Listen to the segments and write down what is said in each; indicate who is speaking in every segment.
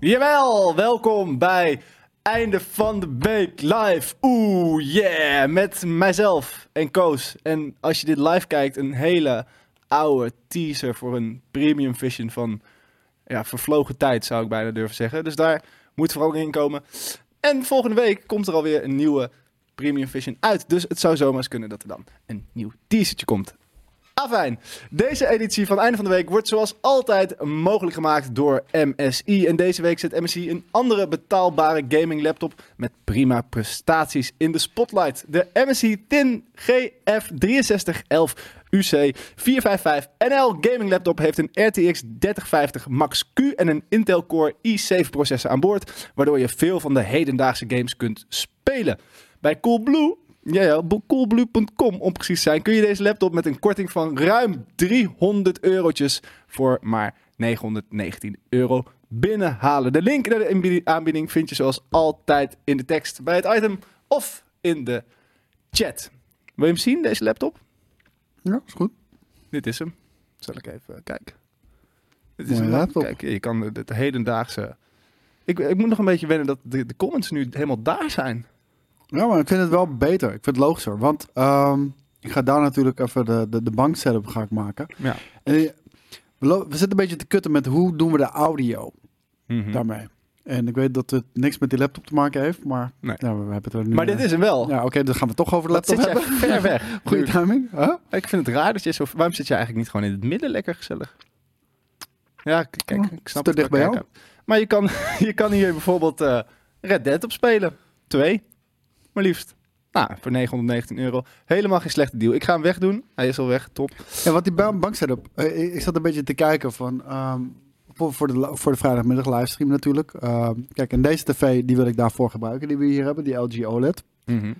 Speaker 1: Jawel, welkom bij Einde van de Week live. Oeh, yeah, met mijzelf en Koos. En als je dit live kijkt, een hele oude teaser voor een premium vision van ja, vervlogen tijd, zou ik bijna durven zeggen. Dus daar moet verandering in komen. En volgende week komt er alweer een nieuwe premium vision uit. Dus het zou zomaar eens kunnen dat er dan een nieuw teasertje komt. Afijn, deze editie van Einde van de Week wordt zoals altijd mogelijk gemaakt door MSI. En deze week zet MSI een andere betaalbare gaming laptop met prima prestaties in de spotlight. De MSI TIN GF6311 UC 455NL gaming laptop heeft een RTX 3050 Max-Q en een Intel Core i7 processor aan boord, waardoor je veel van de hedendaagse games kunt spelen. Bij Coolblue ja, ja, op coolblue.com om precies te zijn kun je deze laptop met een korting van ruim 300 eurotjes voor maar 919 euro binnenhalen. De link naar de inbieding- aanbieding vind je zoals altijd in de tekst bij het item of in de chat. Wil je hem zien, deze laptop?
Speaker 2: Ja, is goed.
Speaker 1: Dit is hem. Zal ik even eh, kijken. Dit is
Speaker 2: Mooie
Speaker 1: een
Speaker 2: laptop.
Speaker 1: Kijk, je kan het hedendaagse... Ik, ik moet nog een beetje wennen dat de, de comments nu helemaal daar zijn.
Speaker 2: Ja, maar ik vind het wel beter. Ik vind het logischer. Want ehm, ik ga daar natuurlijk even de, de, de bank setup ga ik maken.
Speaker 1: Ja.
Speaker 2: En eh, we, lo- we zitten een beetje te kutten met hoe doen we de audio
Speaker 1: Hm.
Speaker 2: daarmee. En ik weet dat het niks met die laptop te maken heeft, maar
Speaker 1: Nee.
Speaker 2: ja, we, we hebben het er nu.
Speaker 1: Maar dit
Speaker 2: eh,
Speaker 1: is hem wel.
Speaker 2: Ja, oké, dan gaan we het toch over de
Speaker 1: Wat
Speaker 2: laptop
Speaker 1: zit
Speaker 2: hebben.
Speaker 1: jij ver weg?
Speaker 2: Goede timing. Huh?
Speaker 1: Ik vind het raar dat je zo... Waarom zit je eigenlijk niet gewoon in het midden lekker gezellig? Ja, k- kijk,
Speaker 2: Oh,
Speaker 1: ik
Speaker 2: is het
Speaker 1: snap
Speaker 2: te
Speaker 1: het
Speaker 2: dicht bij
Speaker 1: wel,
Speaker 2: jou?
Speaker 1: kijk. Maar je kan, je kan hier bijvoorbeeld eh, Red Dead op spelen. Twee, maar liefst. Nou, voor 919 euro. Helemaal geen slechte deal. Ik ga hem wegdoen. Hij is al weg, top.
Speaker 2: En wat die ba- bank setup. eh, ik- ik zat een beetje te kijken van. ehm, voor, voor, de, la- voor de vrijdagmiddag livestream natuurlijk. Ehm, kijk, en deze tv die wil ik daarvoor gebruiken, die we hier hebben, die LG OLED. Mhm.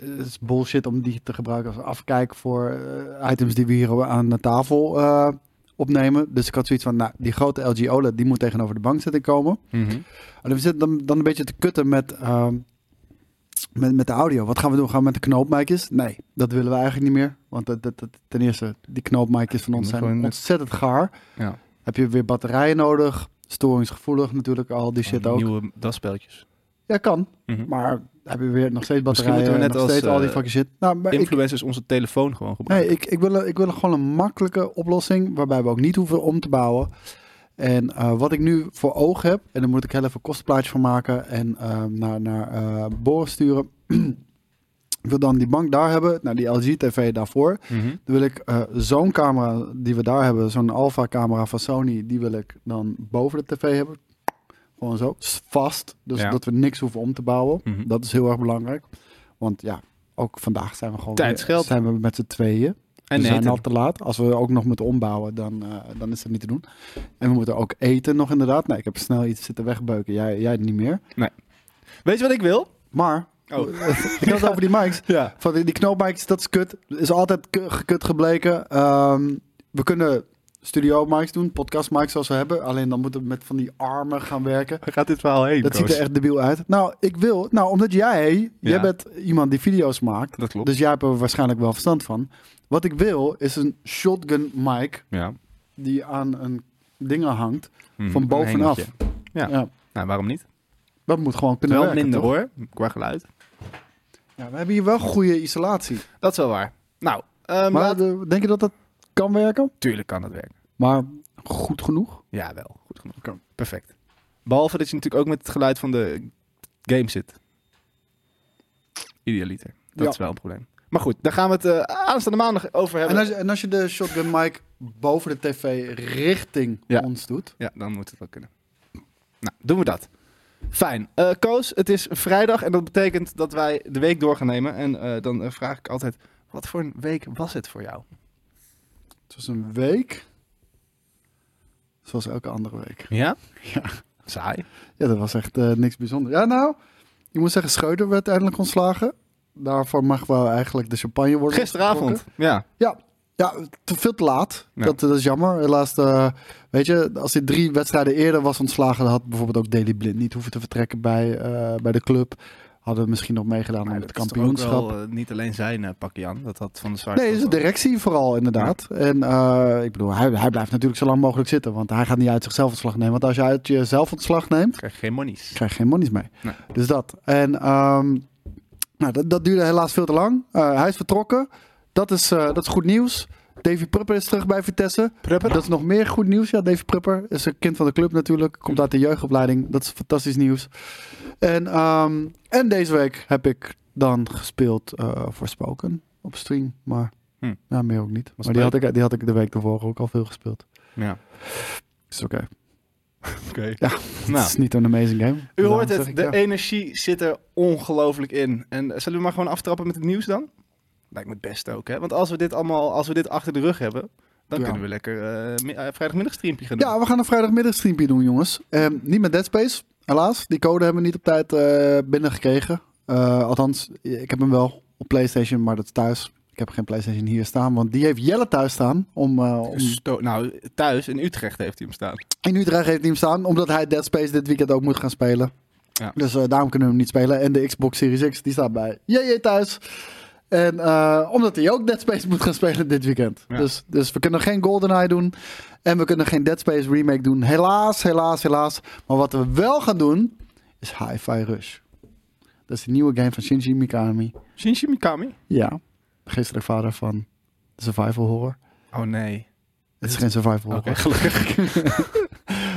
Speaker 2: het is bullshit om die te gebruiken als afkijk voor eh, items die we hier aan de tafel eh, opnemen. Dus ik had zoiets van, nou, die grote LG OLED, die moet tegenover de bank zitten komen. En we zitten dan, dan een beetje te kutten met, ehm, met, met de audio. Wat gaan we doen? Gaan we met de knoopmicjes? Nee, dat willen we eigenlijk niet meer. Want dat, dat, dat- ten eerste, die knoopmicjes van
Speaker 1: Je
Speaker 2: ons
Speaker 1: moet gewoon
Speaker 2: zijn
Speaker 1: met-
Speaker 2: ontzettend gaar.
Speaker 1: Ja.
Speaker 2: Heb je weer batterijen nodig? Storingsgevoelig natuurlijk al, die shit ook.
Speaker 1: Nieuwe dasspeltjes.
Speaker 2: Ja, kan.
Speaker 1: Mhm.
Speaker 2: Maar heb je weer nog steeds
Speaker 1: Misschien moeten
Speaker 2: batterijen,
Speaker 1: we net
Speaker 2: nog
Speaker 1: als,
Speaker 2: steeds al die
Speaker 1: eh,
Speaker 2: fucking shit. Nou, maar ik,
Speaker 1: Influencers onze telefoon gewoon
Speaker 2: Nee,
Speaker 1: gebruiken.
Speaker 2: ik, ik, wil, ik wil gewoon een makkelijke oplossing waarbij we ook niet hoeven om te bouwen. En eh, wat ik nu voor ogen heb, en daar moet ik heel even een kostenplaatje van maken en ehm, naar, naar eh, Boris sturen. ik wil dan die bank daar hebben, nou die LG TV daarvoor.
Speaker 1: Mhm.
Speaker 2: Dan wil ik eh, zo'n camera die we daar hebben, zo'n Alpha camera van Sony, die wil ik dan boven de tv hebben. Gewoon zo, s- vast. Dus
Speaker 1: Ja.
Speaker 2: dat we niks hoeven om te bouwen.
Speaker 1: Mhm.
Speaker 2: Dat is heel erg belangrijk. Want ja, ook vandaag zijn we gewoon
Speaker 1: Tijd
Speaker 2: weer-
Speaker 1: is geld.
Speaker 2: zijn we met z'n tweeën
Speaker 1: En
Speaker 2: we zijn
Speaker 1: eten.
Speaker 2: al te laat. Als we ook nog moeten ombouwen, dan, eh, dan is dat niet te doen. En we moeten ook eten nog inderdaad. Nee, ik heb snel iets zitten wegbeuken. Jij, jij niet meer.
Speaker 1: Weet je wat ik wil?
Speaker 2: Maar,
Speaker 1: Oh.
Speaker 2: ik had het over die mics.
Speaker 1: Ja.
Speaker 2: Van die, die knoopmics, dat is kut. Is altijd ku- gekut gebleken. Ehm, we kunnen studio mics doen, podcast mics zoals we hebben. Alleen dan moeten we met van die armen gaan werken.
Speaker 1: Waar gaat dit verhaal heen,
Speaker 2: Dat ziet
Speaker 1: Koos?
Speaker 2: er echt debiel uit. Nou, ik wil... Nou, omdat jij...
Speaker 1: Ja.
Speaker 2: Jij bent iemand die video's maakt.
Speaker 1: Dat klopt.
Speaker 2: Dus jij hebt er waarschijnlijk wel verstand van. Wat ik wil, is een shotgun mic
Speaker 1: ja.
Speaker 2: die aan een dingen hangt
Speaker 1: Mhm.
Speaker 2: van
Speaker 1: Een
Speaker 2: bovenaf.
Speaker 1: hengeltje. Ja. Nou, waarom niet?
Speaker 2: Dat moet gewoon kunnen
Speaker 1: Wel
Speaker 2: werken,
Speaker 1: minder
Speaker 2: toch?
Speaker 1: hoor, qua geluid.
Speaker 2: Ja, we hebben hier wel goede isolatie.
Speaker 1: Dat is wel waar. Nou, ehm,
Speaker 2: maar
Speaker 1: laat-
Speaker 2: eh, denk je dat dat kan werken?
Speaker 1: tuurlijk kan dat werken.
Speaker 2: Maar goed genoeg?
Speaker 1: Ja, wel. Goed genoeg.
Speaker 2: Oké.
Speaker 1: Perfect. Behalve dat je natuurlijk ook met het geluid van de game zit. Idealiter. Dat
Speaker 2: Ja.
Speaker 1: is wel een probleem. Maar goed, daar gaan we het eh, aanstaande maandag over hebben.
Speaker 2: En als, je- en als je de shotgun mic boven de tv richting
Speaker 1: Ja.
Speaker 2: ons doet.
Speaker 1: Ja, dan moet het wel kunnen. Nou, doen we dat. Fijn. Eh, Koos, het is vrijdag en dat betekent dat wij de week door gaan nemen. En eh, dan eh, vraag ik altijd, wat voor een week was het voor jou?
Speaker 2: Het was een week. Zoals elke andere week.
Speaker 1: Ja? Ja. Saai.
Speaker 2: Ja, dat was echt eh, niks bijzonders. Ja, nou, je moet zeggen, Schreuder werd eindelijk ontslagen. Daarvoor mag wel eigenlijk de champagne worden. opgetrokken.
Speaker 1: Gisteravond. Ja.
Speaker 2: Ja, ja te, veel te laat.
Speaker 1: Ja.
Speaker 2: Dat, dat is jammer. Helaas, eh, weet je, als hij drie wedstrijden eerder was ontslagen, dan had bijvoorbeeld ook Daily Blind niet hoeven te vertrekken bij, eh, bij de club. hadden we misschien nog meegedaan aan
Speaker 1: Maar
Speaker 2: het
Speaker 1: dat is toch
Speaker 2: kampioenschap.
Speaker 1: ook wel, eh, niet alleen zijn eh, pakje aan. Dat had van de zwarte.
Speaker 2: Nee, is de directie vooral inderdaad. En eh, ik bedoel, hij, hij blijft natuurlijk zo lang mogelijk zitten. Want hij gaat niet uit zichzelf ontslag nemen. Want als je uit jezelf ontslag neemt,
Speaker 1: krijg je geen monies.
Speaker 2: krijg je geen monies mee.
Speaker 1: Nee.
Speaker 2: Dus dat. En ehm, nou, dat, dat duurde helaas veel te lang. Eh, hij is vertrokken. Dat is, eh, dat is goed nieuws. Davy Prupper is terug bij Vitesse.
Speaker 1: Prupper?
Speaker 2: Dat is nog meer goed nieuws. Ja, Davy Prupper is een kind van de club natuurlijk. Komt uit de jeugdopleiding. Dat is fantastisch nieuws. En, ehm, en deze week heb ik dan gespeeld eh, voor Spoken op stream. Maar
Speaker 1: Hm.
Speaker 2: ja, meer ook niet.
Speaker 1: Was
Speaker 2: maar die
Speaker 1: leuk.
Speaker 2: had, ik, die had ik de week daarvoor ook al veel gespeeld.
Speaker 1: Ja.
Speaker 2: Is oké.
Speaker 1: Oké.
Speaker 2: Ja. Het
Speaker 1: Nou,
Speaker 2: is niet een amazing game.
Speaker 1: u
Speaker 2: Daarom
Speaker 1: hoort
Speaker 2: zeg ik
Speaker 1: het. De
Speaker 2: ja.
Speaker 1: energie zit er ongelooflijk in. En eh, zullen we maar gewoon aftrappen met het nieuws dan? Lijkt me het beste ook, hè? Want als we dit allemaal, als we dit achter de rug hebben, dan
Speaker 2: Ja.
Speaker 1: kunnen we lekker eh, mi- eh, vrijdagmiddag streampje gaan doen.
Speaker 2: Ja, we gaan een vrijdagmiddag streampje doen, jongens. Ehm, niet met Dead Space, helaas. Die code hebben we niet op tijd eh binnengekregen. Eh, althans, ik heb hem wel op PlayStation, maar dat is thuis. Ik heb geen PlayStation hier staan, want die heeft Jelle thuis staan. Om, eh, om...
Speaker 1: Sto- nou, thuis in Utrecht heeft hij hem staan.
Speaker 2: In Utrecht heeft hij hem staan, omdat hij Dead Space dit weekend ook moet gaan spelen.
Speaker 1: Ja.
Speaker 2: Dus eh, daarom kunnen we hem niet spelen. En de Xbox Series X, die staat bij JJ thuis. En eh, omdat hij ook Dead Space moet gaan spelen dit weekend.
Speaker 1: Ja.
Speaker 2: Dus, dus we kunnen geen GoldenEye doen. En we kunnen geen Dead Space remake doen. Helaas, helaas, helaas. Maar wat we wel gaan doen, is Hi-Fi Rush. Dat is de nieuwe game van Shinji Mikami.
Speaker 1: Shinji Mikami?
Speaker 2: Ja, gisteren vader van survival horror.
Speaker 1: Oh nee.
Speaker 2: Het is geen survival
Speaker 1: Oké,
Speaker 2: horror.
Speaker 1: gelukkig.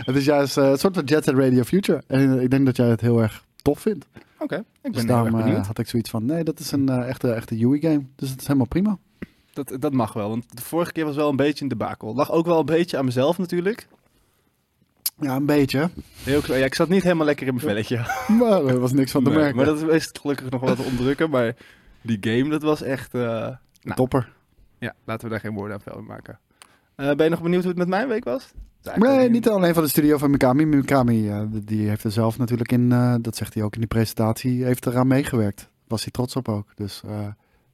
Speaker 2: Het is juist eh, een soort van Jet Set Radio Future. En eh, ik denk dat jij het heel erg tof vindt.
Speaker 1: Oké, ik
Speaker 2: Dus
Speaker 1: ben heel erg
Speaker 2: daarom eh,
Speaker 1: benieuwd.
Speaker 2: had ik zoiets van, nee, dat is een eh, echte, echte Yui game. Dus het is helemaal prima.
Speaker 1: Dat, dat mag wel, want de vorige keer was wel een beetje een debakel. Lag ook wel een beetje aan mezelf natuurlijk.
Speaker 2: Ja, een beetje.
Speaker 1: Heel klein. Ja, ik zat niet helemaal lekker in mijn velletje.
Speaker 2: Maar er was niks van te
Speaker 1: Nee,
Speaker 2: merken.
Speaker 1: maar dat is gelukkig nog wel te onderdrukken. Maar die game, dat was echt... eh, nou.
Speaker 2: Topper.
Speaker 1: ja, laten we daar geen woorden aan vuil maken. Eh, ben je nog benieuwd hoe het met mijn week was?
Speaker 2: Nee, niet alleen van de studio van Mikami. Mikami, eh, die heeft er zelf natuurlijk in, eh, dat zegt hij ook in die presentatie, heeft eraan meegewerkt. Was hij trots op ook. Dus eh,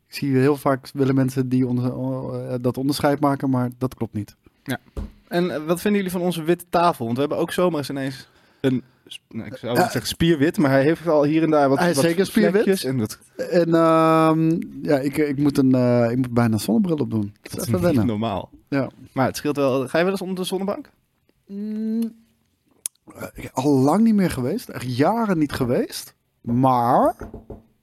Speaker 2: ik zie heel vaak willen mensen die onder- eh, dat onderscheid maken, maar dat klopt niet.
Speaker 1: En eh, wat vinden jullie van onze witte tafel? Want we hebben ook zomaar eens ineens een... nou, ik zou niet
Speaker 2: Eh,
Speaker 1: zeggen spierwit, maar hij heeft al hier en daar wat
Speaker 2: hij is
Speaker 1: wat
Speaker 2: zeker spierwit.
Speaker 1: vlekjes En dat,
Speaker 2: En ehm, ja, ik, ik, moet een, eh, ik moet bijna een zonnebril opdoen.
Speaker 1: dat
Speaker 2: Dat is
Speaker 1: is niet
Speaker 2: even wennen.
Speaker 1: normaal.
Speaker 2: Ja.
Speaker 1: Maar het scheelt wel... Ga je wel eens onder de zonnebank?
Speaker 2: Mm, eh, ik- al lang niet meer geweest. Echt jaren niet geweest. Maar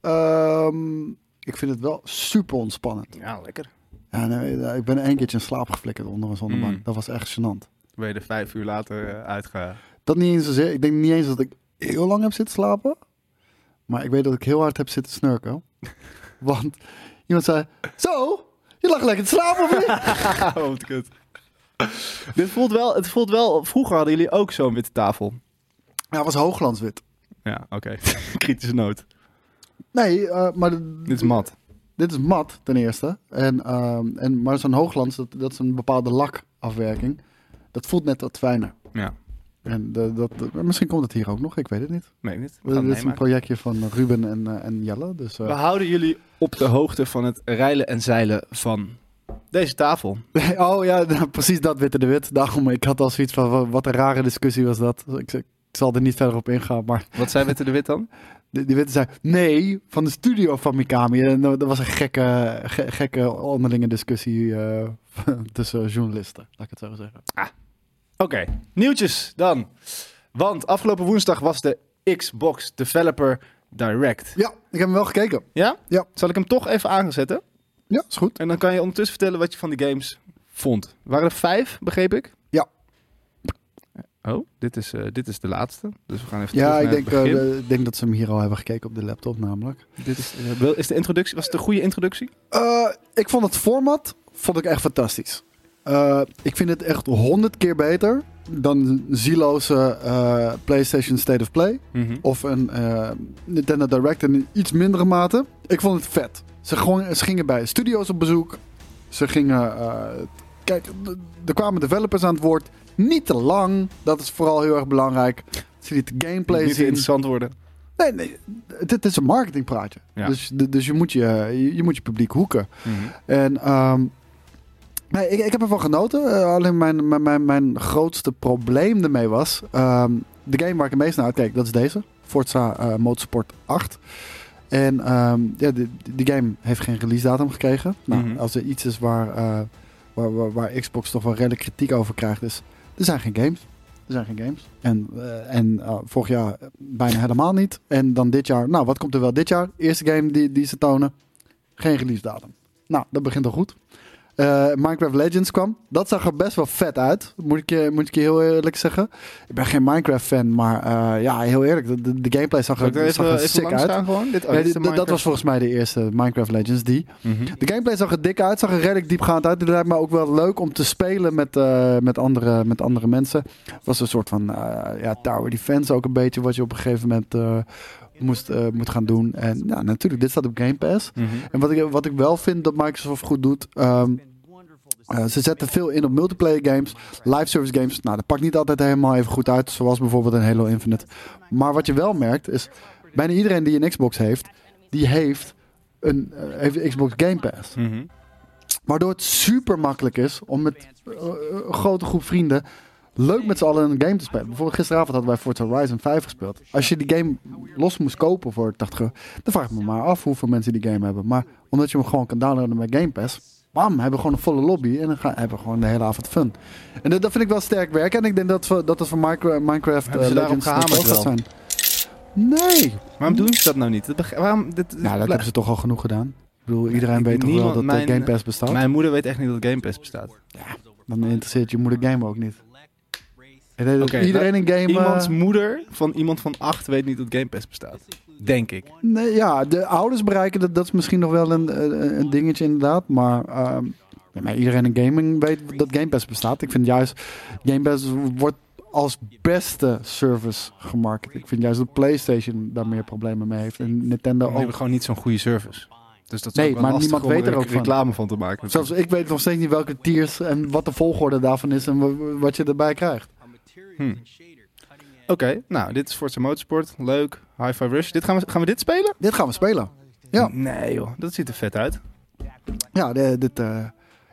Speaker 2: ehm, ik vind het wel super ontspannend.
Speaker 1: Ja, lekker.
Speaker 2: Ja, nee, eh, ik ben één keertje in slaap geflikkerd onder een zonnebank.
Speaker 1: Mm.
Speaker 2: Dat was echt gênant.
Speaker 1: Ben je er vijf uur later eh, uitge...
Speaker 2: Dat niet eens zozeer. Ik denk niet eens dat ik heel lang heb zitten slapen. Maar ik weet dat ik heel hard heb zitten snurken. Want iemand zei, zo, je lag lekker te slapen of niet?
Speaker 1: Oh, wat kut. Dit voelt wel, het voelt wel... Vroeger hadden jullie ook zo'n witte tafel.
Speaker 2: Ja, het was hooglandswit.
Speaker 1: Ja, oké. Kritische noot.
Speaker 2: Nee, eh, maar...
Speaker 1: Dit is mat.
Speaker 2: Dit is mat, ten eerste. En, ehm, en, maar zo'n hoogglans, dat, dat is een bepaalde lakafwerking. Dat voelt net wat fijner.
Speaker 1: Ja.
Speaker 2: En de- dat, dat- misschien komt het hier ook nog, ik weet het niet.
Speaker 1: Nee, niet. We,
Speaker 2: Dit
Speaker 1: gaan het
Speaker 2: is een
Speaker 1: meemaken.
Speaker 2: projectje van Ruben en, eh, en Jelle. Dus, eh,
Speaker 1: We houden jullie op de hoogte van het rijlen en zeilen van deze tafel.
Speaker 2: oh ja, nou, precies dat, Witte de Wit. Daarom, ik had al zoiets van, wa- wat een rare discussie was dat. Ik, ik zal er niet verder op ingaan, maar
Speaker 1: Wat zijn we te de wit dan?
Speaker 2: die, die Witte zei, nee, van de studio van Mikami. En nou, dat was een gekke, ge- gekke onderlinge discussie eh, tussen journalisten, laat ik het zo zeggen.
Speaker 1: Oké, nieuwtjes dan. Want afgelopen woensdag was de Xbox Developer Direct.
Speaker 2: Ja, ik heb hem wel gekeken.
Speaker 1: Ja?
Speaker 2: Ja.
Speaker 1: Zal ik hem toch even aanzetten?
Speaker 2: Ja, is goed.
Speaker 1: En dan kan je ondertussen vertellen wat je van die games vond. Waren er vijf, begreep ik?
Speaker 2: Ja.
Speaker 1: Oh, dit is, eh, dit is de laatste. Dus we gaan even
Speaker 2: Ja,
Speaker 1: terug
Speaker 2: ik
Speaker 1: naar
Speaker 2: denk,
Speaker 1: het begin.
Speaker 2: eh, de- ik denk dat ze hem hier al hebben gekeken op de laptop namelijk.
Speaker 1: Dit is, eh, wel- is de introductie, was het een goede introductie?
Speaker 2: Eh, ik vond het format vond ik echt fantastisch. Eh, ik vind het echt honderd keer beter dan zieloze eh, PlayStation State of Play.
Speaker 1: Mhm.
Speaker 2: Of een eh, Nintendo Direct in een iets mindere mate. Ik vond het vet. Ze, gong- ze gingen bij studio's op bezoek. Ze gingen... eh, kijk, d- er kwamen developers aan het woord. Niet te lang. Dat is vooral heel erg belangrijk. Ze lieten gameplay
Speaker 1: Niet
Speaker 2: zien.
Speaker 1: interessant worden.
Speaker 2: Nee, nee. Dit is een marketingpraatje.
Speaker 1: Ja.
Speaker 2: Dus, dus je, moet je, je, je moet je publiek hoeken.
Speaker 1: Mhm.
Speaker 2: En ehm, nee, ik, ik heb ervan genoten. Eh, alleen mijn, mijn, mijn, mijn grootste probleem ermee was... ehm, de game waar ik het meest naar uitkeek, dat is deze. Forza eh, Motorsport 8. En ehm, ja, die, die game heeft geen release datum gekregen. Nou,
Speaker 1: Mhm.
Speaker 2: als er iets is waar, eh, waar, waar, waar Xbox toch wel redelijk kritiek over krijgt, is er zijn geen games. Er zijn geen games. En, eh, en eh, vorig jaar bijna helemaal niet. En dan dit jaar, nou wat komt er wel dit jaar? Eerste game die, die ze tonen, geen release datum. Nou, dat begint al goed. Eh, Minecraft Legends kwam. Dat zag er best wel vet uit, moet ik, je- moet ik je heel eerlijk zeggen. Ik ben geen Minecraft-fan, maar eh, ja, heel eerlijk, de, de, de gameplay zag
Speaker 1: Zal ik er
Speaker 2: er,
Speaker 1: even,
Speaker 2: zag er
Speaker 1: even
Speaker 2: sick
Speaker 1: langs
Speaker 2: uit.
Speaker 1: gaan gewoon? Dit, oh,
Speaker 2: Ja,
Speaker 1: dit is
Speaker 2: die-
Speaker 1: de
Speaker 2: dat- dat
Speaker 1: Minecraft.
Speaker 2: was volgens mij de eerste Minecraft Legends die.
Speaker 1: Mhm.
Speaker 2: De gameplay zag er dik uit, zag er redelijk diepgaand uit. Het lijkt me ook wel leuk om te spelen met, eh, met, andere, met andere mensen. Het was een soort van eh, ja, tower defense ook een beetje wat je op een gegeven moment eh, moest, eh, moet gaan doen. En ja, natuurlijk, dit staat op Game Pass.
Speaker 1: Mhm.
Speaker 2: En wat ik, wat ik wel vind dat Microsoft goed doet, ehm, eh, ze zetten veel in op multiplayer games, live service games. Nou, dat pakt niet altijd helemaal even goed uit, zoals bijvoorbeeld een Halo Infinite. Maar wat je wel merkt is, bijna iedereen die een Xbox heeft, die heeft een eh, heeft Xbox Game Pass.
Speaker 1: Mhm.
Speaker 2: Waardoor het super makkelijk is om met eh, een grote groep vrienden leuk met z'n allen een game te spelen. Bijvoorbeeld gisteravond hadden wij Forza Horizon 5 gespeeld. Als je die game los moest kopen voor 80 euro, dan vraag ik me maar af hoeveel mensen die game hebben. Maar omdat je hem gewoon kan downloaden met Game Pass, bam, hebben we gewoon een volle lobby en dan gaan, hebben we gewoon de hele avond fun. En dat, dat vind ik wel sterk werk en ik denk dat we, dat, dat voor Minecraft, Minecraft
Speaker 1: Hebben ze
Speaker 2: eh,
Speaker 1: daarop
Speaker 2: Legends nog
Speaker 1: gehamerd
Speaker 2: wel gaat zijn. Nee!
Speaker 1: Waarom doen ze dat nou niet? Dat beg- waarom, dit,
Speaker 2: Nou, dat hebben ze toch al genoeg gedaan. Ik bedoel, iedereen
Speaker 1: Ik-
Speaker 2: weet toch wel
Speaker 1: niemand-
Speaker 2: dat eh,
Speaker 1: mijn-
Speaker 2: Game Pass bestaat.
Speaker 1: Mijn moeder weet echt niet dat Game Pass bestaat.
Speaker 2: Dan interesseert je moeder game ook niet. Ik denk dat
Speaker 1: Oké,
Speaker 2: iedereen een game... eh,
Speaker 1: Iemands moeder van iemand van 8 weet niet dat Game Pass bestaat. Denk ik.
Speaker 2: nee, ja, de ouders bereiken dat, dat is misschien nog wel een, eh, een dingetje inderdaad. Maar, ehm, ja, maar iedereen in gaming weet dat Game Pass bestaat. Ik vind juist, Game Pass wordt als beste service gemarket. Ik vind juist dat PlayStation daar meer problemen mee heeft. En Nintendo
Speaker 1: Dan hebben
Speaker 2: Nou, ook.
Speaker 1: we gewoon niet zo'n goede service. Dus dat is
Speaker 2: Nee,
Speaker 1: ook wel
Speaker 2: maar
Speaker 1: lastig
Speaker 2: niemand
Speaker 1: om
Speaker 2: weet er ook van.
Speaker 1: reclame van te maken.
Speaker 2: Zelfs ik weet nog steeds niet welke tiers en wat de volgorde daarvan is en wa- wat je erbij krijgt.
Speaker 1: Hm. Oké, nou, dit is Forza Motorsport. Leuk. Hi-Fi Rush. Dit gaan, we, gaan we dit spelen?
Speaker 2: Dit gaan we spelen. Ja.
Speaker 1: Nee joh, dat ziet er vet uit.
Speaker 2: Ja, de- dit, eh,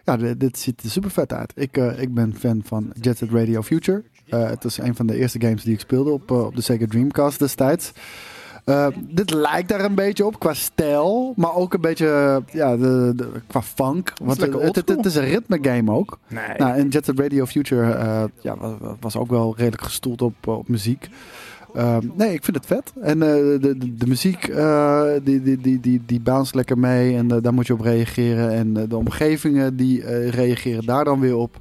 Speaker 2: ja de- dit ziet er super vet uit. Ik, eh, ik ben fan van Jet Set Radio Future. Eh, het is een van de eerste games die ik speelde op, eh, op de Sega Dreamcast destijds. Eh, dit lijkt daar een beetje op qua stijl, maar ook een beetje eh, ja, de, de- qua funk. Want
Speaker 1: lekker
Speaker 2: het, het, het- het is een ritme game ook.
Speaker 1: Nee.
Speaker 2: Nou, en Jet Set Radio Future eh, ja, wa- wa- was ook wel redelijk gestoeld op, eh, op muziek. Ehm, nee, ik vind het vet. En eh, de, de, de muziek, eh, die, die, die, die, die bounce lekker mee en eh, daar moet je op reageren. En eh, de omgevingen, die eh, reageren daar dan weer op.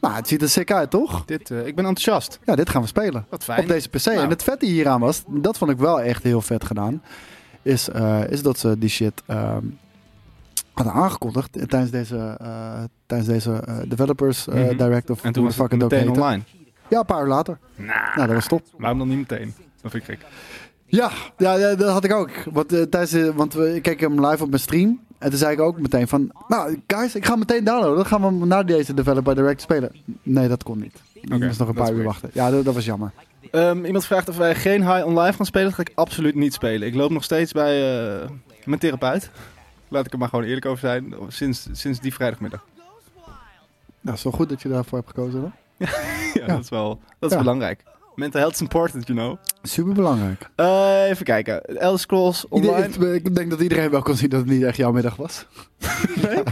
Speaker 2: Nou, het ziet er sick uit, toch?
Speaker 1: dit, eh, ik ben enthousiast.
Speaker 2: Ja, dit gaan we spelen.
Speaker 1: Wat fijn.
Speaker 2: Op deze PC.
Speaker 1: Nou.
Speaker 2: En het vette hieraan was, dat vond ik wel echt heel vet gedaan, is, eh, is dat ze die shit ehm, hadden aangekondigd tijdens deze, eh, tijdens deze eh, Developers eh,
Speaker 1: Mhm.
Speaker 2: Direct of
Speaker 1: en toen
Speaker 2: hoe de
Speaker 1: was
Speaker 2: fuck
Speaker 1: het
Speaker 2: het ook
Speaker 1: meteen
Speaker 2: heette.
Speaker 1: online.
Speaker 2: Ja, een paar uur later.
Speaker 1: Nou,
Speaker 2: Nou, dat was top.
Speaker 1: waarom dan niet meteen? Dat vind ik gek.
Speaker 2: Ja, ja, ja, dat had ik ook. Want, eh, tijdens, de- want we, ik keek hem live op mijn stream. En toen zei ik ook meteen van... Nou, guys, ik ga hem meteen downloaden. Dan gaan we hem na deze Developer Direct spelen. Nee, dat kon niet. Je
Speaker 1: Oké,
Speaker 2: moest nog een
Speaker 1: dat
Speaker 2: paar
Speaker 1: is
Speaker 2: uur
Speaker 1: weird.
Speaker 2: wachten. Ja, dat, dat was jammer.
Speaker 1: Ehm, iemand vraagt of wij geen high online gaan spelen. Dat ga ik absoluut niet spelen. Ik loop nog steeds bij eh, mijn therapeut. Laat ik er maar gewoon eerlijk over zijn. Sinds, sinds die vrijdagmiddag.
Speaker 2: Nou, is wel goed dat je daarvoor hebt gekozen, hoor.
Speaker 1: ja, dat is wel dat is
Speaker 2: Ja.
Speaker 1: belangrijk. Mental health is important, you know.
Speaker 2: Superbelangrijk.
Speaker 1: Eh, even kijken. Elder Scrolls Online.
Speaker 2: Ieder- ik denk dat iedereen wel kon zien dat het niet echt jouw middag was.
Speaker 1: Nee?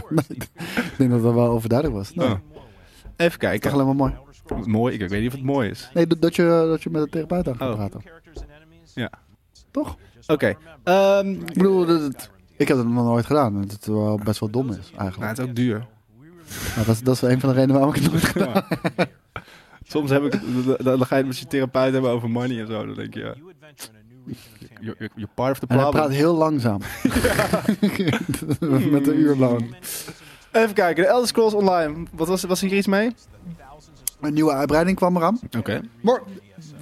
Speaker 2: Ik denk dat dat wel overduidelijk was. Nou,
Speaker 1: Oh. Even
Speaker 2: Toch
Speaker 1: kijken.
Speaker 2: alleen maar mooi.
Speaker 1: Mooi, ik, ik weet niet of het mooi is.
Speaker 2: Nee, dat- dat je, dat je met de therapeut aan gaat
Speaker 1: Oh.
Speaker 2: praten.
Speaker 1: Ja.
Speaker 2: Toch?
Speaker 1: Oké. ehm,
Speaker 2: Ik bedoel, dat, dat- ik heb het nog nooit gedaan. Dat het wel best wel dom is,
Speaker 1: nou,
Speaker 2: eigenlijk.
Speaker 1: het is ook duur.
Speaker 2: Nou, dat, is, dat is een van de redenen waarom ik het nooit gedaan
Speaker 1: Ja. Soms heb ik, dan- dan ga je het met je therapeut hebben over money en zo. Dan denk je, ja, you're, you're part of the
Speaker 2: En hij
Speaker 1: problem.
Speaker 2: praat heel langzaam. Met een uur lang.
Speaker 1: Even kijken, de Elder Scrolls Online. Wat was, was hier iets mee?
Speaker 2: Een nieuwe uitbreiding kwam eraan.
Speaker 1: Oké.
Speaker 2: Maar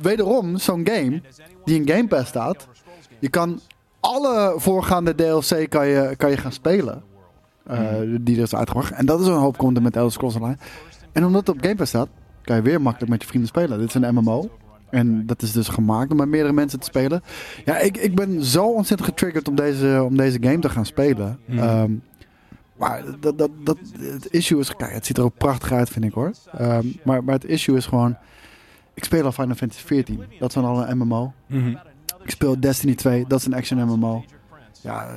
Speaker 2: wederom, zo'n game die in Game Pass staat. Je kan alle voorgaande DLC kan je, kan je gaan spelen. eh, Die er is uitgebracht. En dat is een hoop content met Elder Scrolls Online. En omdat het op Game Pass staat, kan je weer makkelijk met je vrienden spelen. Dit is een MMO. En dat is dus gemaakt om met meerdere mensen te spelen. Ja, ik, ik ben zo ontzettend getriggerd om deze, om deze game te gaan spelen.
Speaker 1: Mhm.
Speaker 2: Ehm, maar dat, dat, dat, het issue is... Kijk, het ziet er ook prachtig uit, vind ik hoor. Ehm, maar, maar het issue is gewoon... Ik speel al Final Mhm. Fantasy 14. Dat is dan al een MMO. Ik speel Destiny 2. Dat is een action MMO. Ja,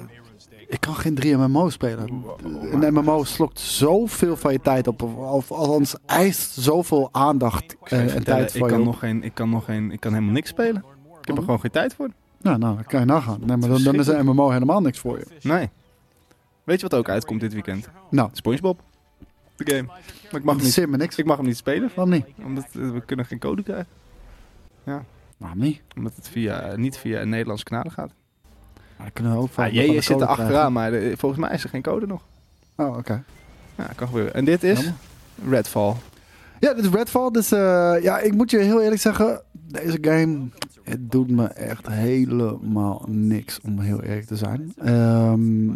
Speaker 2: ik kan geen 3 MMO spelen. Een MMO slokt zoveel van je tijd op. Of althans eist zoveel aandacht eh, en tijd
Speaker 1: ik,
Speaker 2: van je. Oh.
Speaker 1: kan
Speaker 2: op.
Speaker 1: nog geen, ik kan nog geen, ik kan helemaal niks spelen. Ik heb er gewoon geen tijd voor.
Speaker 2: Nou, nou, dat kan je nagaan. Nee, maar dan, dan is een MMO helemaal niks voor je.
Speaker 1: Nee. Weet je wat ook uitkomt dit weekend?
Speaker 2: Nou,
Speaker 1: SpongeBob. De game. Maar ik mag
Speaker 2: mag
Speaker 1: hem niet,
Speaker 2: zit me niks.
Speaker 1: ik mag hem niet spelen.
Speaker 2: Waarom niet?
Speaker 1: Omdat eh, we kunnen geen code krijgen.
Speaker 2: Waarom niet?
Speaker 1: Omdat het via, eh, niet via een Nederlandse kanalen gaat.
Speaker 2: Maar dan kunnen we ook van-
Speaker 1: Ah,
Speaker 2: van de
Speaker 1: je zit er
Speaker 2: code
Speaker 1: achteraan, maar eh, volgens mij is er geen code nog.
Speaker 2: krijgen. Oh, oké.
Speaker 1: Ja, kan gebeuren. En dit is
Speaker 2: Jammer.
Speaker 1: Redfall.
Speaker 2: Ja, dit is Redfall. Dus eh, ja, ik moet je heel eerlijk zeggen, deze game, het doet me echt helemaal niks, om heel eerlijk te zijn. Ehm,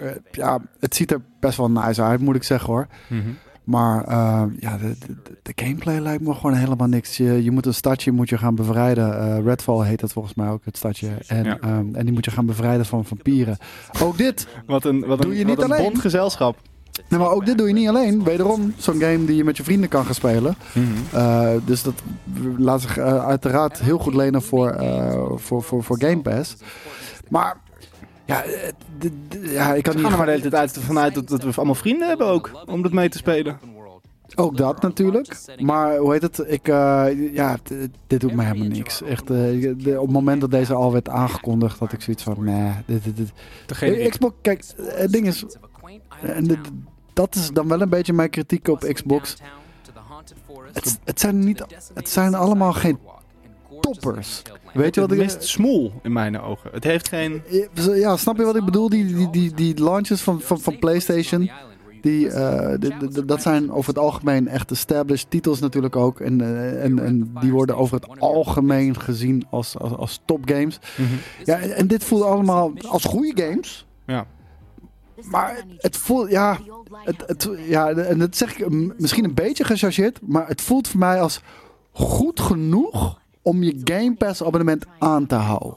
Speaker 2: eh, ja, het ziet er best wel nice uit, moet ik zeggen hoor.
Speaker 1: Mhm.
Speaker 2: Maar eh, ja, de, de, de gameplay lijkt me gewoon helemaal niks. Je, je moet een stadje moet je gaan bevrijden. Eh, Redfall heet dat volgens mij ook, het stadje. En,
Speaker 1: Ja.
Speaker 2: ehm, en die moet je gaan bevrijden van vampieren. Ook dit,
Speaker 1: Wat een, wat
Speaker 2: Doe
Speaker 1: een,
Speaker 2: je
Speaker 1: wat
Speaker 2: niet
Speaker 1: een
Speaker 2: alleen?
Speaker 1: bond gezelschap.
Speaker 2: nee, maar ook dit doe je niet alleen. Wederom zo'n game die je met je vrienden kan gaan spelen.
Speaker 1: Mhm.
Speaker 2: Eh, dus dat laat zich eh, uiteraard heel goed lenen voor, eh, voor, voor, voor Game Pass. Maar ja, eh, d- d- ja ik kan
Speaker 1: We gaan er maar de
Speaker 2: niet...
Speaker 1: hele tijd uit- vanuit dat, dat we allemaal vrienden hebben ook. Om dat mee te spelen.
Speaker 2: Ook dat natuurlijk. Maar hoe heet het? Ik, eh, ja, d- dit doet me helemaal niks. Echt, eh, de- op het moment dat deze al werd aangekondigd, had ik zoiets van... Nee, dit, dit, dit. Eh, Xbox, kijk, eh, het ding is... eh, d- d- dat is dan wel een beetje mijn kritiek op Xbox. Het, s- het, zijn, niet, het zijn allemaal geen toppers. Weet je wat
Speaker 1: Het
Speaker 2: ik...
Speaker 1: mist smoel in mijn ogen. Het heeft geen...
Speaker 2: Eh, Ja, snap je wat ik bedoel? Die, die, die, die launches van, van, van PlayStation. Die, eh, d- d- d- dat zijn over het algemeen echt established titels natuurlijk ook. En, eh, en, en die worden over het algemeen gezien als, als, als topgames.
Speaker 1: Mhm.
Speaker 2: Ja, en, en dit voelt allemaal als goede games.
Speaker 1: Ja.
Speaker 2: Maar het voelt, ja, het, het, ja, en dat zeg ik m- misschien een beetje gechargeerd. Maar het voelt voor mij als goed genoeg om je Game Pass abonnement aan te houden.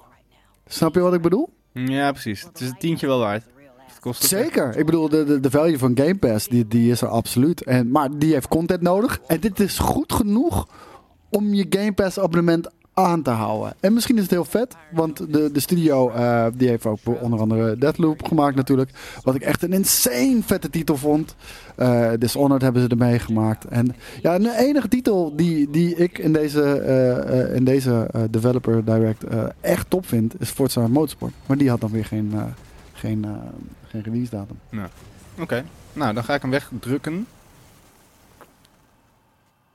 Speaker 2: Snap je wat ik bedoel?
Speaker 1: ja, precies. Het is een tientje wel waard. Het kost ook-
Speaker 2: Zeker. Ik bedoel, de, de, de value van Game Pass, die, die is er absoluut. En, maar die heeft content nodig. En dit is goed genoeg om je Game Pass abonnement aan te houden. En misschien is het heel vet, want de, de studio eh, die heeft ook onder andere Deadloop gemaakt natuurlijk. Wat ik echt een insane vette titel vond. Eh, Dishonored hebben ze ermee gemaakt. En ja, de enige titel die, die ik in deze, eh, eh, in deze eh, developer direct eh, echt top vind, is Forza Motorsport. Maar die had dan weer geen, eh, geen, eh, geen release datum.
Speaker 1: Oké. Nou, dan ga ik hem wegdrukken.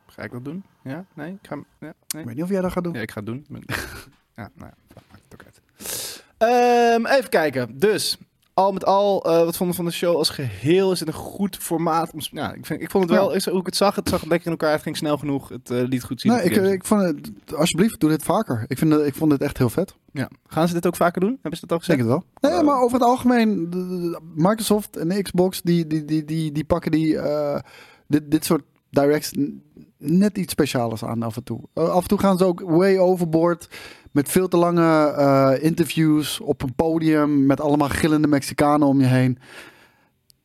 Speaker 1: Ga ik dat doen? Ja? Nee? Ik ga hem... Ja? Nee?
Speaker 2: Ik weet niet of jij dat gaat doen.
Speaker 1: Ja, ik ga het doen. ja, nou, ja, dat maakt het ook uit. Ehm, even kijken. Dus, al met al, eh, wat vonden we van de show als geheel? Is het een goed formaat? Om, sp- ja, ik, vind, ik vond het wel, is, hoe ik het zag, het zag lekker in elkaar. Het ging snel genoeg. Het eh, liet goed zien.
Speaker 2: Nee,
Speaker 1: dat
Speaker 2: Nou, ik,
Speaker 1: de games-
Speaker 2: ik vond het, alsjeblieft, doe dit vaker. Ik, vind, dat- ik vond het echt heel vet.
Speaker 1: ja. Gaan ze dit ook vaker doen? Hebben ze dat al gezegd?
Speaker 2: Zeker wel. Nee,
Speaker 1: Eh.
Speaker 2: maar over het algemeen, de- de- de- Microsoft en de Xbox, die, die, die, die, die pakken die, eh, dit, dit soort directs n- net iets speciaals aan af en toe. Eh, af en toe gaan ze ook way overboard met veel te lange eh, interviews op een podium met allemaal gillende Mexicanen om je heen.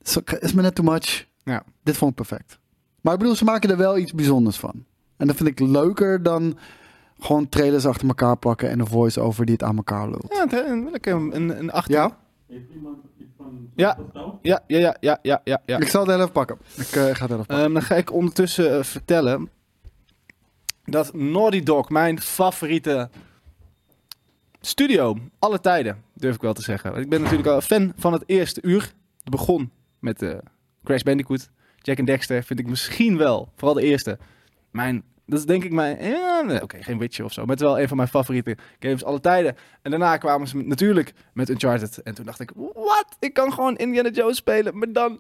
Speaker 2: Is- Is me net too much.
Speaker 1: Ja.
Speaker 2: Dit vond ik perfect. Maar ik bedoel, ze maken er wel iets bijzonders van. En dat vind ik leuker dan gewoon trailers achter elkaar plakken en een voice-over die het aan elkaar lult.
Speaker 1: Ja, het, eh, een, lekker een, een, een achter-
Speaker 2: Ja?
Speaker 1: Ja. Ja, ja, ja, ja, ja, ja. ja.
Speaker 2: Ik zal het heel even pakken. Ik eh, ga het heel even pakken.
Speaker 1: Ehm, dan ga ik ondertussen eh, vertellen dat Naughty Dog mijn favoriete studio alle tijden, durf ik wel te zeggen. Want Ik ben natuurlijk al fan van het eerste uur. Het begon met eh, Crash Bandicoot. Jack and Dexter vind ik misschien wel, vooral de eerste, mijn... Dat is denk ik mijn... ja, nee, Oké, geen Witcher of zo, maar het is wel een van mijn favoriete games alle tijden. En daarna kwamen ze met- natuurlijk met Uncharted. En toen dacht ik, wat? Ik kan gewoon Indiana Jones spelen, maar dan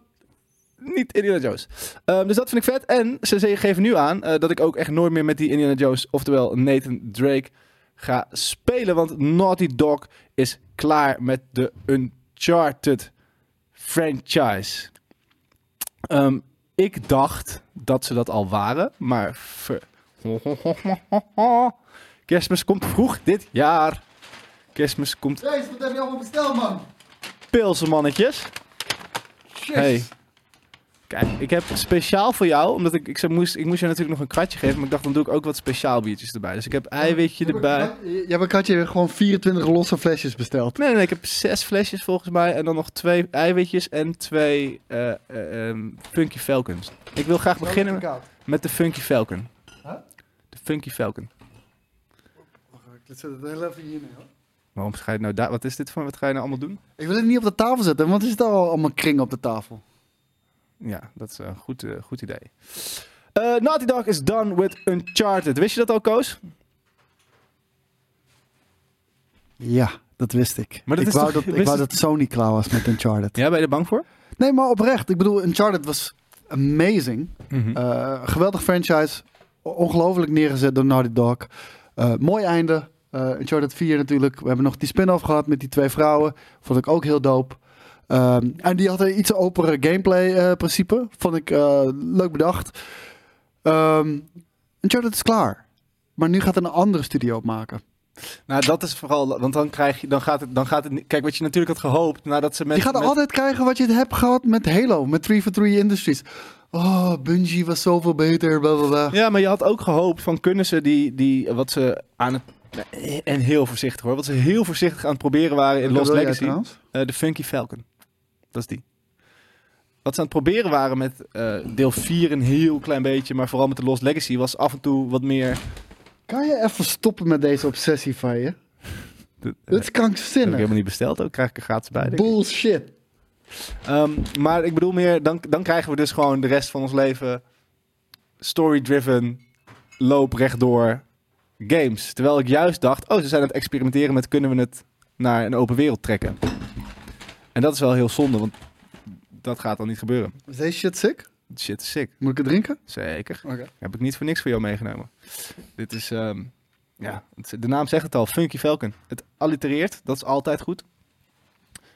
Speaker 1: niet Indiana Jones. Ehm, dus dat vind ik vet. En ze ze geven nu aan eh, dat ik ook echt nooit meer met die Indiana Jones, oftewel Nathan Drake, ga spelen. Want Naughty Dog is klaar met de Uncharted franchise. Ehm, ik dacht dat ze dat al waren, maar... ver- Kerstmis komt vroeg dit jaar. Kerstmis komt
Speaker 2: Jezus, wat heb je allemaal besteld, man?
Speaker 1: pilsen, mannetjes. Hey. Kijk, ik heb speciaal voor jou, omdat ik, ik, zou- moest, ik moest jou natuurlijk nog een kwartje geven, maar ik dacht, dan doe ik ook wat speciaal biertjes erbij. Dus ik heb eiwitje erbij.
Speaker 2: Jij hebt een katje gewoon 24 losse flesjes besteld.
Speaker 1: Nee, nee, nee, ik heb zes flesjes volgens mij en dan nog twee eiwitjes en twee eh, eh, ehm, Funky Falcons. Ik wil graag beginnen met- met de Funky Falcon.
Speaker 2: Huh?
Speaker 1: De Funky Falcon.
Speaker 2: Ik zet het heel even hier neer. hoor.
Speaker 1: Waarom ga je het nou daar? Wat is dit voor? Wat ga je nou allemaal doen?
Speaker 2: Ik wil het niet op de tafel zetten, want er zitten al allemaal kringen op de tafel.
Speaker 1: Ja, dat is een goed, eh, goed idee. Eh, Naughty Dog is done with Uncharted. Wist je dat al, Koos?
Speaker 2: Ja, dat wist ik.
Speaker 1: Maar dat
Speaker 2: ik
Speaker 1: is
Speaker 2: wou,
Speaker 1: toch-
Speaker 2: dat, ik
Speaker 1: wist
Speaker 2: wou
Speaker 1: het-
Speaker 2: dat Sony klaar was met Uncharted.
Speaker 1: Ja, ben je er bang voor?
Speaker 2: Nee, maar oprecht. Ik bedoel, Uncharted was amazing. Eh, geweldig franchise. O- Ongelooflijk neergezet door Naughty Dog. Eh, mooi einde. Eh Uncharted 4 natuurlijk. We hebben nog die spin-off gehad met die twee vrouwen. Vond ik ook heel dope. Ehm, en die had een iets opere gameplay eh, principe. Vond ik eh, leuk bedacht. Ehm Uncharted is klaar. Maar nu gaat er een andere studio op maken.
Speaker 1: Nou, dat is vooral, want dan krijg je, dan gaat het, dan gaat het, niet- kijk wat je natuurlijk had gehoopt, nadat ze met,
Speaker 2: je gaat
Speaker 1: met-
Speaker 2: altijd krijgen wat je hebt gehad met Halo. Met 3 for 3 Industries. Oh, Bungie was zoveel beter. Bla bla bla.
Speaker 1: ja, maar je had ook gehoopt van kunnen ze die, die, wat ze aan het, en heel voorzichtig hoor, wat ze heel voorzichtig aan het proberen waren in
Speaker 2: Wat
Speaker 1: Lost
Speaker 2: wil jij
Speaker 1: Legacy,
Speaker 2: trouwens?
Speaker 1: Eh, de Funky Falcon, dat is die. Wat ze aan het proberen waren met eh, deel 4 een heel klein beetje, maar vooral met de Lost Legacy was af en toe wat meer.
Speaker 2: Kan je even stoppen met deze obsessie van je? Dit is
Speaker 1: heb ik
Speaker 2: krankzinnig.
Speaker 1: helemaal niet besteld ook, krijg ik er gratis bij. denk ik.
Speaker 2: Bullshit.
Speaker 1: Ehm, maar ik bedoel meer, dan, dan krijgen we dus gewoon de rest van ons leven story-driven, loop rechtdoor games. Terwijl ik juist dacht, oh, ze zijn aan het experimenteren met kunnen we het naar een open wereld trekken. En dat is wel heel zonde, want dat gaat dan niet gebeuren.
Speaker 2: Is deze shit sick?
Speaker 1: Shit is sick,
Speaker 2: Moet ik het drinken?
Speaker 1: zeker.
Speaker 2: Oké.
Speaker 1: Heb ik niet voor niks voor jou meegenomen. Dit is, ehm, ja, het- de naam zegt het al, Funky Falcon. Het allitereert, dat is altijd goed.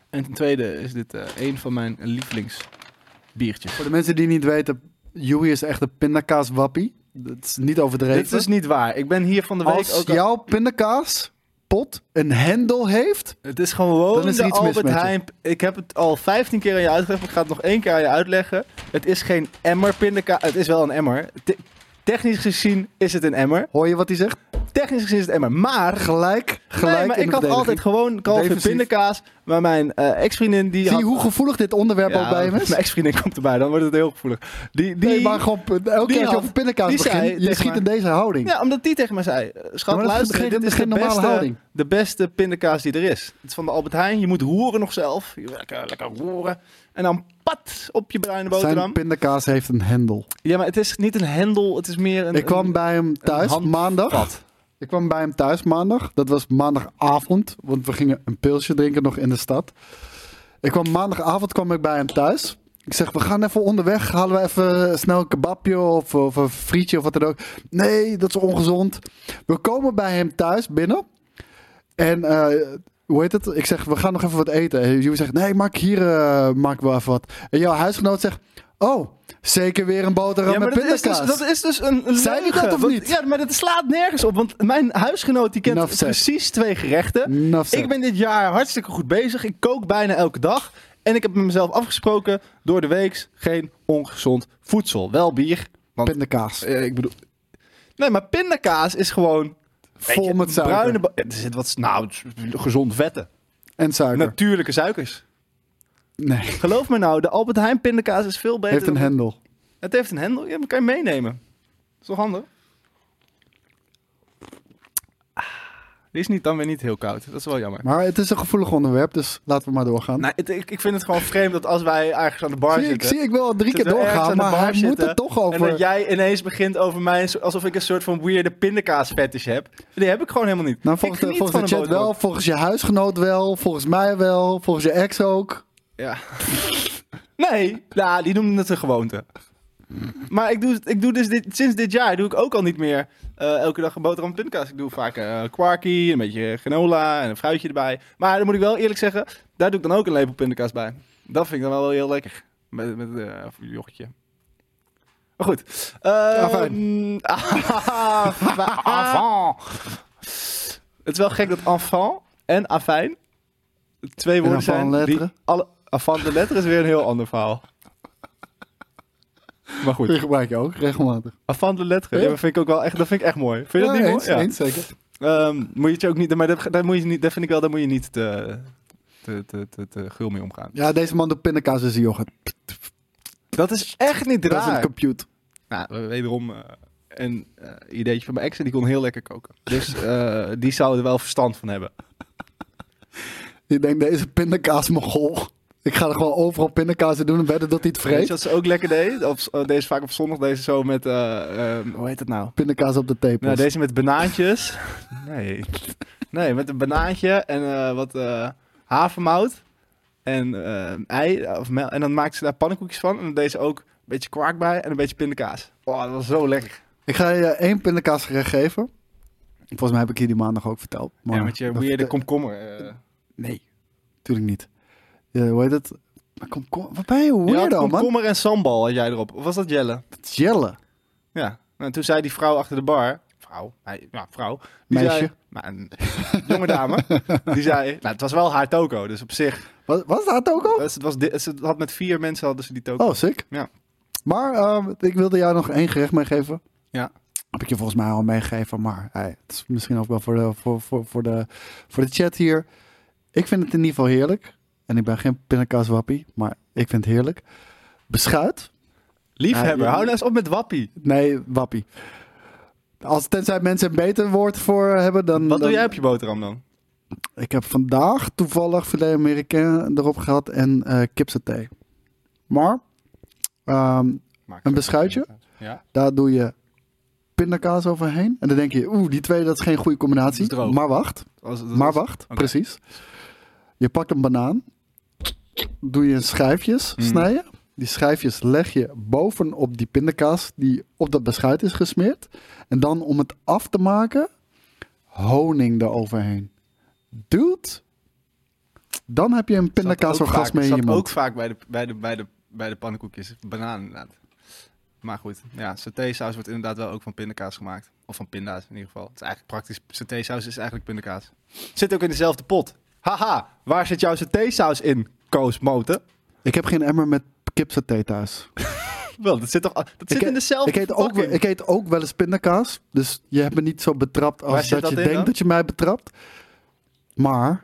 Speaker 1: En ten tweede is dit eh, een van mijn lievelingsbiertjes.
Speaker 2: Voor de mensen die niet weten, Joey is echt een pindakaaswappie. Dat is niet overdreven.
Speaker 1: Dit is niet waar. Ik ben hier van de week
Speaker 2: Als
Speaker 1: ook... al-
Speaker 2: jouw pindakaaspot een hendel heeft,
Speaker 1: Het is gewoon
Speaker 2: Dan is er
Speaker 1: de
Speaker 2: iets mis
Speaker 1: Albert
Speaker 2: met je.
Speaker 1: Heijn... Ik heb het al 15 keer aan je uitgelegd, maar ik ga het nog één keer aan je uitleggen. Het is geen emmer pindakaas. Het is wel een emmer. Te- technisch gezien is het een emmer.
Speaker 2: hoor je wat hij zegt?
Speaker 1: Technisch gezien is het een emmer. Maar...
Speaker 2: Gelijk, gelijk
Speaker 1: nee, maar
Speaker 2: in
Speaker 1: ik
Speaker 2: de
Speaker 1: had altijd
Speaker 2: verdediging.
Speaker 1: gewoon kalfje
Speaker 2: Defensief.
Speaker 1: pindakaas. Maar mijn eh, ex-vriendin die
Speaker 2: Zie
Speaker 1: had...
Speaker 2: je hoe gevoelig dit onderwerp
Speaker 1: Ja,
Speaker 2: ook bij hem is?
Speaker 1: Mijn ex-vriendin komt erbij, dan wordt het heel gevoelig. Die, die...
Speaker 2: nee, maar gewoon, elke keer als
Speaker 1: had-
Speaker 2: je over pindakaas
Speaker 1: die
Speaker 2: begint,
Speaker 1: zei
Speaker 2: je
Speaker 1: tegen
Speaker 2: schiet
Speaker 1: mij-
Speaker 2: in deze houding.
Speaker 1: Ja, omdat die tegen mij zei, eh, schat,
Speaker 2: maar dat is
Speaker 1: luister,
Speaker 2: geen-
Speaker 1: dit
Speaker 2: dat
Speaker 1: is
Speaker 2: is
Speaker 1: de
Speaker 2: geen normale
Speaker 1: beste,
Speaker 2: houding.
Speaker 1: de beste pindakaas die er is. Het is van de Albert Heijn, je moet roeren nog zelf. Je moet Lekker, lekker roeren. En dan pat op je bruine boterham.
Speaker 2: Zijn pindakaas heeft een hendel.
Speaker 1: Ja, maar het is niet een hendel, het is meer een...
Speaker 2: ik kwam
Speaker 1: een
Speaker 2: bij hem thuis
Speaker 1: handvat.
Speaker 2: maandag. Ik kwam bij hem thuis maandag. Dat was maandagavond, want we gingen een pilsje drinken nog in de stad. Ik kwam maandagavond kwam ik bij hem thuis. Ik zeg, we gaan even onderweg, halen we even snel een kebabje of, of een frietje of wat dan ook. Nee, dat is ongezond. We komen bij hem thuis binnen. En eh, hoe heet het? Ik zeg, we gaan nog even wat eten. En jullie zegt, nee, maak hier eh, maak ik wel even wat. En jouw huisgenoot zegt, oh, zeker weer een boterham
Speaker 1: Ja, maar
Speaker 2: met
Speaker 1: dat is, dus,
Speaker 2: pindakaas.
Speaker 1: dat is dus een
Speaker 2: Zei die
Speaker 1: leugen,
Speaker 2: dat of
Speaker 1: want-
Speaker 2: niet?
Speaker 1: Ja, maar dat slaat nergens op. Want mijn huisgenoot die kent
Speaker 2: Enough said.
Speaker 1: precies twee gerechten.
Speaker 2: Enough said.
Speaker 1: Ik ben dit jaar hartstikke goed bezig. Ik kook bijna elke dag. En ik heb met mezelf afgesproken, door de week geen ongezond voedsel. Wel bier, want
Speaker 2: Pindakaas.
Speaker 1: Eh, ik bedoel. Nee, maar pindakaas is gewoon. weet
Speaker 2: Vol
Speaker 1: je,
Speaker 2: met suiker
Speaker 1: Bruine. ba- Er zit wat. Nou, het is gezond vetten.
Speaker 2: en suiker.
Speaker 1: Natuurlijke suikers.
Speaker 2: nee.
Speaker 1: Geloof me nou, de Albert Heijn pindakaas is veel beter.
Speaker 2: heeft een
Speaker 1: dan-
Speaker 2: hendel.
Speaker 1: Het heeft een hendel. Ja, maar kan je meenemen. Is toch handig? Ah, Die is niet, dan weer niet heel koud. Dat is wel jammer.
Speaker 2: Maar het is een gevoelig onderwerp, dus laten we maar doorgaan.
Speaker 1: Nou, het- ik, ik vind het gewoon vreemd dat als wij ergens aan de bar
Speaker 2: zie, ik,
Speaker 1: zitten.
Speaker 2: zie ik wel al drie keer
Speaker 1: Zitten we ergens
Speaker 2: doorgaan,
Speaker 1: aan de
Speaker 2: maar
Speaker 1: bar
Speaker 2: hij moet
Speaker 1: zitten
Speaker 2: het toch
Speaker 1: En
Speaker 2: over...
Speaker 1: dat jij ineens begint over mij alsof ik een soort van weirde pindakaas fetish heb. Die heb ik gewoon helemaal niet.
Speaker 2: Nou,
Speaker 1: ik
Speaker 2: volgens, de,
Speaker 1: geniet
Speaker 2: volgens de
Speaker 1: van
Speaker 2: chat
Speaker 1: een
Speaker 2: wel,
Speaker 1: boterham.
Speaker 2: volgens je huisgenoot wel, volgens mij wel, volgens je ex ook.
Speaker 1: Ja. nee, nou, die noemde het een gewoonte. Maar ik doe, ik doe dus dit, sinds dit jaar doe ik ook al niet meer eh, elke dag een boterham en pindakaas. Ik doe vaak eh kwarkie, een beetje granola en een fruitje erbij. Maar dan moet ik wel eerlijk zeggen, daar doe ik dan ook een lepel pindakaas bij. Dat vind ik dan wel heel lekker. Met, met eh, of een jochetje. Maar goed. Eh,
Speaker 2: Afijn.
Speaker 1: afijn. Het is wel gek dat enfant en afijn twee woorden
Speaker 2: avant
Speaker 1: zijn
Speaker 2: de
Speaker 1: die
Speaker 2: lettre?
Speaker 1: alle... Avant de letter is weer een heel ander verhaal. Maar goed.
Speaker 2: Die gebruik je ook regelmatig.
Speaker 1: Avant de lettre.
Speaker 2: Ja.
Speaker 1: Ja, dat vind ik ook wel echt. Dat vind ik echt mooi. Vind je dat
Speaker 2: Ja,
Speaker 1: niet
Speaker 2: eens,
Speaker 1: mooi? Ja.
Speaker 2: eens, zeker.
Speaker 1: Ehm, moet je het je ook niet. Maar dat, daar moet je niet. Dat vind ik wel. Daar moet je niet te, te, te, te, te gul mee omgaan.
Speaker 2: Ja, deze man doet pindakaas en zijn yoghurt.
Speaker 1: Dat is echt niet
Speaker 2: Dat is een
Speaker 1: raar.
Speaker 2: compute.
Speaker 1: Nou, wederom eh, een eh, ideetje van mijn ex en die kon heel lekker koken. Dus eh, die zou er wel verstand van hebben.
Speaker 2: Ik denk, deze pindakaas mogol. Ik ga er gewoon overal pindakaas in doen en wedden dat hij het
Speaker 1: Weet
Speaker 2: vreet.
Speaker 1: je wat ze ook lekker deed? Op, eh, deze vaak op zondag, deze zo met, eh, ehm, hoe heet het nou?
Speaker 2: Pindakaas op de tepels.
Speaker 1: Nou, deze met banaantjes. Nee. Nee, met een banaantje en eh, wat eh havermout en eh, ei. Of mel, en dan maakte ze daar pannenkoekjes van. En dan deed ze ook een beetje kwark bij en een beetje pindakaas. Oh, dat was zo lekker.
Speaker 2: Ik ga je één pindakaasgerecht geven. Volgens mij heb ik hier die maandag ook verteld. Maar
Speaker 1: ja, met je
Speaker 2: dat
Speaker 1: weirde
Speaker 2: vertel-
Speaker 1: komkommer. eh.
Speaker 2: Nee, natuurlijk niet. Ja, hoe heet het? Maar kom, kom, wat ben je
Speaker 1: Je had
Speaker 2: weirdo, man?
Speaker 1: komkommer en sambal had jij erop. Of was dat jelle?
Speaker 2: Het is Jelle.
Speaker 1: Ja. Nou, en toen zei die vrouw achter de bar... Vrouw? Nee, ja, vrouw. Die
Speaker 2: Meisje.
Speaker 1: Zei, maar een jonge dame. Die zei... Nou, het was wel haar toko, dus op zich...
Speaker 2: Wat, was dat ook al?
Speaker 1: Dus het was di- ze had met vier mensen hadden ze die toko.
Speaker 2: Oh, sick.
Speaker 1: Ja.
Speaker 2: Maar ehm, ik wilde jou nog één gerecht meegeven.
Speaker 1: Ja.
Speaker 2: Heb ik je volgens mij al meegegeven, maar hey, het is misschien ook wel voor de, voor, voor, voor, de, voor de chat hier. Ik vind het in ieder geval heerlijk. En ik ben geen pindakaaswappie, maar ik vind het heerlijk. Beschuit?
Speaker 1: Liefhebber,
Speaker 2: Ja, ja.
Speaker 1: hou nou eens op met wappie.
Speaker 2: Nee, wappie. Als, tenzij mensen een beter woord voor hebben dan...
Speaker 1: Wat doe
Speaker 2: dan-
Speaker 1: jij op je boterham dan?
Speaker 2: Ik heb vandaag toevallig filet américain erop gehad en eh kipsaté. Maar ehm,
Speaker 1: Maak
Speaker 2: Een beschuitje?
Speaker 1: Ja.
Speaker 2: daar doe je pindakaas overheen. En dan denk je, oeh, die twee, dat is geen goede combinatie.
Speaker 1: Dat is droog.
Speaker 2: Maar wacht,
Speaker 1: Als, dat-
Speaker 2: maar wacht,
Speaker 1: oké.
Speaker 2: precies. Je pakt een banaan, doe je in schijfjes
Speaker 1: Mm.
Speaker 2: snijden. Die schijfjes leg je bovenop die pindakaas die op dat beschuit is gesmeerd. En dan om het af te maken, honing eroverheen. Dude, dan heb je een
Speaker 1: zat ook
Speaker 2: pindakaasorgasme
Speaker 1: vaak-
Speaker 2: in je
Speaker 1: zat
Speaker 2: mond.
Speaker 1: ook vaak bij de, bij, de, bij, de, bij de pannenkoekjes. Bananen inderdaad. Maar goed, ja, saus wordt inderdaad wel ook van pindakaas gemaakt. Of van pinda's in ieder geval. Het is eigenlijk praktisch. Satésaus is eigenlijk pindakaas. Zit ook in dezelfde pot. Haha, waar zit jouw satésaus in, Koos Moten?
Speaker 2: Ik heb geen emmer met kipsaté thuis.
Speaker 1: Wel, dat zit toch... Dat zit
Speaker 2: he-
Speaker 1: in dezelfde
Speaker 2: Ik eet, ook, wel-
Speaker 1: fucking-
Speaker 2: ik eet ook wel eens pindakaas. Dus je hebt me niet zo betrapt
Speaker 1: Waar
Speaker 2: als
Speaker 1: zit
Speaker 2: dat,
Speaker 1: dat
Speaker 2: je
Speaker 1: in
Speaker 2: denkt
Speaker 1: dan?
Speaker 2: dat je mij betrapt. Maar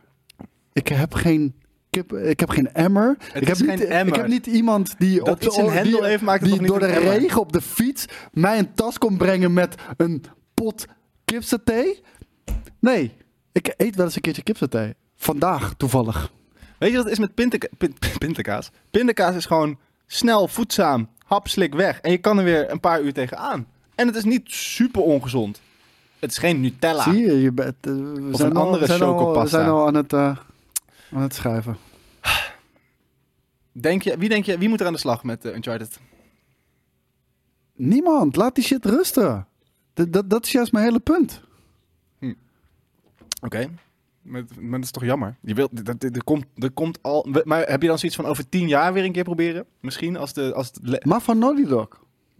Speaker 2: ik heb geen kip, ik heb geen emmer. ik heb
Speaker 1: is
Speaker 2: niet,
Speaker 1: geen emmer.
Speaker 2: Ik heb niet iemand die
Speaker 1: Dat
Speaker 2: op de
Speaker 1: iets in
Speaker 2: o-
Speaker 1: hendel
Speaker 2: die,
Speaker 1: heeft, maakt het
Speaker 2: die
Speaker 1: toch niet
Speaker 2: door de
Speaker 1: een emmer?
Speaker 2: regen op de fiets mij een tas komt brengen met een pot kipsaté. Nee, ik eet wel eens een keertje kipsaté. Vandaag toevallig.
Speaker 1: Weet je wat het is met pindaka pin- pindakaas? Pindakaas is gewoon snel, voedzaam, hapslik weg. En je kan er weer een paar uur tegenaan. En het is niet super ongezond. Het is geen Nutella.
Speaker 2: Zie je, je bent, eh, we
Speaker 1: Ah. Of
Speaker 2: zijn
Speaker 1: een
Speaker 2: al-
Speaker 1: andere
Speaker 2: we zijn al- We
Speaker 1: chocopasta.
Speaker 2: zijn al aan het, eh, aan het schuiven.
Speaker 1: Denk je, wie, denk je, wie moet er aan de slag met eh, Uncharted?
Speaker 2: Niemand, laat die shit rusten. Dat, dat, dat is juist mijn hele punt.
Speaker 1: Oké. Maar, maar dat is toch jammer? Je wilt, dat, dat- er, komt, er komt al... Maar heb je dan zoiets van over tien jaar weer een keer proberen? Misschien als de... Als het le-
Speaker 2: Maar van Naughty Dog.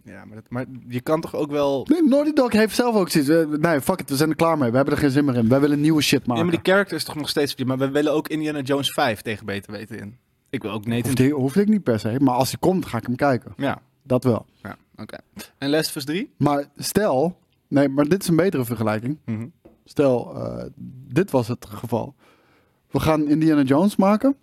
Speaker 1: ja, maar, dat- maar je kan toch ook wel...
Speaker 2: Nee, Naughty Dog heeft zelf ook zoiets. eh, Nee, fuck it, we zijn er klaar mee. We hebben er geen zin meer in. Wij willen nieuwe shit
Speaker 1: Ja,
Speaker 2: maken.
Speaker 1: maar die character is toch nog steeds... Maar we willen ook Indiana Jones 5 tegen beter weten in. Ik wil ook Nathan...
Speaker 2: Hoeft- die hoef ik niet per se. Maar als hij komt, ga ik hem kijken.
Speaker 1: Ja,
Speaker 2: Dat wel.
Speaker 1: ja oké. En Last of Us 3?
Speaker 2: Maar stel... Nee, maar dit is een betere vergelijking.
Speaker 1: Mhm.
Speaker 2: Stel, eh, dit was het geval. We gaan Indiana Jones maken,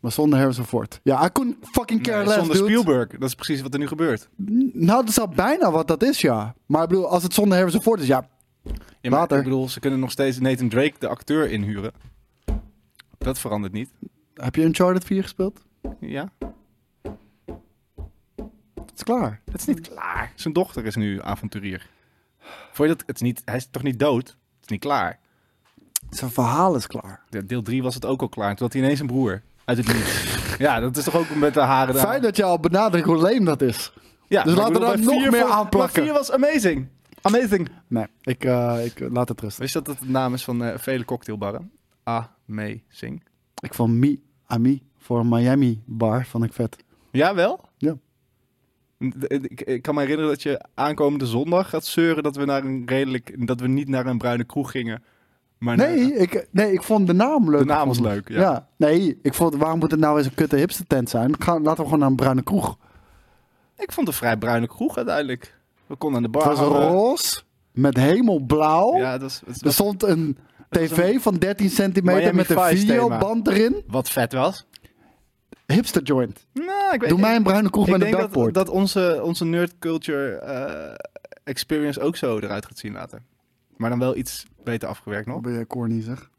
Speaker 2: maar zonder Harrison Ford. Ja, I couldn't fucking care
Speaker 1: Nee,
Speaker 2: less,
Speaker 1: zonder
Speaker 2: dude.
Speaker 1: Spielberg. Dat is precies wat er nu gebeurt.
Speaker 2: Nou, dat is al bijna wat dat is, ja. Maar ik bedoel, als het zonder Harrison Ford is, ja,
Speaker 1: Ja, maar
Speaker 2: Later.
Speaker 1: Ik bedoel, ze kunnen nog steeds Nathan Drake, de acteur, inhuren. Dat verandert niet.
Speaker 2: Heb je Uncharted 4 gespeeld?
Speaker 1: Ja,
Speaker 2: Het is klaar.
Speaker 1: dat is niet klaar. Zijn dochter is nu avonturier. Voor je dat, het is niet, hij is toch niet dood? Het is niet klaar.
Speaker 2: Zijn verhaal is klaar.
Speaker 1: De- Deel 3 was het ook al klaar. Toen had hij ineens een broer. Uit het niets. ja, dat is toch ook met de haren daar.
Speaker 2: Fijn dat je al benadrukt hoe leem dat is.
Speaker 1: ja,
Speaker 2: dus
Speaker 1: maar
Speaker 2: laten
Speaker 1: ik bedoel,
Speaker 2: we daar
Speaker 1: bij
Speaker 2: nog
Speaker 1: vier
Speaker 2: meer
Speaker 1: vond-
Speaker 2: aanplakken.
Speaker 1: Maar 4 was amazing. Amazing.
Speaker 2: Nee, ik, eh, ik laat het rusten.
Speaker 1: Wist je dat het de naam is van eh, vele cocktailbarren? Amazing.
Speaker 2: Ik vond Mi Ami voor een Miami bar vond ik vet.
Speaker 1: Jawel?
Speaker 2: Ja.
Speaker 1: Ik, ik kan me herinneren dat je aankomende zondag gaat zeuren dat we, naar een redelijk, dat we niet naar een bruine kroeg gingen. Maar naar-
Speaker 2: Nee, ik, nee, ik vond de naam leuk.
Speaker 1: de naam was
Speaker 2: Vond-
Speaker 1: leuk. Ja.
Speaker 2: Ja. nee, ik vond, waarom moet het nou eens een kutte hipster tent zijn? Ga, laten we gewoon naar een bruine kroeg.
Speaker 1: Ik vond het een vrij bruine kroeg uiteindelijk. We konden aan de bar.
Speaker 2: Het was
Speaker 1: hangen.
Speaker 2: roze met hemelblauw.
Speaker 1: Ja, dat is, het
Speaker 2: Er
Speaker 1: was-
Speaker 2: stond een
Speaker 1: was
Speaker 2: tv van 13 centimeter
Speaker 1: Miami
Speaker 2: met een
Speaker 1: Vice thema.
Speaker 2: videoband erin.
Speaker 1: wat vet was.
Speaker 2: Hipster joint.
Speaker 1: Nou, ik weet
Speaker 2: Doe mij een bruine
Speaker 1: Ik,
Speaker 2: kroeg
Speaker 1: ik
Speaker 2: met een
Speaker 1: denk dat,
Speaker 2: dakboard.
Speaker 1: dat onze, onze nerd culture eh, experience ook zo eruit gaat zien later. Maar dan wel iets beter afgewerkt nog.
Speaker 2: ben jij corny zeg.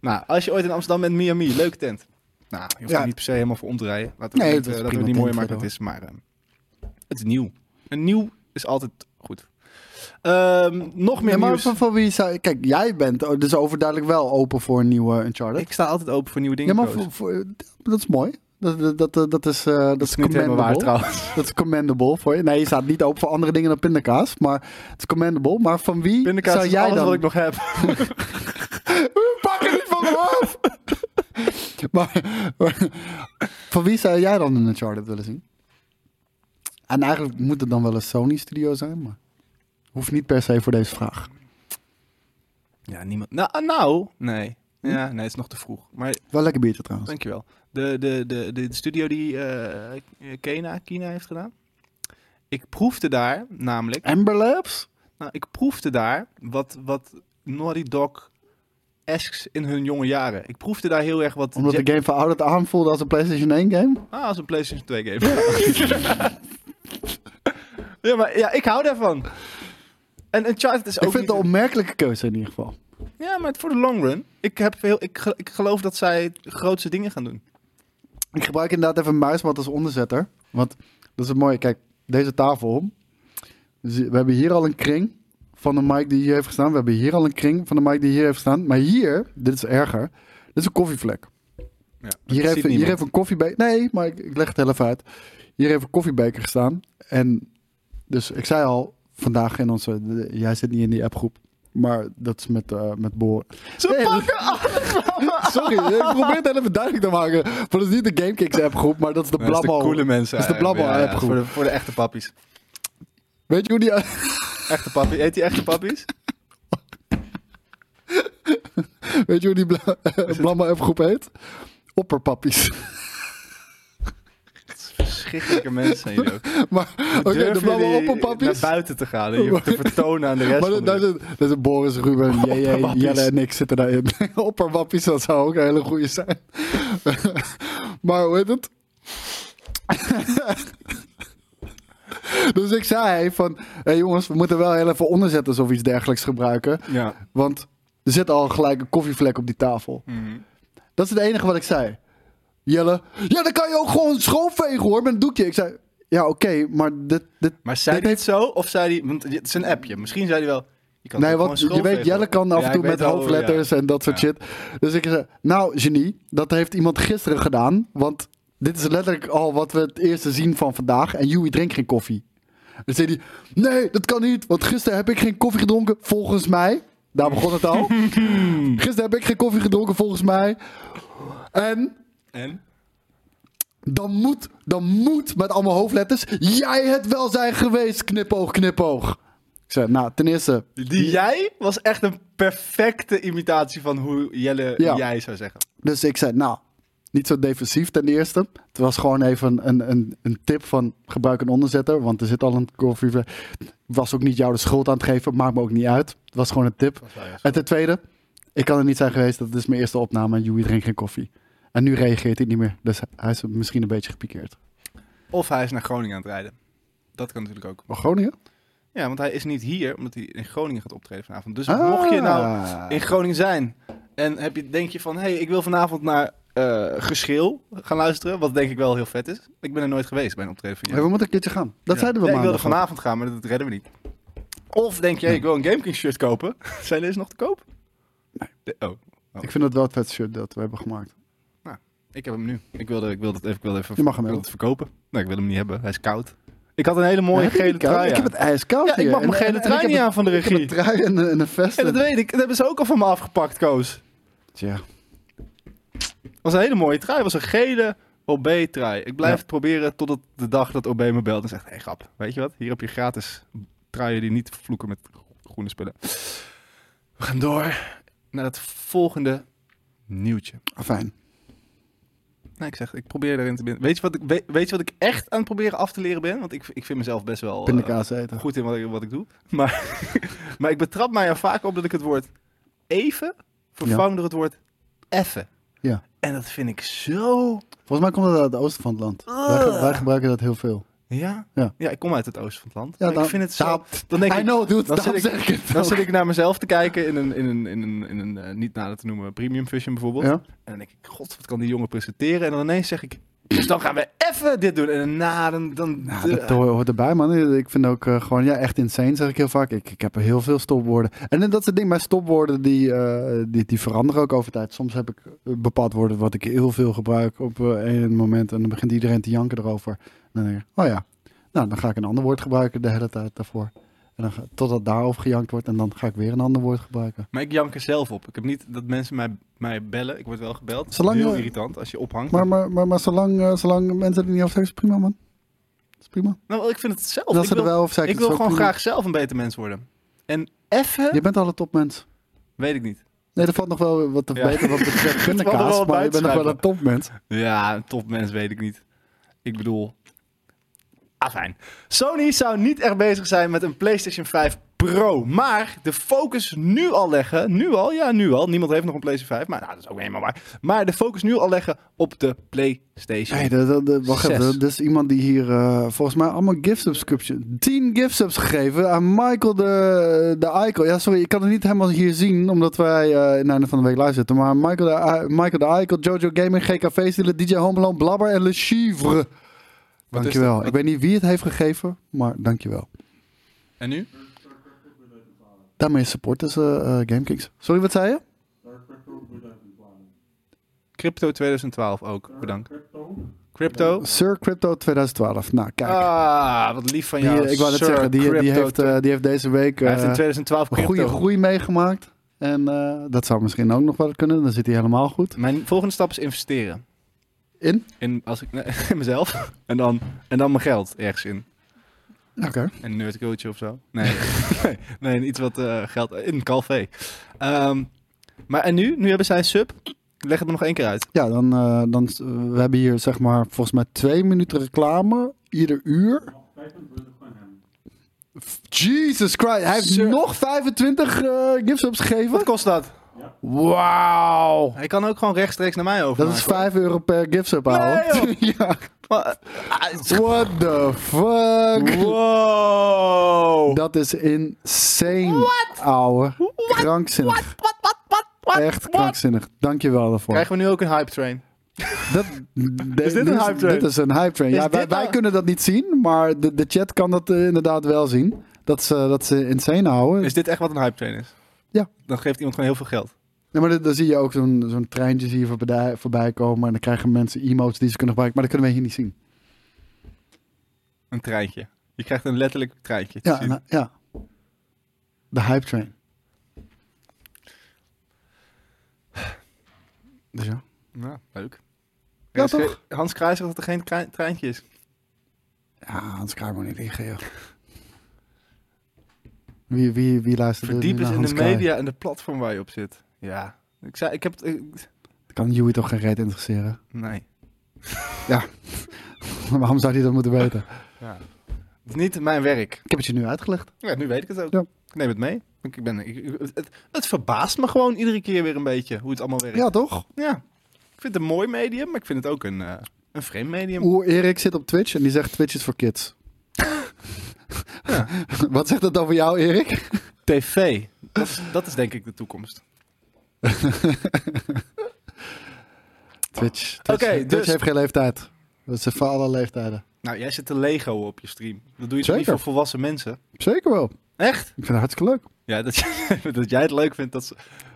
Speaker 1: Nou, als je ooit in Amsterdam bent, Miami, leuke tent. Nou, je hoeft
Speaker 2: Ja.
Speaker 1: er niet per se helemaal voor om te rijden. Laten we
Speaker 2: Nee,
Speaker 1: niet,
Speaker 2: dat is
Speaker 1: eh,
Speaker 2: prima
Speaker 1: laten we niet
Speaker 2: tent
Speaker 1: mooier maken dan het is. Maar eh, het is nieuw. En nieuw is altijd goed. Ehm, nog meer
Speaker 2: Nee, maar
Speaker 1: nieuws.
Speaker 2: van, van wie zou... Kijk, jij bent oh, dus overduidelijk wel open voor een nieuwe Uncharted.
Speaker 1: Ik sta altijd open voor nieuwe
Speaker 2: ja,
Speaker 1: dingen.
Speaker 2: maar
Speaker 1: Koos.
Speaker 2: voor, voor- dat is mooi. Dat, dat, dat, dat is, eh, dat
Speaker 1: dat is
Speaker 2: is
Speaker 1: niet helemaal waar
Speaker 2: commendable.
Speaker 1: trouwens.
Speaker 2: Dat is commendable voor je. Nee, je staat niet open voor andere dingen dan pindakaas. Maar het is commendable. Maar van wie
Speaker 1: Pindakaas
Speaker 2: zou
Speaker 1: is
Speaker 2: jij
Speaker 1: alles
Speaker 2: dan...
Speaker 1: wat ik nog heb.
Speaker 2: Pak het niet van me af! maar, maar van wie zou jij dan een Uncharted willen zien? En eigenlijk moet het dan wel een Sony studio zijn, maar hoeft niet per se voor deze vraag.
Speaker 1: Ja, niemand. Nou, nou, nee.
Speaker 2: Hm?
Speaker 1: Ja, nee, het is nog te vroeg. Maar
Speaker 2: Wel lekker biertje trouwens.
Speaker 1: Dankjewel. De, de, de, de, de studio die eh Kena, Kina heeft gedaan. Ik proefde daar namelijk.
Speaker 2: Amber Labs?
Speaker 1: Nou, ik proefde daar wat, wat Naughty Dog esks in hun jonge jaren. Ik proefde daar heel erg wat.
Speaker 2: Omdat
Speaker 1: Ja-
Speaker 2: de game verouderd aanvoelde als een PlayStation 1 game?
Speaker 1: Ah, als een PlayStation 2 game. ja, maar ja, ik hou daarvan. En Uncharted is ook.
Speaker 2: Ik vind
Speaker 1: niet
Speaker 2: het een opmerkelijke keuze in ieder geval.
Speaker 1: Ja, maar het voor de long run. Ik, heb veel, ik, ge- ik geloof dat zij grootste dingen gaan doen.
Speaker 2: Ik gebruik inderdaad even een muismat als onderzetter. Want dat is het mooie. Kijk, deze tafel. Dus we hebben hier al een kring van de mic die hier heeft gestaan. We hebben hier al een kring van de mic die hier heeft gestaan. Maar hier, dit is erger. Dit is een koffievlek.
Speaker 1: Ja, dat
Speaker 2: Hier heeft,
Speaker 1: ziet
Speaker 2: hier
Speaker 1: niemand.
Speaker 2: heeft een koffiebeker. Nee, maar ik, ik leg het heel even uit. Hier heeft een koffiebeker gestaan. En dus ik zei al vandaag in onze. de- jij zit niet in die appgroep. Maar dat is met, eh met Boren.
Speaker 1: Ze
Speaker 2: Nee, dat-
Speaker 1: pakken alles van me.
Speaker 2: Sorry, ik probeer het even duidelijk te maken. Maar dat is niet de Gamekicks app groep, maar dat is de
Speaker 1: Dat is de
Speaker 2: Blabbo.
Speaker 1: coole mensen.
Speaker 2: Dat is de
Speaker 1: eigenlijk.
Speaker 2: Blabbo
Speaker 1: Ja, ja,
Speaker 2: app
Speaker 1: voor,
Speaker 2: groep.
Speaker 1: de, voor de echte pappies.
Speaker 2: Weet je hoe die...
Speaker 1: Echte pappies. Heet die echte pappies?
Speaker 2: Weet je hoe die bla, Blabbo app groep heet? Opperpappies.
Speaker 1: Schrikkelijke mensen zijn jullie ook.
Speaker 2: Maar oké,
Speaker 1: Durven
Speaker 2: de Blabbo
Speaker 1: jullie
Speaker 2: opperpappies.
Speaker 1: naar buiten te gaan en je te vertonen aan de rest
Speaker 2: Maar
Speaker 1: van
Speaker 2: dat, dat,
Speaker 1: de...
Speaker 2: is, dat is Boris, Ruben, JJ,
Speaker 1: Opperwappies.
Speaker 2: Jelle en ik zitten daarin. Opperwappies, dat zou ook een hele goede zijn. maar hoe heet het? dus ik zei van, hey jongens, we moeten wel heel even onderzetters of iets dergelijks gebruiken.
Speaker 1: Ja.
Speaker 2: Want er zit al gelijk een koffievlek op die tafel.
Speaker 1: Mhm.
Speaker 2: Dat is het enige wat ik zei. Jelle, ja, dan kan je ook gewoon schoonvegen hoor, met een doekje. Ik zei, ja, oké, maar dit, dit,
Speaker 1: Maar zei
Speaker 2: dit
Speaker 1: hij het zo? Of zei hij... Want het is een appje. Misschien zei hij wel... Je kan
Speaker 2: Nee,
Speaker 1: toch
Speaker 2: want
Speaker 1: gewoon
Speaker 2: je weet,
Speaker 1: schoolvegen?
Speaker 2: Jelle kan af en
Speaker 1: Ja,
Speaker 2: toe
Speaker 1: ik
Speaker 2: met
Speaker 1: weet al,
Speaker 2: hoofdletters en dat soort
Speaker 1: Ja.
Speaker 2: shit. Dus ik zei, nou genie, dat heeft iemand gisteren gedaan. Want dit is letterlijk al wat we het eerste zien van vandaag. En Joey drinkt geen koffie. En zei hij, nee, dat kan niet. Want gisteren heb ik geen koffie gedronken, volgens mij. Daar begon het al. gisteren heb ik geen koffie gedronken, volgens mij. En
Speaker 1: ja. En?
Speaker 2: dan moet, dan moet met allemaal hoofdletters, jij het wel zijn geweest, knipoog, knipoog. Ik zei, nou, ten eerste...
Speaker 1: Die jij was echt een perfecte imitatie van hoe Jelle
Speaker 2: Ja.
Speaker 1: jij zou zeggen.
Speaker 2: Dus ik zei, nou, niet zo defensief ten eerste. Het was gewoon even een, een, een tip van gebruik een onderzetter, want er zit al een koffie. Was ook niet jou de schuld aan het geven, maakt me ook niet uit. Het was gewoon een tip. En ten tweede, ik kan er niet zijn geweest, dat is mijn eerste opname en Joey drinkt geen koffie. En nu reageert hij niet meer, dus hij is misschien een beetje gepikeerd.
Speaker 1: Of hij is naar Groningen aan het rijden. Dat kan natuurlijk ook.
Speaker 2: Maar Oh, Groningen?
Speaker 1: Ja, want hij is niet hier, omdat hij in Groningen gaat optreden vanavond. Dus mocht je nou
Speaker 2: Ah.
Speaker 1: in Groningen zijn. En heb je, denk je van, hé, hey, ik wil vanavond naar eh Geschil gaan luisteren. Wat denk ik wel heel vet is. Ik ben er nooit geweest bij een optreden van
Speaker 2: Hey,
Speaker 1: jou.
Speaker 2: we moeten een keertje gaan. Dat
Speaker 1: Ja.
Speaker 2: zeiden we
Speaker 1: Ja,
Speaker 2: maar.
Speaker 1: Ik wilde vanavond gaan, maar dat redden we niet. Of denk je, hey, ik wil een GameKing shirt kopen. Zijn deze nog te koop? Nee. oh,
Speaker 2: Ik vind het wel het vet shirt dat we hebben gemaakt.
Speaker 1: ik heb hem nu. Ik wilde, ik wilde, het even, ik wilde, even,
Speaker 2: Je mag hem
Speaker 1: ik wilde
Speaker 2: hebben.
Speaker 1: het verkopen. Nee, ik wil hem niet hebben. Hij is koud. Ik had een hele mooie
Speaker 2: Ja, heb je
Speaker 1: gele
Speaker 2: die koud?
Speaker 1: trui
Speaker 2: Ik
Speaker 1: aan.
Speaker 2: heb het ijskoud
Speaker 1: Ja, ik
Speaker 2: hier.
Speaker 1: mag mijn
Speaker 2: En-
Speaker 1: gele
Speaker 2: en- en
Speaker 1: trui
Speaker 2: ik heb
Speaker 1: niet
Speaker 2: een-
Speaker 1: aan van de
Speaker 2: ik heb een
Speaker 1: regie.
Speaker 2: trui en een, en een vest.
Speaker 1: Ja, dat weet ik. Dat hebben ze ook al van me afgepakt, Koos.
Speaker 2: Tja.
Speaker 1: was een hele mooie trui. Het was een gele OB-trui. Ik blijf
Speaker 2: Ja.
Speaker 1: het proberen totdat de dag dat OB me belt en zegt... Hé, hey, grap, weet je wat? Hier heb je gratis truien die niet vloeken met groene spullen. We gaan door naar het volgende nieuwtje.
Speaker 2: Fijn.
Speaker 1: Nee, Nou, ik zeg, ik probeer erin te binden. Weet je wat ik, weet, weet je wat ik echt aan het proberen af te leren ben? Want ik, ik vind mezelf best wel eh,
Speaker 2: Pindakaas eten.
Speaker 1: goed in wat ik, wat ik doe. Maar, maar ik betrap mij er vaak op dat ik het woord even vervang door het woord effen.
Speaker 2: Ja.
Speaker 1: En dat vind ik zo...
Speaker 2: Volgens mij komt dat uit het oosten van het land. Wij, ge- wij gebruiken dat heel veel.
Speaker 1: Ja?
Speaker 2: Ja.
Speaker 1: ik kom uit het oosten van het land.
Speaker 2: Ja,
Speaker 1: Maar
Speaker 2: dan-
Speaker 1: ik vind het zo...
Speaker 2: daarom-
Speaker 1: dan denk
Speaker 2: I
Speaker 1: ik,
Speaker 2: know, dude.
Speaker 1: dan
Speaker 2: Daarom
Speaker 1: zit ik-
Speaker 2: zeg ik het
Speaker 1: Dan
Speaker 2: ook.
Speaker 1: zit ik naar mezelf te kijken in een, in een, in een, in een eh, niet nader te noemen premium vision bijvoorbeeld.
Speaker 2: Ja?
Speaker 1: En dan denk ik, god, wat kan die jongen presenteren? En dan ineens zeg ik, dus dan gaan we even dit doen. En daarna dan... dan
Speaker 2: Ja, dat hoort hoort erbij, man. Ik vind ook eh, gewoon, ja, echt insane, zeg ik heel vaak. Ik, ik heb heel veel stopwoorden. En eh, dat is het ding, mijn stopwoorden, die, eh, die, die veranderen ook over tijd. Soms heb ik eh, bepaald woorden wat ik heel veel gebruik op eh, een moment. En dan begint iedereen te janken erover. En dan denk ik, oh ja, nou, dan ga ik een ander woord gebruiken de hele tijd daarvoor. En dan, ga- totdat daarover gejankt wordt. En dan ga ik weer een ander woord gebruiken.
Speaker 1: Maar ik jank er zelf op. Ik heb niet dat mensen mij, mij bellen. Ik word wel gebeld.
Speaker 2: Zolang
Speaker 1: Heel
Speaker 2: je-
Speaker 1: irritant als je ophangt.
Speaker 2: Maar, maar, maar, maar zolang, eh, zolang mensen het niet over zeggen, is het prima, man. Is prima.
Speaker 1: Nou, ik vind het zelf.
Speaker 2: En als
Speaker 1: ik
Speaker 2: ze er
Speaker 1: wil,
Speaker 2: wel over
Speaker 1: ik
Speaker 2: zeggen, is
Speaker 1: wil
Speaker 2: het ook
Speaker 1: gewoon
Speaker 2: prima.
Speaker 1: graag zelf een beter mens worden. En effen,
Speaker 2: Je bent al een topmens.
Speaker 1: weet ik niet.
Speaker 2: Nee, er valt nog wel wat te
Speaker 1: Ja.
Speaker 2: verbeteren wat betreft
Speaker 1: valt er wel
Speaker 2: pindakaas,
Speaker 1: wat
Speaker 2: maar
Speaker 1: bij
Speaker 2: je bent
Speaker 1: te
Speaker 2: nog wel een
Speaker 1: schuiven.
Speaker 2: topmens.
Speaker 1: Ja, een topmens weet ik niet. Ik bedoel... Ah, fijn. Sony zou niet echt bezig zijn met een PlayStation 5 Pro. Maar de focus nu al leggen... Nu al? Ja, nu al. Niemand heeft nog een PlayStation 5. Maar nou, dat is ook helemaal waar. Maar de focus nu al leggen op de PlayStation.
Speaker 2: Hey, dat, dat, dat- wacht
Speaker 1: Zes.
Speaker 2: even, dat is iemand die hier eh, volgens mij allemaal gift subscription, 10 gift subs gegeven aan Michael de, de Eikel. Ja, sorry, ik kan het niet helemaal hier zien, omdat wij eh, in het einde van de week live zitten. Maar Michael de, Ei- Michael de Eikel, Jojo Gaming, GKV Stielen, DJ Homeland, Blabber en Le Chivre.
Speaker 1: dat?
Speaker 2: Dankjewel.
Speaker 1: Wat-
Speaker 2: Ik weet niet wie het heeft gegeven, maar dankjewel.
Speaker 1: En nu?
Speaker 2: Daarmee supporten ze eh, GameKings. Sorry, wat zei je?
Speaker 1: Crypto 2012 ook. Bedankt. Crypto.
Speaker 2: Sir Crypto 2012. Nou, kijk.
Speaker 1: Ah, wat lief van jou.
Speaker 2: Die, ik wou net
Speaker 1: Sir
Speaker 2: zeggen, die, die,
Speaker 1: Crypto
Speaker 2: heeft, eh, die heeft deze week
Speaker 1: Hij
Speaker 2: eh,
Speaker 1: heeft in 2012
Speaker 2: een
Speaker 1: crypto.
Speaker 2: goede groei meegemaakt. En eh, dat zou misschien ook nog wel kunnen. Dan zit hij helemaal goed.
Speaker 1: Mijn volgende stap is investeren.
Speaker 2: In?
Speaker 1: In, als ik, nee, in mezelf. En dan, en dan mijn geld ergens in.
Speaker 2: Oké.
Speaker 1: En nerdculture of zo. Nee, nee, nee in iets wat eh, geld... In een café. Ehm, maar en nu? Nu hebben zij een sub. Ik leg het nog één keer uit.
Speaker 2: Ja, dan, eh, dan s- we hebben hier zeg maar volgens mij twee minuten reclame. Ieder uur. F- Jesus Christ. Hij heeft
Speaker 1: Sir.
Speaker 2: nog 25 eh gifts
Speaker 1: Wat
Speaker 2: gegeven.
Speaker 1: kost dat?
Speaker 2: Wauw.
Speaker 1: Hij kan ook gewoon rechtstreeks naar mij over.
Speaker 2: Dat is 5 euro per gift-up, ouwe. ja. Ah, What the fuck?
Speaker 1: Wow.
Speaker 2: Dat is insane, ouwe. Krankzinnig.
Speaker 1: Wat, wat, wat, wat?
Speaker 2: Echt
Speaker 1: wat?
Speaker 2: krankzinnig. Dankjewel daarvoor.
Speaker 1: Krijgen we nu ook een hype train?
Speaker 2: Dat,
Speaker 1: Is dit een hype train?
Speaker 2: Dit is een hype train.
Speaker 1: Is
Speaker 2: Ja, wij,
Speaker 1: dit
Speaker 2: wij
Speaker 1: nou-
Speaker 2: kunnen dat niet zien, maar de, de chat kan dat eh, inderdaad wel zien. Dat ze, dat ze insane houden.
Speaker 1: Is dit echt wat een hype train is?
Speaker 2: Ja.
Speaker 1: Dan geeft iemand gewoon heel veel geld.
Speaker 2: Ja, maar dan- dan zie je ook zo'n zo'n treintje hier voorbij, voorbij komen. En dan krijgen mensen emotes die ze kunnen gebruiken. Maar dat kunnen wij hier niet zien.
Speaker 1: Een treintje. Je krijgt een letterlijk treintje. te
Speaker 2: Ja,
Speaker 1: zien.
Speaker 2: nou, ja. De hype train. Dus ja.
Speaker 1: Nou, leuk.
Speaker 2: Ja,
Speaker 1: Hans-
Speaker 2: toch?
Speaker 1: Hans Kraai zegt dat er geen krei- treintje is.
Speaker 2: Ja, Hans Kraai moet niet liggen, joh. Wie, wie, wie luistert er nu
Speaker 1: Verdiep eens
Speaker 2: naar
Speaker 1: in
Speaker 2: Hans
Speaker 1: de
Speaker 2: Kraai?
Speaker 1: media en de platform waar je op zit. Ja. Ik zei, ik heb het... ik-
Speaker 2: Kan Joey toch geen reet interesseren?
Speaker 1: nee.
Speaker 2: Waarom zou hij dat moeten weten?
Speaker 1: Ja. Het is niet mijn werk.
Speaker 2: Ik heb het je nu uitgelegd.
Speaker 1: Ja, nu weet ik het ook.
Speaker 2: Ja.
Speaker 1: Ik neem het mee. Ik ben, ik- ik- het, het verbaast me gewoon iedere keer weer een beetje hoe het allemaal werkt.
Speaker 2: Ja, toch?
Speaker 1: Ja. Ik vind het een mooi medium, maar ik vind het ook een, eh, een vreemd medium.
Speaker 2: Oer Erik zit op Twitch en die zegt Twitch is voor kids. Wat zegt dat over jou, Erik?
Speaker 1: TV. Dat is, dat is denk ik de toekomst.
Speaker 2: Twitch. Twitch,
Speaker 1: Oké,
Speaker 2: Twitch
Speaker 1: dus-
Speaker 2: heeft geen leeftijd. Dat is voor alle leeftijden.
Speaker 1: Nou, jij zit te Lego op je stream. Dat doe je toch
Speaker 2: Zeker.
Speaker 1: niet voor volwassen mensen?
Speaker 2: Zeker wel.
Speaker 1: Echt?
Speaker 2: Ik vind het hartstikke leuk.
Speaker 1: Ja, dat, jij- dat jij het leuk vindt. Dat, is-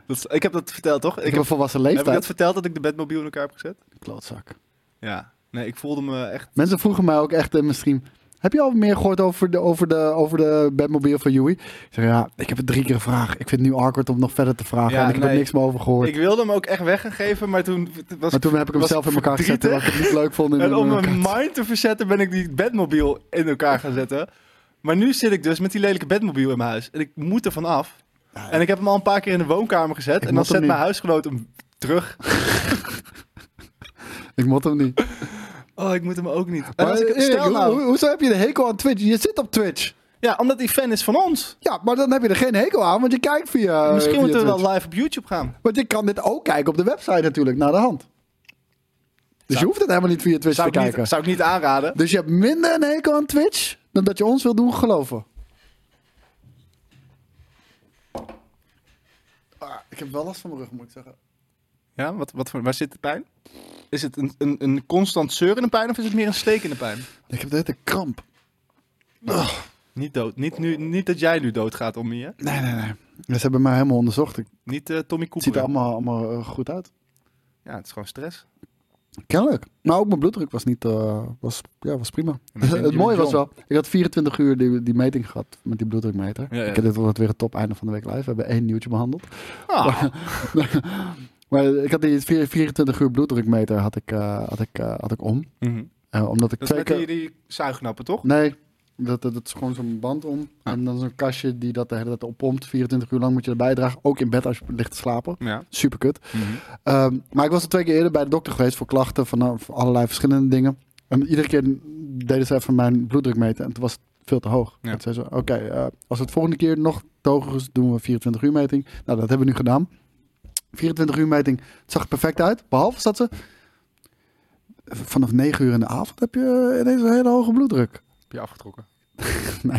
Speaker 1: dat, is- ik heb dat verteld, toch?
Speaker 2: Ik, heb een volwassen
Speaker 1: heb ik
Speaker 2: leeftijd.
Speaker 1: dat verteld dat ik de bedmobiel in elkaar heb gezet?
Speaker 2: Klootzak.
Speaker 1: Ja. Nee, ik voelde me echt...
Speaker 2: Mensen vroegen mij ook echt in mijn stream... Heb je al meer gehoord over de, over de, over de Batmobile van Joey? Ik zeg, ja, ik heb het drie keer gevraagd. Ik vind het nu awkward om nog verder te vragen.
Speaker 1: Ja,
Speaker 2: en ik heb
Speaker 1: nee.
Speaker 2: er niks meer over gehoord.
Speaker 1: Ik wilde hem ook echt weggegeven, maar toen was
Speaker 2: maar toen heb ik hem
Speaker 1: was
Speaker 2: zelf in elkaar gezet. Omdat ik het niet leuk vond. in
Speaker 1: En om
Speaker 2: elkaar te
Speaker 1: mijn mind te verzetten ben ik die bedmobiel in elkaar gaan zetten. Maar nu zit ik dus met die lelijke bedmobiel in mijn huis. En ik moet er van af. En ik heb hem al een paar keer in de woonkamer gezet.
Speaker 2: Ik
Speaker 1: en dan
Speaker 2: moet hem
Speaker 1: zet
Speaker 2: niet.
Speaker 1: mijn huisgenoot hem terug.
Speaker 2: Ik mot hem niet.
Speaker 1: Oh, ik moet hem ook niet. En
Speaker 2: Maar, eh,
Speaker 1: als ik,
Speaker 2: Erik,
Speaker 1: stel
Speaker 2: hoe-
Speaker 1: nou...
Speaker 2: hoezo heb je de hekel aan Twitch? Je zit op Twitch.
Speaker 1: Ja, omdat die fan is van ons.
Speaker 2: Ja, maar dan heb je er geen hekel aan, want je kijkt via.
Speaker 1: Misschien
Speaker 2: Eh, via
Speaker 1: moeten we
Speaker 2: Twitch.
Speaker 1: wel live op YouTube gaan.
Speaker 2: Want je kan dit ook kijken op de website natuurlijk, naar de hand. Dus
Speaker 1: Zou-
Speaker 2: je hoeft het helemaal niet via Twitch
Speaker 1: Zou
Speaker 2: te
Speaker 1: ik,
Speaker 2: kijken.
Speaker 1: niet, zou ik niet aanraden.
Speaker 2: Dus je hebt minder een hekel aan Twitch dan dat je ons wil doen geloven. Ah, ik heb wel last van mijn rug, moet ik zeggen.
Speaker 1: Ja, wat, wat voor, waar zit de pijn? Is het een, een, een constant zeurende pijn of is het meer een stekende pijn?
Speaker 2: Ik heb de hele tijd kramp.
Speaker 1: Niet dood. Niet, nu, niet dat jij nu doodgaat om je.
Speaker 2: Nee, nee, nee. Ze hebben mij helemaal onderzocht. Ik-
Speaker 1: Niet eh, Tommy
Speaker 2: Het
Speaker 1: Cooper.
Speaker 2: ziet er allemaal, allemaal eh, goed uit.
Speaker 1: Ja, het is gewoon stress.
Speaker 2: Kennelijk. Maar ook mijn bloeddruk was niet... eh, was, ja, was prima.
Speaker 1: maar je bent-
Speaker 2: het
Speaker 1: je
Speaker 2: mooie
Speaker 1: bent
Speaker 2: was wel... Ik had 24 uur die, die meting gehad met die bloeddrukmeter.
Speaker 1: Ja, ja.
Speaker 2: Ik heb dit wordt weer het top einde van de week live. We hebben één nieuwtje behandeld.
Speaker 1: Ah,
Speaker 2: Maar ik had die 4- 24 uur bloeddrukmeter had ik, eh, had ik, eh, had ik om.
Speaker 1: mhm.
Speaker 2: Eh, omdat ik
Speaker 1: Dat is
Speaker 2: twee
Speaker 1: met
Speaker 2: keer...
Speaker 1: die, die zuignappen, toch?
Speaker 2: Nee, dat, dat, dat is gewoon zo'n band om.
Speaker 1: Ah.
Speaker 2: En dan zo'n kastje die dat de hele tijd oppompt. 24 uur lang moet je erbij dragen. Ook in bed als je ligt te slapen.
Speaker 1: Ja. Mhm.
Speaker 2: Super kut. Ehm, maar ik was al twee keer eerder bij de dokter geweest voor klachten van nou, voor allerlei verschillende dingen. En iedere keer deden ze even mijn bloeddruk meten en toen was het veel te hoog.
Speaker 1: Ja.
Speaker 2: En toen zei ze, oké, eh, als het volgende keer nog te hoog is, doen we 24 uur meting. Nou, dat hebben we nu gedaan. 24 uur meting, het zag er perfect uit. Behalve dat ze, vanaf 9 uur in de avond heb je ineens een hele hoge bloeddruk.
Speaker 1: Heb je afgetrokken.
Speaker 2: Nee,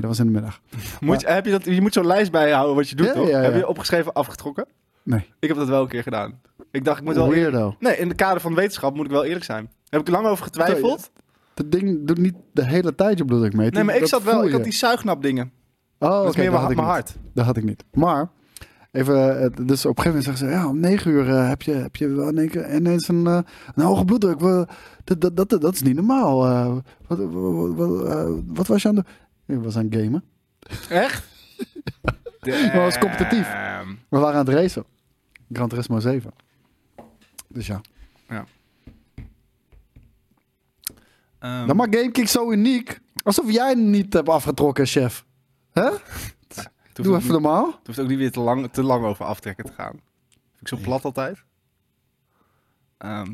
Speaker 2: dat was in de middag.
Speaker 1: Moet, je- heb je, dat, je moet zo'n lijst bijhouden wat je doet,
Speaker 2: Ja,
Speaker 1: toch?
Speaker 2: ja, ja.
Speaker 1: Heb je opgeschreven afgetrokken?
Speaker 2: Nee.
Speaker 1: Ik heb dat wel een keer gedaan. Ik dacht, ik moet wel...
Speaker 2: Weirdo.
Speaker 1: Nee, in het kader van wetenschap moet ik wel eerlijk zijn. Daar heb ik lang over getwijfeld.
Speaker 2: Dat ding doet niet de hele tijd je bloeddruk meten.
Speaker 1: Nee, maar ik
Speaker 2: Oh, Dat
Speaker 1: zat wel...
Speaker 2: voel
Speaker 1: Ik had
Speaker 2: je.
Speaker 1: die zuignap dingen.
Speaker 2: Oh,
Speaker 1: Dat
Speaker 2: oké,
Speaker 1: is meer
Speaker 2: dat had
Speaker 1: mijn,
Speaker 2: ik
Speaker 1: mijn
Speaker 2: niet.
Speaker 1: hart.
Speaker 2: Dat had ik niet. Maar, even, eh, dus op een gegeven moment zeggen ze, ja, om negen uur eh, heb, je, heb je wel in één keer ineens een, eh, een hoge bloeddruk. We- dat, dat, dat, dat is niet normaal. Eh, wat, wat, wat, eh, wat was je aan het doen? Ik was aan het gamen.
Speaker 1: Echt?
Speaker 2: Maar het was competitief.
Speaker 1: Damn.
Speaker 2: We waren aan het racen. Gran Turismo 7. Dus ja.
Speaker 1: Ehm,
Speaker 2: Dan maakt GameKick zo uniek. Alsof jij niet hebt afgetrokken, chef. Hè?
Speaker 1: het hoeft
Speaker 2: Doe
Speaker 1: ook
Speaker 2: even
Speaker 1: niet-
Speaker 2: normaal.
Speaker 1: het hoeft ook niet weer te lang, te lang over aftrekken te gaan. Vind ik zo plat altijd. Ehm,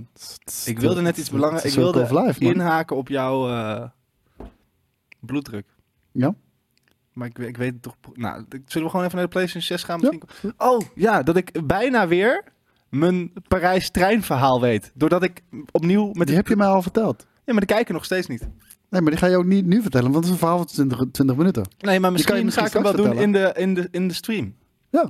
Speaker 1: ik wilde net iets belangrijks... Ik
Speaker 2: Circle
Speaker 1: wilde
Speaker 2: of life, man.
Speaker 1: inhaken op jouw eh, bloeddruk.
Speaker 2: Ja.
Speaker 1: Maar ik, we- ik weet het toch... Nou, ik- zullen we gewoon even naar de PlayStation 6 gaan? Misschien... Oh, ja, dat ik bijna weer mijn Parijs-treinverhaal weet. Doordat ik opnieuw met...
Speaker 2: Die heb je mij al verteld.
Speaker 1: Ja, maar de kijker nog steeds niet.
Speaker 2: Nee, maar die ga je ook niet nu vertellen, want het is een verhaal van 20, 20 minuten.
Speaker 1: Nee, maar misschien,
Speaker 2: kan je misschien
Speaker 1: ga ik hem wel
Speaker 2: straks
Speaker 1: doen in de, in, de, in de stream.
Speaker 2: Ja.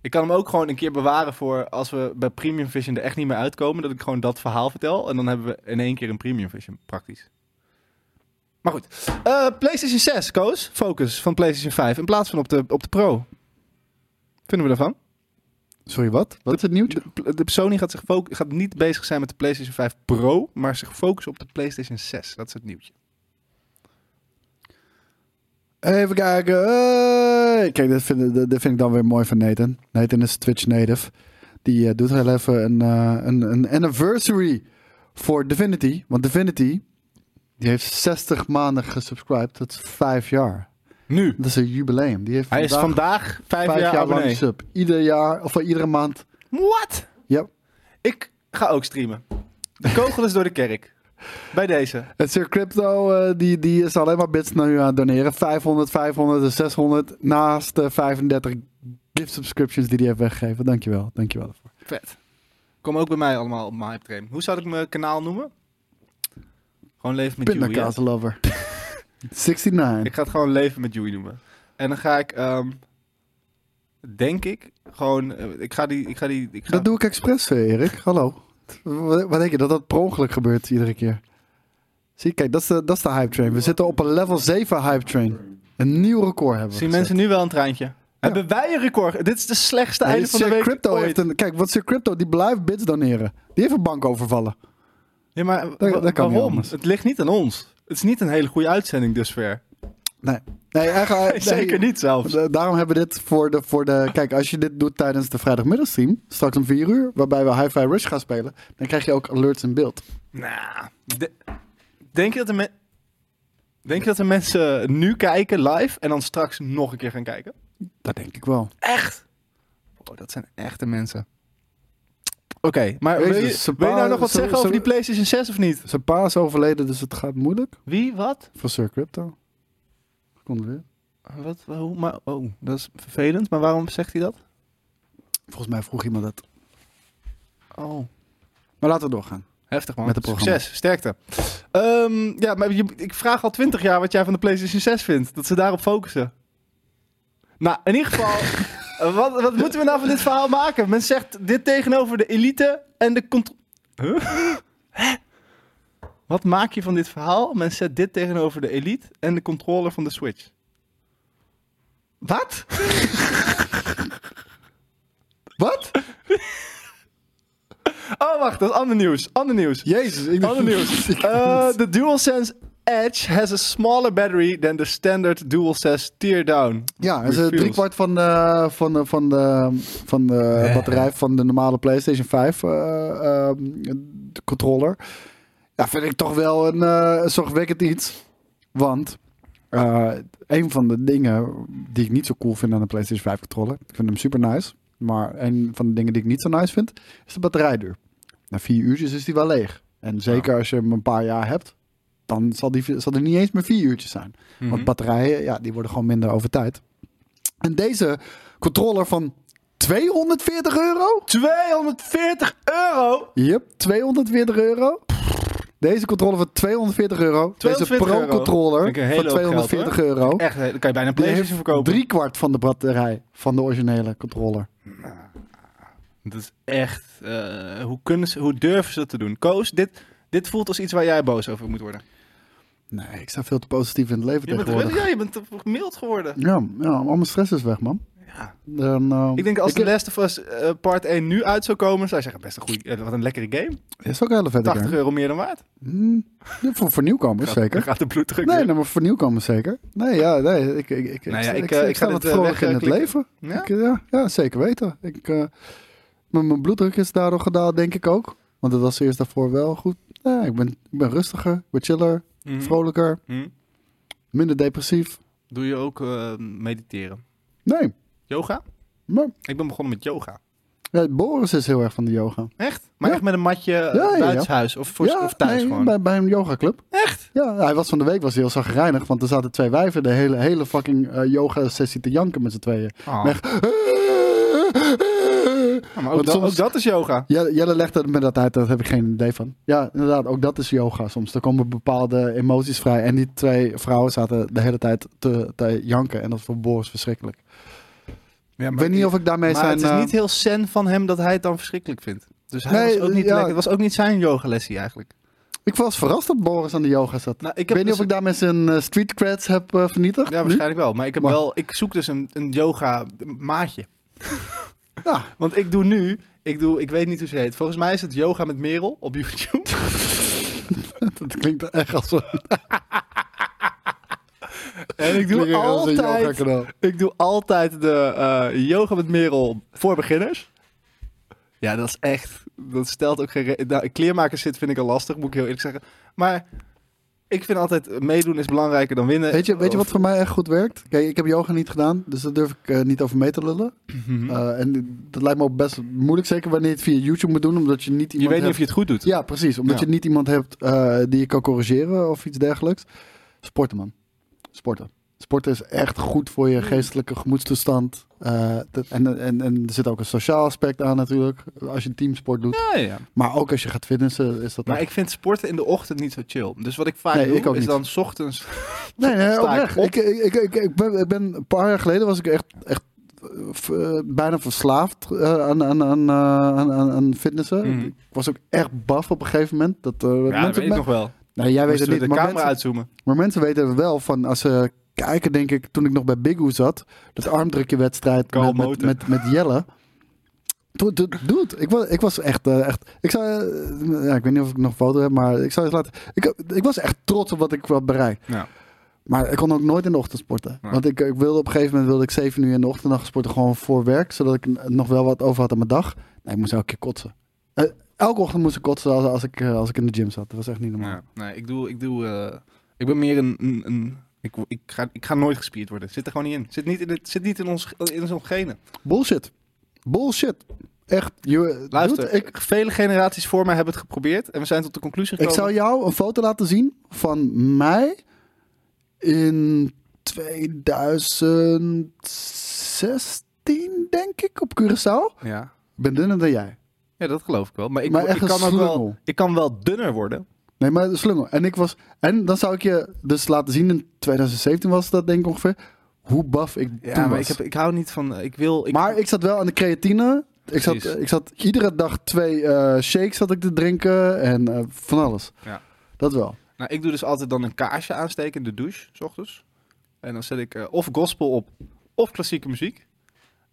Speaker 1: Ik kan hem ook gewoon een keer bewaren voor als we bij Premium Vision er echt niet meer uitkomen. Dat ik gewoon dat verhaal vertel. En dan hebben we in één keer een Premium Vision, praktisch. Maar goed. Eh, PlayStation 6, Koos. Focus van PlayStation 5. In plaats van op de, op de Pro. Vinden we daarvan?
Speaker 2: Sorry, wat? Wat is het nieuwtje?
Speaker 1: De, de Sony gaat, zich foc- gaat niet bezig zijn met de PlayStation 5 Pro. Maar zich focussen op de PlayStation 6. Dat is het nieuwtje.
Speaker 2: Even kijken. Hey. Kijk, dit vind, dit- dit vind ik dan weer mooi van Nathan. Nathan is Twitch native. Die eh, doet heel even een, eh, een, een anniversary voor Divinity. Want Divinity, die heeft 60 maanden gesubscribed. Dat is vijf jaar.
Speaker 1: Nu.
Speaker 2: Dat is een jubileum. Die heeft
Speaker 1: Hij is
Speaker 2: vandaag
Speaker 1: vandaag vijf, jaar, eh, abonnee.
Speaker 2: lang sub. Ieder jaar, of iedere maand.
Speaker 1: What?
Speaker 2: Ja.
Speaker 1: Ik ga ook streamen. De kogel is door de kerk. Bij deze.
Speaker 2: En Sir Crypto, eh, die, die is alleen maar bits nu aan het doneren. 500, 500 en 600. Naast de 35 gift subscriptions die hij heeft weggegeven. Dankjewel, dankjewel daarvoor.
Speaker 1: Vet. Kom ook bij mij allemaal op mijn hype train. Hoe zou ik mijn kanaal noemen? Gewoon leven met Joey. hè?
Speaker 2: Pindakaas lover. 69.
Speaker 1: Ik ga het gewoon leven met Joey noemen. En dan ga ik, ehm, denk ik, gewoon, eh, ik ga die, ik ga die, ik ga,
Speaker 2: Dat doe ik expres, eh, Erik. Hallo. Wat wat denk je, dat dat per ongeluk gebeurt iedere keer? Zie, kijk, dat is de, dat is de hype train. We zitten op een level 7 hype train. Een nieuw record hebben we
Speaker 1: zien
Speaker 2: gezet.
Speaker 1: mensen nu wel een traantje. Hebben wij een record? Dit is de slechtste
Speaker 2: Hey,
Speaker 1: einde van de
Speaker 2: Sir
Speaker 1: week
Speaker 2: Crypto
Speaker 1: ooit.
Speaker 2: heeft een... Kijk, wat Sir Crypto, die blijft bits doneren. Die heeft een bank overvallen.
Speaker 1: Ja, maar
Speaker 2: dat
Speaker 1: wa-
Speaker 2: kan niet
Speaker 1: waarom?
Speaker 2: anders.
Speaker 1: Het ligt niet aan ons. Het is niet een hele goede uitzending dusver.
Speaker 2: Nee. Nee, eigenlijk... nee.
Speaker 1: Zeker niet zelfs.
Speaker 2: Da- Daarom hebben we dit voor de, voor de... Kijk, als je dit doet tijdens de vrijdagmiddagstream, straks om 4 uur, waarbij we Hi-Fi Rush gaan spelen, dan krijg je ook alerts in beeld.
Speaker 1: Nou, de- denk, je dat de me- denk je dat de mensen nu kijken live en dan straks nog een keer gaan kijken?
Speaker 2: Dat denk ik wel.
Speaker 1: Echt? Oh, dat zijn echte mensen. maar
Speaker 2: Jezus,
Speaker 1: wil je,
Speaker 2: zijn
Speaker 1: wil je nou
Speaker 2: pa-
Speaker 1: nog wat
Speaker 2: zijn-
Speaker 1: zeggen over die
Speaker 2: zijn-
Speaker 1: PlayStation 6 of niet?
Speaker 2: Zijn pa is overleden, dus het gaat moeilijk.
Speaker 1: Wie? Wat?
Speaker 2: Voor Sir Crypto. Gecondoleerd.
Speaker 1: Wat? Hoe? Maar, oh, dat is vervelend. Maar waarom zegt hij dat?
Speaker 2: Volgens mij vroeg iemand dat.
Speaker 1: Oh.
Speaker 2: Maar laten we doorgaan.
Speaker 1: Heftig man.
Speaker 2: Met het programma.
Speaker 1: Succes, sterkte. Ehm, ja, maar je- ik vraag al 20 jaar wat jij van de PlayStation 6 vindt. Dat ze daarop focussen. Nou, in ieder geval, eh, wat, wat moeten we nou van dit verhaal maken? Men zegt dit tegenover de elite en de controle. Wat maak je van dit verhaal? Men zet dit tegenover de elite en de controller van de Switch. Wat?
Speaker 2: Wat?
Speaker 1: Oh, wacht, dat is ander nieuws. Ander nieuws.
Speaker 2: Jezus, ik ben
Speaker 1: Ander nieuws. Uh, the DualSense Edge has a smaller battery than the standard DualSense teardown.
Speaker 2: ja, dus eh,
Speaker 1: Refuse.
Speaker 2: driekwart van de, van de, van de, van de batterij van de normale PlayStation 5 eh, ehm, de controller. Ja, vind ik toch wel een eh, zorgwekkend iets. Want eh, een van de dingen die ik niet zo cool vind aan de PlayStation 5 controller, ik vind hem super nice, maar een van de dingen die ik niet zo nice vind, is de batterijduur. Na vier uurtjes is die wel leeg. En zeker als je hem een paar jaar hebt, dan zal, die, zal er niet eens meer vier uurtjes zijn. Want batterijen, ja, die worden gewoon minder over tijd. En deze controller van 240 euro?
Speaker 1: 240 euro!
Speaker 2: Yep, 240 euro. Deze controller van 240 euro.
Speaker 1: 240
Speaker 2: deze
Speaker 1: euro.
Speaker 2: pro-controller
Speaker 1: Vind ik een hele
Speaker 2: van
Speaker 1: hoop geld,
Speaker 2: 240 euro.
Speaker 1: Echt, hè, dan kan je bijna een
Speaker 2: Die
Speaker 1: PlayStation verkopen.
Speaker 2: drie kwart van de batterij van de originele controller.
Speaker 1: Dat is echt. eh, hoe, kunnen ze, hoe durven ze dat te doen? Koos, dit, dit voelt als iets waar jij boos over moet worden.
Speaker 2: Nee, ik sta veel te positief in het leven
Speaker 1: Je bent,
Speaker 2: tegenwoordig.
Speaker 1: ja, je bent toch mild geworden.
Speaker 2: Ja, ja, al mijn stress is weg, man.
Speaker 1: Ja.
Speaker 2: Dan, eh,
Speaker 1: Ik denk als
Speaker 2: ik-
Speaker 1: The Last of Us eh, Part 1 nu uit zou komen, zou je zeggen: best een goede, eh, wat een lekkere game.
Speaker 2: is ook een hele vette
Speaker 1: 80
Speaker 2: game.
Speaker 1: euro meer dan waard. Nou,
Speaker 2: Hmm, ja, voor, voor nieuwkomers,
Speaker 1: Dan
Speaker 2: zeker.
Speaker 1: gaat de bloeddruk.
Speaker 2: Nee,
Speaker 1: weer.
Speaker 2: nou, maar voor nieuwkomers zeker. Nee, ja, nee, ik, ik, ik,
Speaker 1: Nou ja,
Speaker 2: ik,
Speaker 1: ik,
Speaker 2: ik,
Speaker 1: eh,
Speaker 2: ik
Speaker 1: ik
Speaker 2: sta
Speaker 1: ga
Speaker 2: wat
Speaker 1: dit, eh,
Speaker 2: vrolijk in het
Speaker 1: wegklikken.
Speaker 2: leven.
Speaker 1: Ja?
Speaker 2: Ik, eh, ja, ja, zeker weten. Ik, eh, mijn, mijn bloeddruk is daardoor gedaald, denk ik ook. Want dat was eerst daarvoor wel goed. Ja, ik, ben, ik ben rustiger, ik ben chiller,
Speaker 1: Mhm.
Speaker 2: vrolijker,
Speaker 1: Mhm.
Speaker 2: minder depressief.
Speaker 1: Doe je ook eh, mediteren?
Speaker 2: Nee,
Speaker 1: Yoga?
Speaker 2: maar
Speaker 1: Ik ben begonnen met yoga.
Speaker 2: ja, Boris is heel erg van de yoga.
Speaker 1: Echt? Maar
Speaker 2: Ja.
Speaker 1: echt met een matje eh,
Speaker 2: Ja, ja, ja.
Speaker 1: buitenshuis of, voor,
Speaker 2: ja,
Speaker 1: of thuis
Speaker 2: nee,
Speaker 1: gewoon?
Speaker 2: Bij, bij een yogaclub.
Speaker 1: Echt?
Speaker 2: Ja, hij was van de week was hij heel zagrijnig, want er zaten twee wijven de hele, hele fucking eh, yoga-sessie te janken met z'n tweeën.
Speaker 1: Oh.
Speaker 2: Echt.
Speaker 1: Ja, maar ook,
Speaker 2: Want
Speaker 1: dat-
Speaker 2: soms-
Speaker 1: ook dat is yoga.
Speaker 2: Jelle, Jelle legt dat me dat uit, daar heb ik geen idee van. Ja, inderdaad, ook dat is yoga soms. Er komen bepaalde emoties vrij. En die twee vrouwen zaten de hele tijd te, te janken. En dat vond Boris verschrikkelijk.
Speaker 1: Ja,
Speaker 2: ik weet niet of ik daarmee
Speaker 1: maar
Speaker 2: zijn...
Speaker 1: het is
Speaker 2: eh,
Speaker 1: niet heel zen van hem dat hij het dan verschrikkelijk vindt. Dus hij
Speaker 2: Nee,
Speaker 1: was ook niet
Speaker 2: ja.
Speaker 1: lekker. Het was ook niet zijn yogalessie eigenlijk.
Speaker 2: Ik was verrast dat Boris aan de yoga zat.
Speaker 1: Nou,
Speaker 2: ik weet niet of ik daarmee zijn eh, street creds heb eh, vernietigd.
Speaker 1: Ja, waarschijnlijk wel. Hm? Maar ik, heb
Speaker 2: Maar-
Speaker 1: wel, ik zoek dus een, een yoga maatje.
Speaker 2: Nu? Ja,
Speaker 1: Want ik doe nu, ik, doe, ik weet niet hoe ze heet. Volgens mij is het yoga met Merel op YouTube.
Speaker 2: dat klinkt echt als een,
Speaker 1: En ik
Speaker 2: klinkt
Speaker 1: doe
Speaker 2: echt als een
Speaker 1: altijd
Speaker 2: yoga-kanaal.
Speaker 1: Ik doe altijd de eh, yoga met Merel voor beginners. Ja, dat is echt. Dat stelt ook geen. re- Nou, kleermakers zit vind ik al lastig, moet ik heel eerlijk zeggen. Maar ik vind altijd eh, meedoen is belangrijker dan winnen.
Speaker 2: Weet je, weet je wat
Speaker 1: Of-
Speaker 2: voor mij echt goed werkt? Kijk, ik heb yoga niet gedaan, dus daar durf ik eh, niet over mee te lullen.
Speaker 1: Mhm.
Speaker 2: Eh, en dat lijkt me ook best moeilijk, zeker wanneer je het via YouTube moet doen, omdat je niet iemand
Speaker 1: je weet niet
Speaker 2: hebt-
Speaker 1: of je het goed doet.
Speaker 2: Ja, precies. Omdat
Speaker 1: Ja.
Speaker 2: je niet iemand hebt eh, die je kan corrigeren of iets dergelijks. Sporten, man. Sporten. Sporten is echt goed voor
Speaker 1: Mm.
Speaker 2: je geestelijke gemoedstoestand. Eh, dat- en, en, en er zit ook een sociaal aspect aan natuurlijk, als je teamsport doet.
Speaker 1: Ja, ja.
Speaker 2: Maar ook als je gaat fitnessen is dat...
Speaker 1: Maar
Speaker 2: echt-
Speaker 1: ik vind sporten in de ochtend niet zo chill. Dus wat ik vaak
Speaker 2: Nee,
Speaker 1: doe,
Speaker 2: ik ook
Speaker 1: is
Speaker 2: niet.
Speaker 1: dan 's ochtends.
Speaker 2: nee, nee,
Speaker 1: sta ik
Speaker 2: oprecht.
Speaker 1: op.
Speaker 2: Ik, ik, ik, ik, ben, ik ben een paar jaar geleden was ik echt, echt eh, v- eh, bijna verslaafd eh, aan, aan, aan, eh, aan, aan, aan fitnessen.
Speaker 1: Mhm.
Speaker 2: Ik was ook echt baf op een gegeven moment. Dat, eh,
Speaker 1: Ja, dat
Speaker 2: mensen-
Speaker 1: weet ik nog wel.
Speaker 2: Nee, jij weet
Speaker 1: Moesten we
Speaker 2: het niet.
Speaker 1: de
Speaker 2: maar
Speaker 1: camera
Speaker 2: mensen-
Speaker 1: uitzoomen.
Speaker 2: Maar mensen weten wel van als ze kijken, denk ik, toen ik nog bij Big Who zat, dat armdrukkenwedstrijd
Speaker 1: Karl
Speaker 2: met, met,
Speaker 1: Moten.
Speaker 2: met, met Jelle. Toen- toen- Dude, ik was, ik was echt, eh, echt. Ik zou, eh, ja, ik weet niet of ik nog een foto heb, maar ik zou eens laten. Ik, ik was echt trots op wat ik had bereikt.
Speaker 1: Ja.
Speaker 2: Maar ik kon ook nooit in de ochtend sporten.
Speaker 1: Nee.
Speaker 2: Want ik, ik wilde op een gegeven moment wilde ik 7 uur in de ochtend nog sporten, gewoon voor werk, zodat ik n- nog wel wat over had aan mijn dag. Nee, ik moest elke keer kotsen. Eh, elke ochtend moest ik kotsen als, als, ik, eh, als ik in de gym zat. Dat was echt niet normaal.
Speaker 1: Ja, nee, ik doe, ik doe, eh, ik ben meer een, een, een- ik, ik, ga, ik ga nooit gespierd worden. Zit er gewoon niet in. Zit niet in, het, zit niet in ons, in ons genen.
Speaker 2: Bullshit. Bullshit. Echt, je,
Speaker 1: Luister,
Speaker 2: dude, ik,
Speaker 1: vele generaties voor mij hebben het geprobeerd. En we zijn tot de conclusie
Speaker 2: ik
Speaker 1: gekomen.
Speaker 2: zal jou een foto laten zien van mij in 2016, denk ik, op Curaçao.
Speaker 1: ja.
Speaker 2: Ik ben dunner dan jij.
Speaker 1: ja, dat geloof ik wel. Maar ik,
Speaker 2: Maar echt
Speaker 1: ik,
Speaker 2: een
Speaker 1: kan, ook wel,
Speaker 2: slungel.
Speaker 1: ik kan wel dunner worden.
Speaker 2: Nee, maar de slungel. En ik was. En dan zou ik je dus laten zien in 2017 was dat denk ik ongeveer. Hoe baf ik toen
Speaker 1: maar
Speaker 2: was.
Speaker 1: ik, heb, ik hou niet van... eh, Ik wil... Ik,
Speaker 2: maar ik zat wel aan de creatine. Ik zat,
Speaker 1: Precies.
Speaker 2: ik zat iedere dag twee eh, shakes zat ik te drinken en eh, van alles.
Speaker 1: Ja.
Speaker 2: Dat wel.
Speaker 1: Nou, ik doe dus altijd dan een kaarsje aansteken in de douche, s ochtends. En dan zet ik eh, of gospel op, of klassieke muziek.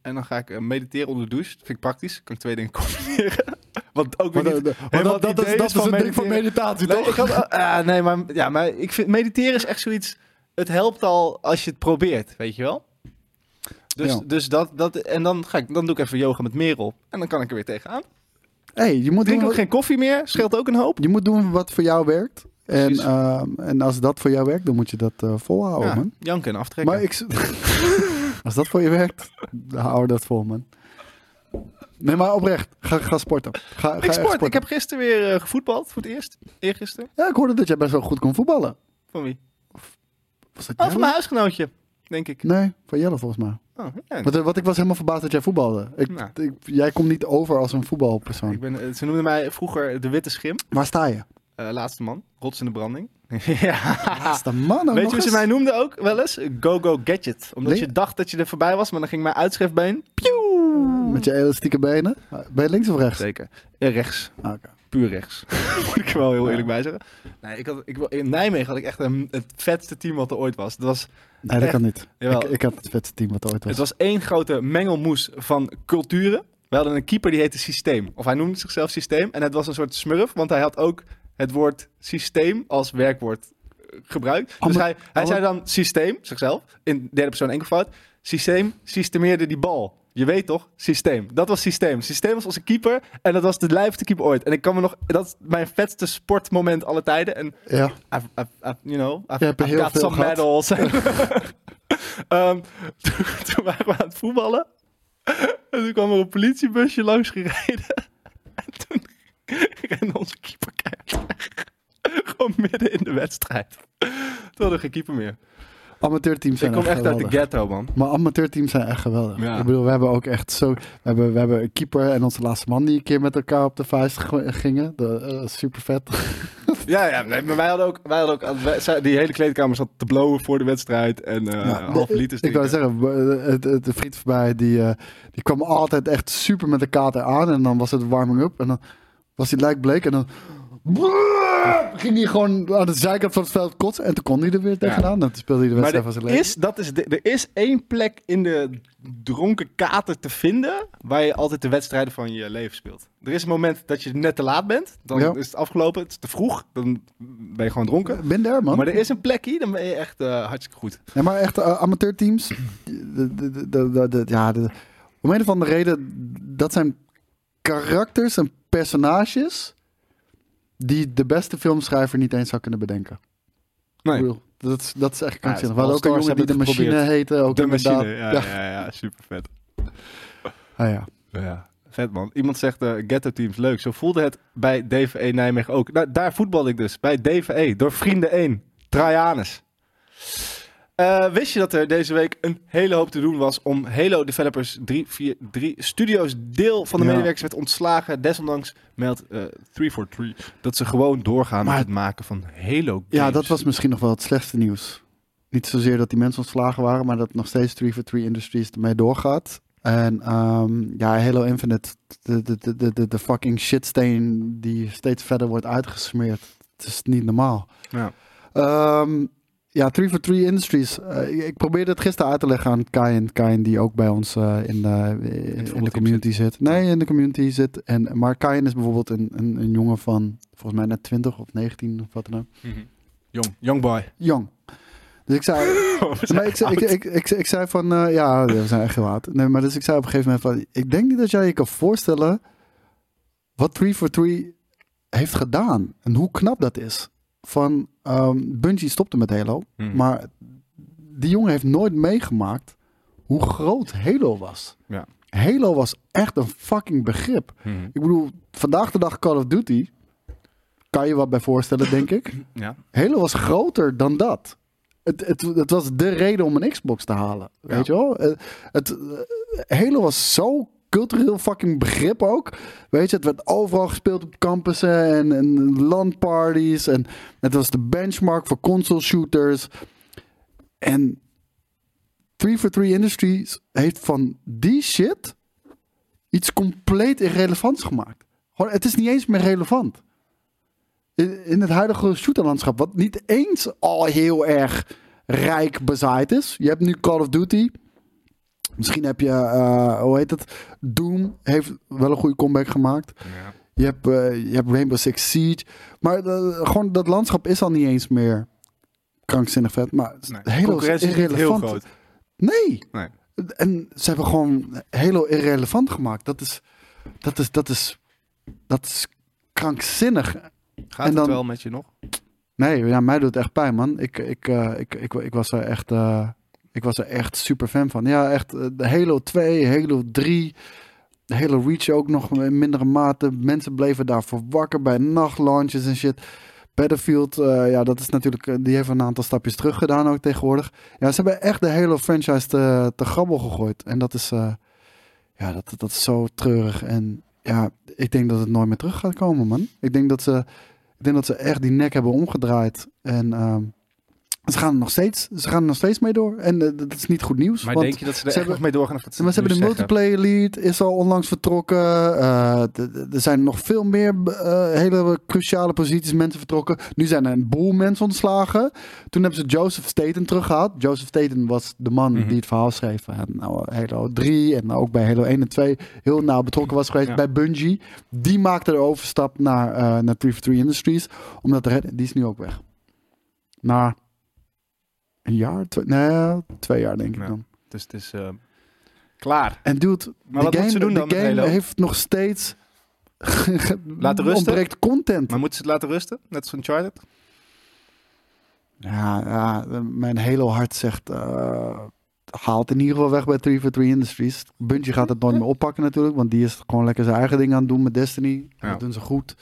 Speaker 1: En dan ga ik eh, mediteren onder de douche. Dat vind ik praktisch. Kan ik twee dingen combineren. Want ook weer
Speaker 2: Maar,
Speaker 1: niet...
Speaker 2: eh, de- de- maar
Speaker 1: helemaal
Speaker 2: dat, dat,
Speaker 1: het
Speaker 2: is,
Speaker 1: idee
Speaker 2: dat
Speaker 1: is
Speaker 2: is,
Speaker 1: van
Speaker 2: het ding van meditatie,
Speaker 1: Nee,
Speaker 2: toch?
Speaker 1: ik had, ah, nee, maar, ja, maar ik vind mediteren is echt zoiets... Het helpt al als je het probeert, weet je wel? Dus,
Speaker 2: Ja.
Speaker 1: dus dat, dat... En dan, ga ik, dan doe ik even yoga met Merel. En dan kan ik er weer tegenaan.
Speaker 2: hey, je,
Speaker 1: Drink
Speaker 2: moet doen
Speaker 1: ook
Speaker 2: wat,
Speaker 1: geen koffie meer. Scheelt ook een hoop.
Speaker 2: je moet doen wat voor jou werkt. En,
Speaker 1: Precies.
Speaker 2: ehm, en als dat voor jou werkt, dan moet je dat eh, volhouden,
Speaker 1: ja,
Speaker 2: man.
Speaker 1: janken en aftrekken.
Speaker 2: Maar ik... Als dat voor je werkt, hou dat vol, man. Nee, maar oprecht. Ga, ga sporten. Ga, ga
Speaker 1: Ik
Speaker 2: echt
Speaker 1: sport.
Speaker 2: sporten.
Speaker 1: Ik heb gisteren weer eh, gevoetbald voor het eerst. Eergisteren.
Speaker 2: Ja, ik hoorde dat jij best wel goed kon voetballen.
Speaker 1: Van wie?
Speaker 2: Was dat
Speaker 1: Oh,
Speaker 2: Jelle?
Speaker 1: van mijn huisgenootje, denk ik.
Speaker 2: Nee, van Jelle volgens mij.
Speaker 1: Oh, ja.
Speaker 2: Want, eh, wat ik was helemaal verbaasd dat jij voetbalde. Ik,
Speaker 1: Nou.
Speaker 2: ik- jij komt niet over als een voetbalpersoon.
Speaker 1: Ik ben, eh, ze noemden mij vroeger de Witte Schim.
Speaker 2: Waar sta je?
Speaker 1: Eh, laatste man. Rots in de branding. ja.
Speaker 2: Is de man ook
Speaker 1: Ah. Weet je
Speaker 2: nog
Speaker 1: hoe ze
Speaker 2: eens?
Speaker 1: mij noemden ook wel eens? Go Go Gadget. Omdat
Speaker 2: Nee.
Speaker 1: je dacht dat je er voorbij was, maar dan ging mijn uitschriftbeen.
Speaker 2: Met je elastieke benen? Ben je links of rechts?
Speaker 1: Zeker. Eh, rechts.
Speaker 2: Ah, oké.
Speaker 1: Puur rechts. Moet ik er wel heel eerlijk bij zeggen. Nee, ik had, ik, in Nijmegen had ik echt een, het vetste team wat er ooit was. Dat was
Speaker 2: Nee, dat
Speaker 1: Echt?
Speaker 2: kan niet.
Speaker 1: Jawel.
Speaker 2: Ik, ik had het vetste team wat er ooit was.
Speaker 1: Het was één grote mengelmoes van culturen. We hadden een keeper die heette Systeem. Of hij noemde zichzelf Systeem. En het was een soort smurf, want hij had ook het woord systeem als werkwoord eh, gebruikt. Dus
Speaker 2: Alle-
Speaker 1: hij, hij
Speaker 2: alle-
Speaker 1: zei dan systeem, zichzelf, in derde persoon enkelvoud. Systeem systemeerde die bal. Je weet toch? Systeem. Dat was systeem. Systeem was onze keeper en dat was de lijfste keeper ooit. En ik kan me nog... Dat is mijn vetste sportmoment alle tijden. En
Speaker 2: Ja.
Speaker 1: I've, I've, I've- you know, I've,
Speaker 2: Je hebt er
Speaker 1: I've
Speaker 2: heel
Speaker 1: got
Speaker 2: veel
Speaker 1: some
Speaker 2: gehad.
Speaker 1: medals. Ehm, toen, toen waren we aan het voetballen. En toen kwam er een politiebusje langs gereden. En toen rende onze keeper keihard weg. Gewoon midden in de wedstrijd. Toen hadden we geen keeper meer.
Speaker 2: Amateurteams
Speaker 1: Ik
Speaker 2: zijn
Speaker 1: kom echt uit
Speaker 2: geweldig.
Speaker 1: de ghetto, man.
Speaker 2: Maar amateurteams zijn echt geweldig.
Speaker 1: Ja.
Speaker 2: Ik bedoel, we hebben ook echt zo... We hebben, we hebben een keeper en onze laatste man die een keer met elkaar op de vuist ge- gingen. De, eh, super vet.
Speaker 1: Ja, ja nee, maar wij hadden ook... Wij hadden ook wij- zij- die hele kleedkamer zat te blowen voor de wedstrijd. En eh
Speaker 2: Ja,
Speaker 1: half
Speaker 2: de-
Speaker 1: liters
Speaker 2: Ik wou
Speaker 1: drinken.
Speaker 2: zeggen, we- het, het, de vriend van mij, die, eh, die kwam altijd echt super met de kater aan. En dan was het warming-up. En dan was hij lijkbleek. En dan ging hij gewoon aan de zijkant van het veld kotsen. En toen kon hij er weer tegenaan. Dan speelde hij de
Speaker 1: Maar
Speaker 2: wedstrijd van zijn
Speaker 1: er
Speaker 2: leven.
Speaker 1: is, dat is, de- er is één plek in de dronken kater te vinden waar je altijd de wedstrijden van je leven speelt. Er is een moment dat je net te laat bent, dan
Speaker 2: Ja.
Speaker 1: is het afgelopen, het is te vroeg, dan ben je gewoon dronken.
Speaker 2: Ik ben daar, man.
Speaker 1: Maar er is een plekje, dan ben je echt eh, hartstikke goed.
Speaker 2: Ja, maar echt eh, amateurteams. de- de- de- de- de- de- Ja, de- om een of andere reden, dat zijn karakters en personages die de beste filmschrijver niet eens zou kunnen bedenken. Ik
Speaker 1: Nee,
Speaker 2: bedoel, dat, is- dat is echt
Speaker 1: Ja,
Speaker 2: krankzinnig.
Speaker 1: All
Speaker 2: We hadden ook een
Speaker 1: Stars
Speaker 2: jongen die de
Speaker 1: hebben het
Speaker 2: machine heette. Ook
Speaker 1: de
Speaker 2: inderdaad.
Speaker 1: machine, ja,
Speaker 2: Ja.
Speaker 1: ja. Ja, super vet.
Speaker 2: Ah, ja.
Speaker 1: Vet man. Iemand zegt eh, ghetto teams leuk. Zo voelde het bij DVE Nijmegen ook. Nou, daar voetbalde ik dus. Bij DVE. Door vrienden 1. Trajanus. Eh, wist je dat er deze week een hele hoop te doen was om Halo Developers 343 Studios deel van de
Speaker 2: Ja.
Speaker 1: medewerkers werd ontslagen? Desondanks meldt eh 343 dat ze gewoon doorgaan
Speaker 2: Maar-
Speaker 1: met het maken van Halo games.
Speaker 2: ja, dat was misschien nog wel het slechtste nieuws. Niet zozeer dat die mensen ontslagen waren, maar dat nog steeds 3 for 3 Industries ermee doorgaat. En ehm, ja, Halo Infinite, de, de, de- de, de, de fucking shitsteen die steeds verder wordt uitgesmeerd. Het is niet normaal.
Speaker 1: Ja.
Speaker 2: Ehm, ja, 3 for 3 Industries. Eh, ik probeerde het gisteren uit te leggen aan Kain. Kain die ook bij ons eh, in, de, in de
Speaker 1: voetbalteam
Speaker 2: community zit. Nee, in de community zit. En, maar Kain is bijvoorbeeld een, een, een jongen van volgens mij net 20 of 19 of wat dan ook.
Speaker 1: Mhm. Jong, young boy.
Speaker 2: Jong. Dus ik zei, maar ik, zei- ik, ik, ik, ik zei van, eh, ja, we zijn echt heel oud. Nee, maar dus ik zei op een gegeven moment van, ik denk niet dat jij je kan voorstellen wat 3 for 3 heeft gedaan. En hoe knap dat is. Van, ehm Bungie stopte met Halo,
Speaker 1: Mhm.
Speaker 2: maar die jongen heeft nooit meegemaakt hoe groot Halo was.
Speaker 1: Ja.
Speaker 2: Halo was echt een fucking begrip. Ik bedoel, vandaag de dag Call of Duty. Kan je wat bij voorstellen, denk ik.
Speaker 1: Ja.
Speaker 2: Halo was groter dan dat. Het, het, het was de reden om een Xbox te halen. Weet je wel? Eh, Het, eh, Halo was zo cultureel fucking begrip ook. Weet je, het werd overal gespeeld op campussen en, en landparties. En het was de benchmark voor console shooters. En 3 for 3 Industries heeft van die shit iets compleet irrelevants gemaakt. Gewoon, het is niet eens meer relevant. In, in het huidige shooterlandschap, wat niet eens al heel erg rijk bezaaid is. Je hebt nu Call of Duty. Misschien heb je, eh, hoe heet het? Doom heeft wel een goede comeback gemaakt.
Speaker 1: Ja.
Speaker 2: Je hebt, eh, je hebt Rainbow Six Siege. Maar eh, gewoon dat landschap is al niet eens meer krankzinnig vet. Maar
Speaker 1: Nee,
Speaker 2: Halo is
Speaker 1: concurrentie is niet heel
Speaker 2: irrelevant.
Speaker 1: groot.
Speaker 2: Nee.
Speaker 1: Nee.
Speaker 2: En ze hebben gewoon Halo irrelevant gemaakt. Dat is, dat is, dat is, dat is krankzinnig.
Speaker 1: Gaat
Speaker 2: En dan-
Speaker 1: het wel met je nog?
Speaker 2: Nee, ja, mij doet het echt pijn, man. Ik, ik, eh, ik, ik, ik was er echt, eh, ik was er echt super fan van. Ja, echt eh, de Halo 2, Halo 3, de Halo Reach ook nog in mindere mate. Mensen bleven daarvoor wakker bij nachtlaunches en shit. Battlefield, eh, ja, dat is natuurlijk, eh, die heeft een aantal stapjes terug gedaan ook tegenwoordig. Ja, ze hebben echt de Halo franchise te, te grabbel gegooid. En dat is, eh, ja, dat, dat is zo treurig. En ja, ik denk dat het nooit meer terug gaat komen, man. Ik denk dat ze, ik denk dat ze echt die nek hebben omgedraaid. En ehm, ze, gaan er nog steeds, ze gaan er nog steeds mee door. En eh, dat is niet goed nieuws.
Speaker 1: Maar
Speaker 2: want,
Speaker 1: denk je dat ze er
Speaker 2: ze
Speaker 1: echt
Speaker 2: hebben-
Speaker 1: nog mee doorgaan? of dat
Speaker 2: maar ze
Speaker 1: het
Speaker 2: hebben de
Speaker 1: nu zeggen?
Speaker 2: multiplayer lead, is al onlangs vertrokken. Eh, d- d- er zijn nog veel meer eh, hele cruciale posities mensen vertrokken. Nu zijn er een boel mensen ontslagen. Toen hebben ze Joseph Staten teruggehaald. Joseph Staten was de man
Speaker 1: Mhm.
Speaker 2: die het verhaal schreef. En nou, Halo 3 en nou ook bij Halo 1 en 2 heel nauw betrokken was geweest
Speaker 1: Ja.
Speaker 2: bij Bungie. Die maakte de overstap naar, eh naar 343 Industries. Omdat de red- die is nu ook weg. Na een jaar, twee, nee, twee jaar denk ik
Speaker 1: Ja.
Speaker 2: dan.
Speaker 1: Dus het is eh, klaar.
Speaker 2: En dude,
Speaker 1: Maar wat
Speaker 2: de
Speaker 1: moeten
Speaker 2: game,
Speaker 1: ze doen
Speaker 2: de
Speaker 1: dan met
Speaker 2: game
Speaker 1: Halo?
Speaker 2: heeft nog steeds
Speaker 1: Laten rusten?
Speaker 2: ontbreekt content.
Speaker 1: Maar moeten ze het laten rusten? Net als Uncharted?
Speaker 2: Ja, ja, mijn hele hart zegt, eh, haalt in ieder geval weg bij 343 Industries. Bungie gaat het nooit meer oppakken natuurlijk, want die is gewoon lekker zijn eigen ding aan het doen met Destiny.
Speaker 1: Ja.
Speaker 2: Dat doen ze goed.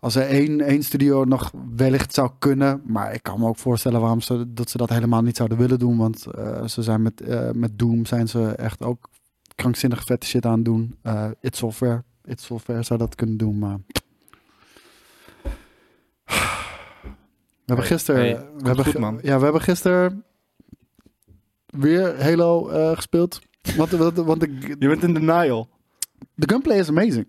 Speaker 2: Als er één, één studio nog wellicht zou kunnen, maar ik kan me ook voorstellen waarom ze, dat ze dat helemaal niet zouden willen doen, want eh, ze zijn met, eh, met Doom zijn ze echt ook krankzinnig vette shit aan het doen. Eh It Software, It Software zou dat kunnen doen, maar... We hebben
Speaker 1: Hey,
Speaker 2: gisteren...
Speaker 1: hey,
Speaker 2: we, hebben
Speaker 1: goed,
Speaker 2: gi-
Speaker 1: man.
Speaker 2: Ja, we hebben gisteren weer Halo eh, gespeeld. Want, want, want de,
Speaker 1: Je bent in denial.
Speaker 2: de gunplay is amazing.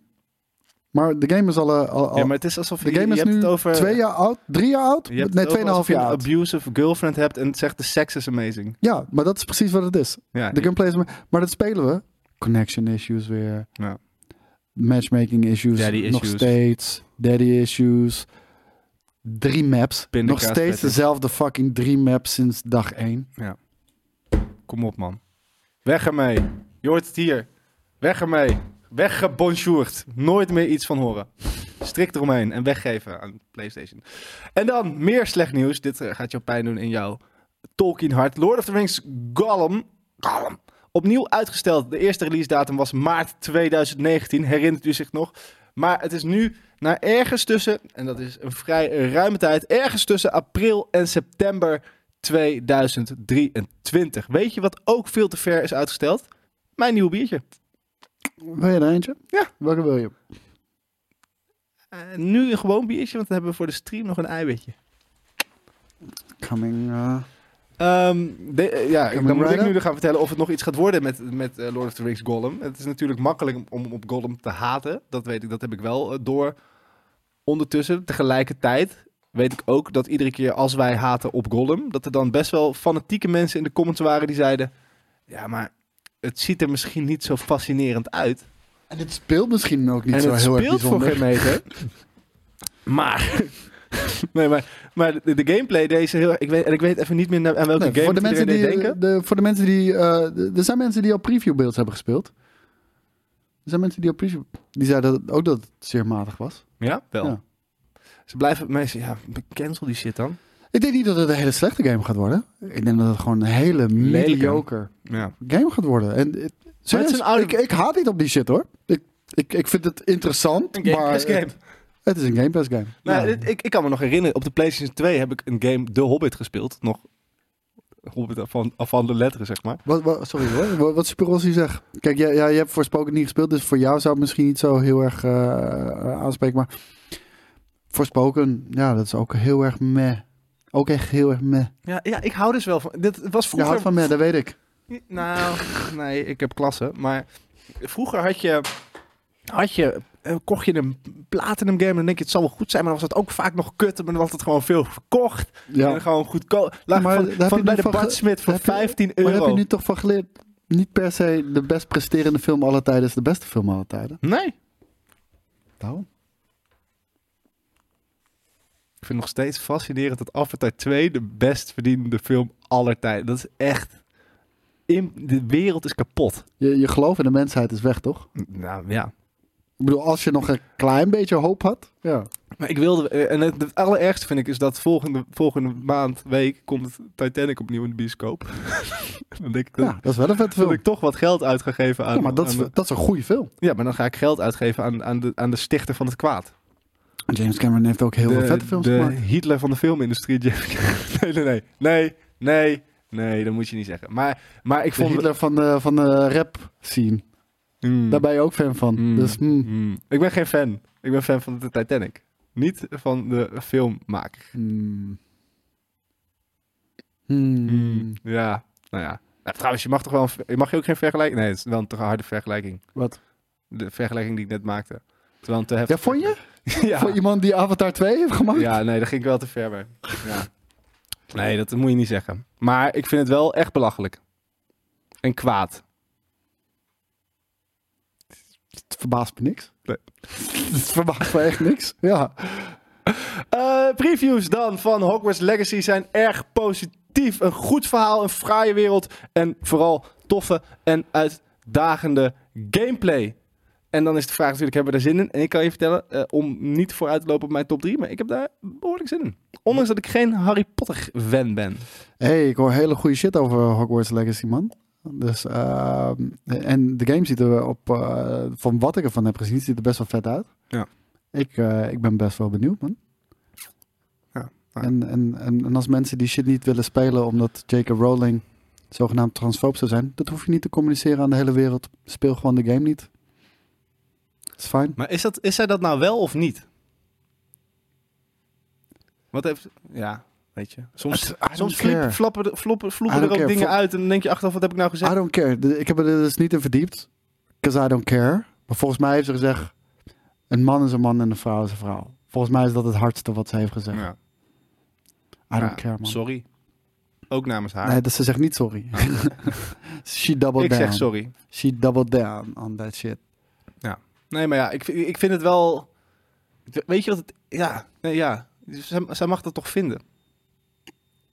Speaker 2: Maar de game is al... eh, al, al-
Speaker 1: Ja, maar het is alsof
Speaker 2: de
Speaker 1: je,
Speaker 2: game
Speaker 1: je
Speaker 2: is
Speaker 1: hebt het
Speaker 2: nu
Speaker 1: over...
Speaker 2: twee jaar oud, drie jaar oud?
Speaker 1: je hebt het
Speaker 2: Nee,
Speaker 1: over
Speaker 2: tweeënhalf
Speaker 1: alsof je
Speaker 2: jaar
Speaker 1: een
Speaker 2: oud.
Speaker 1: abusive girlfriend hebt en het zegt de sex is amazing.
Speaker 2: Ja, maar dat is precies wat het is.
Speaker 1: Ja,
Speaker 2: De gunplay is... ama- Maar dat spelen we. Connection issues weer.
Speaker 1: Ja.
Speaker 2: Matchmaking issues.
Speaker 1: Daddy
Speaker 2: nog
Speaker 1: issues.
Speaker 2: steeds. Daddy issues. Drie maps. Nog
Speaker 1: Pindakaas
Speaker 2: steeds
Speaker 1: pattern.
Speaker 2: dezelfde fucking drie maps sinds dag één.
Speaker 1: Kom op, man. Weg ermee. Je hoort het hier. Weg ermee. Weggebonjourd. Nooit meer iets van horen. Strikt eromheen en weggeven aan PlayStation. En dan meer slecht nieuws. Dit eh, gaat jou pijn doen in jouw Tolkien hart. Lord of the Rings Gollum. Gollum. Opnieuw uitgesteld. De eerste release datum was maart 2019. Herinnert u zich nog? Maar het is nu naar ergens tussen, en dat is een vrij ruime tijd, ergens tussen april en september 2023. Weet je wat ook veel te ver is uitgesteld? Mijn nieuw biertje.
Speaker 2: Wil je er eentje?
Speaker 1: Ja.
Speaker 2: Welke wil je?
Speaker 1: Eh, nu een gewoon biertje, want dan hebben we voor de stream nog een eiwitje.
Speaker 2: Coming. eh,
Speaker 1: Ehm, de- eh, ja,
Speaker 2: Kamen
Speaker 1: dan moet ik
Speaker 2: Rider?
Speaker 1: nu gaan vertellen of het nog iets gaat worden met, met eh, Lord of the Rings Gollum. Het is natuurlijk makkelijk om op Gollum te haten. Dat weet ik, dat heb ik wel eh, door. Ondertussen, tegelijkertijd, weet ik ook dat iedere keer als wij haten op Gollum, dat er dan best wel fanatieke mensen in de comments waren die zeiden: Ja, maar het ziet er misschien niet zo fascinerend uit.
Speaker 2: En het speelt misschien ook niet
Speaker 1: en
Speaker 2: zo
Speaker 1: het
Speaker 2: heel erg
Speaker 1: speelt voor
Speaker 2: bijzonder.
Speaker 1: geen meter. maar. nee, maar, maar de, de gameplay deze heel ik weet, en ik weet even niet meer naar- aan welke
Speaker 2: Nee,
Speaker 1: game
Speaker 2: voor, de
Speaker 1: iedereen
Speaker 2: mensen
Speaker 1: deed
Speaker 2: die,
Speaker 1: denken.
Speaker 2: de, voor de mensen die. eh, de- er zijn mensen die al previewbeelds hebben gespeeld. Er zijn mensen die al preview. Die zeiden dat, ook dat het zeer matig was.
Speaker 1: Ja, wel.
Speaker 2: Ja.
Speaker 1: Ze blijven mensen, ja, cancel die shit dan.
Speaker 2: Ik denk niet dat het een hele slechte game gaat worden. Ik denk dat het gewoon een hele
Speaker 1: Lelijke.
Speaker 2: mediocre
Speaker 1: Ja.
Speaker 2: game gaat worden. En het-
Speaker 1: Maar het is
Speaker 2: Serieus,
Speaker 1: een oude-
Speaker 2: ik, ik haat niet op die shit hoor. Ik, ik, ik vind het interessant,
Speaker 1: Een
Speaker 2: maar
Speaker 1: Game Pass game.
Speaker 2: Het, het is een Game Pass game.
Speaker 1: Nou,
Speaker 2: Ja.
Speaker 1: dit- ik, ik kan me nog herinneren, op de PlayStation 2 heb ik een game The Hobbit gespeeld. Nog Hobbit af van, af van de letteren, zeg maar.
Speaker 2: Wat, wat, sorry hoor, wat, wat Super Rossi zegt. Kijk, jij, jij, jij hebt voor Spoken niet gespeeld, dus voor jou zou het misschien niet zo heel erg eh aanspreken. Maar voor Spoken, ja, dat is ook heel erg meh. Ook echt heel erg meh.
Speaker 1: Ja, ja, ik hou dus wel van... Dit was
Speaker 2: Je houdt
Speaker 1: vroeger...
Speaker 2: van meh, dat weet ik.
Speaker 1: Nou, nee, ik heb klasse. Maar vroeger had je... Had je eh, kocht je een platinum game en dan denk je het zal wel goed zijn, maar dan was het ook vaak nog kut en dan was het gewoon veel verkocht. En
Speaker 2: Ja.
Speaker 1: gewoon goedkoop. Laag
Speaker 2: Maar
Speaker 1: van,
Speaker 2: daar heb
Speaker 1: van
Speaker 2: je
Speaker 1: bij
Speaker 2: nu
Speaker 1: de
Speaker 2: van ge-
Speaker 1: Bart Smit voor
Speaker 2: daar heb je-
Speaker 1: 15
Speaker 2: Maar daar
Speaker 1: euro.
Speaker 2: heb je nu toch van geleerd? Niet per se de best presterende film aller tijden is de beste film aller tijden.
Speaker 1: Nee.
Speaker 2: Daarom.
Speaker 1: Ik vind het nog steeds fascinerend dat Avatar 2 de best verdienende film aller tijden. Dat is echt... In, de wereld is kapot.
Speaker 2: Je, je geloof in de mensheid is weg, toch?
Speaker 1: Nou ja.
Speaker 2: Ik bedoel, als je nog een klein beetje hoop had. Ja.
Speaker 1: Maar ik wilde... eh, En het, het allerergste vind ik is dat volgende, volgende maand, week, komt Titanic opnieuw in de bioscoop. dan denk ik dat,
Speaker 2: ja, dat is wel een vette
Speaker 1: dat
Speaker 2: film.
Speaker 1: ik toch wat geld uit ga geven aan...
Speaker 2: Ja, maar dat is,
Speaker 1: aan de-
Speaker 2: dat is een goede film.
Speaker 1: ja, maar dan ga ik geld uitgeven aan, aan, de, aan de stichter van het kwaad.
Speaker 2: James Cameron heeft ook heel
Speaker 1: de,
Speaker 2: veel vette films
Speaker 1: de
Speaker 2: gemaakt.
Speaker 1: Hitler van de filmindustrie. Jeff- nee, nee, nee, nee, nee, nee, dat moet je niet zeggen. Maar, maar ik
Speaker 2: De
Speaker 1: vond.
Speaker 2: Hitler van de, van de rap scene.
Speaker 1: Mm,
Speaker 2: Daar ben je ook fan van.
Speaker 1: mm,
Speaker 2: Dus mm,
Speaker 1: mm. Ik ben geen fan. Ik ben fan van de Titanic. Niet van de filmmaker.
Speaker 2: mm. Mm.
Speaker 1: Mm, Ja, nou ja. Nou, trouwens, je mag toch wel. een ver- Mag je ook geen vergelijking? Nee, het is wel een te harde vergelijking.
Speaker 2: Wat?
Speaker 1: De vergelijking die ik net maakte. Het is wel een te
Speaker 2: Ja,
Speaker 1: heftig.
Speaker 2: vond je?
Speaker 1: ja.
Speaker 2: Voor iemand die Avatar 2 heeft gemaakt?
Speaker 1: Ja, nee, daar ging ik wel te ver bij. Ja. Nee, dat moet je niet zeggen. Maar ik vind het wel echt belachelijk. En kwaad.
Speaker 2: Het verbaast me niks.
Speaker 1: Nee.
Speaker 2: Het verbaast me echt niks. Ja.
Speaker 1: Eh, previews dan van Hogwarts Legacy zijn erg positief. Een goed verhaal, een fraaie wereld. En vooral toffe en uitdagende gameplay. En dan is de vraag natuurlijk, hebben we daar zin in? En ik kan je vertellen, eh, om niet vooruit te lopen op mijn top 3, maar ik heb daar behoorlijk zin in. Ondanks dat ik geen Harry Potter-fan ben.
Speaker 2: Hé, hey, ik hoor hele goede shit over Hogwarts Legacy, man. Dus, ehm, en de game ziet er op, eh, van wat ik ervan heb gezien, ziet er best wel vet uit.
Speaker 1: Ja.
Speaker 2: Ik, eh, ik ben best wel benieuwd, man.
Speaker 1: Ja, nou.
Speaker 2: en, en, en, en als mensen die shit niet willen spelen omdat J.K. Rowling zogenaamd transfoob zou zijn, dat hoef je niet te communiceren aan de hele wereld. Speel gewoon de game niet. Is fijn.
Speaker 1: Maar is, dat, is zij dat nou wel of niet? Wat heeft... Ja, weet je.
Speaker 2: I
Speaker 1: Soms,
Speaker 2: don't
Speaker 1: soms
Speaker 2: care.
Speaker 1: fliep- flappen, de- floppen,
Speaker 2: I
Speaker 1: floepen er
Speaker 2: don't
Speaker 1: ook
Speaker 2: care.
Speaker 1: dingen
Speaker 2: Vol-
Speaker 1: uit en dan denk je achteraf, wat heb ik nou gezegd?
Speaker 2: I don't care. De- Ik heb er dus niet in verdiept. Because I don't care. Maar volgens mij heeft ze gezegd... Een man is een man en een vrouw is een vrouw. Volgens mij is dat het hardste wat ze heeft gezegd.
Speaker 1: Ja.
Speaker 2: I don't
Speaker 1: Ja,
Speaker 2: care, man.
Speaker 1: Sorry. Ook namens haar.
Speaker 2: Nee, dus ze zegt niet sorry. She doubled
Speaker 1: ik
Speaker 2: down.
Speaker 1: zeg sorry.
Speaker 2: She doubled down on that shit.
Speaker 1: Nee, maar ja, ik, vind- ik vind het wel... ik- Weet je wat het... Ja, nee, ja. Zij, zij mag dat toch vinden?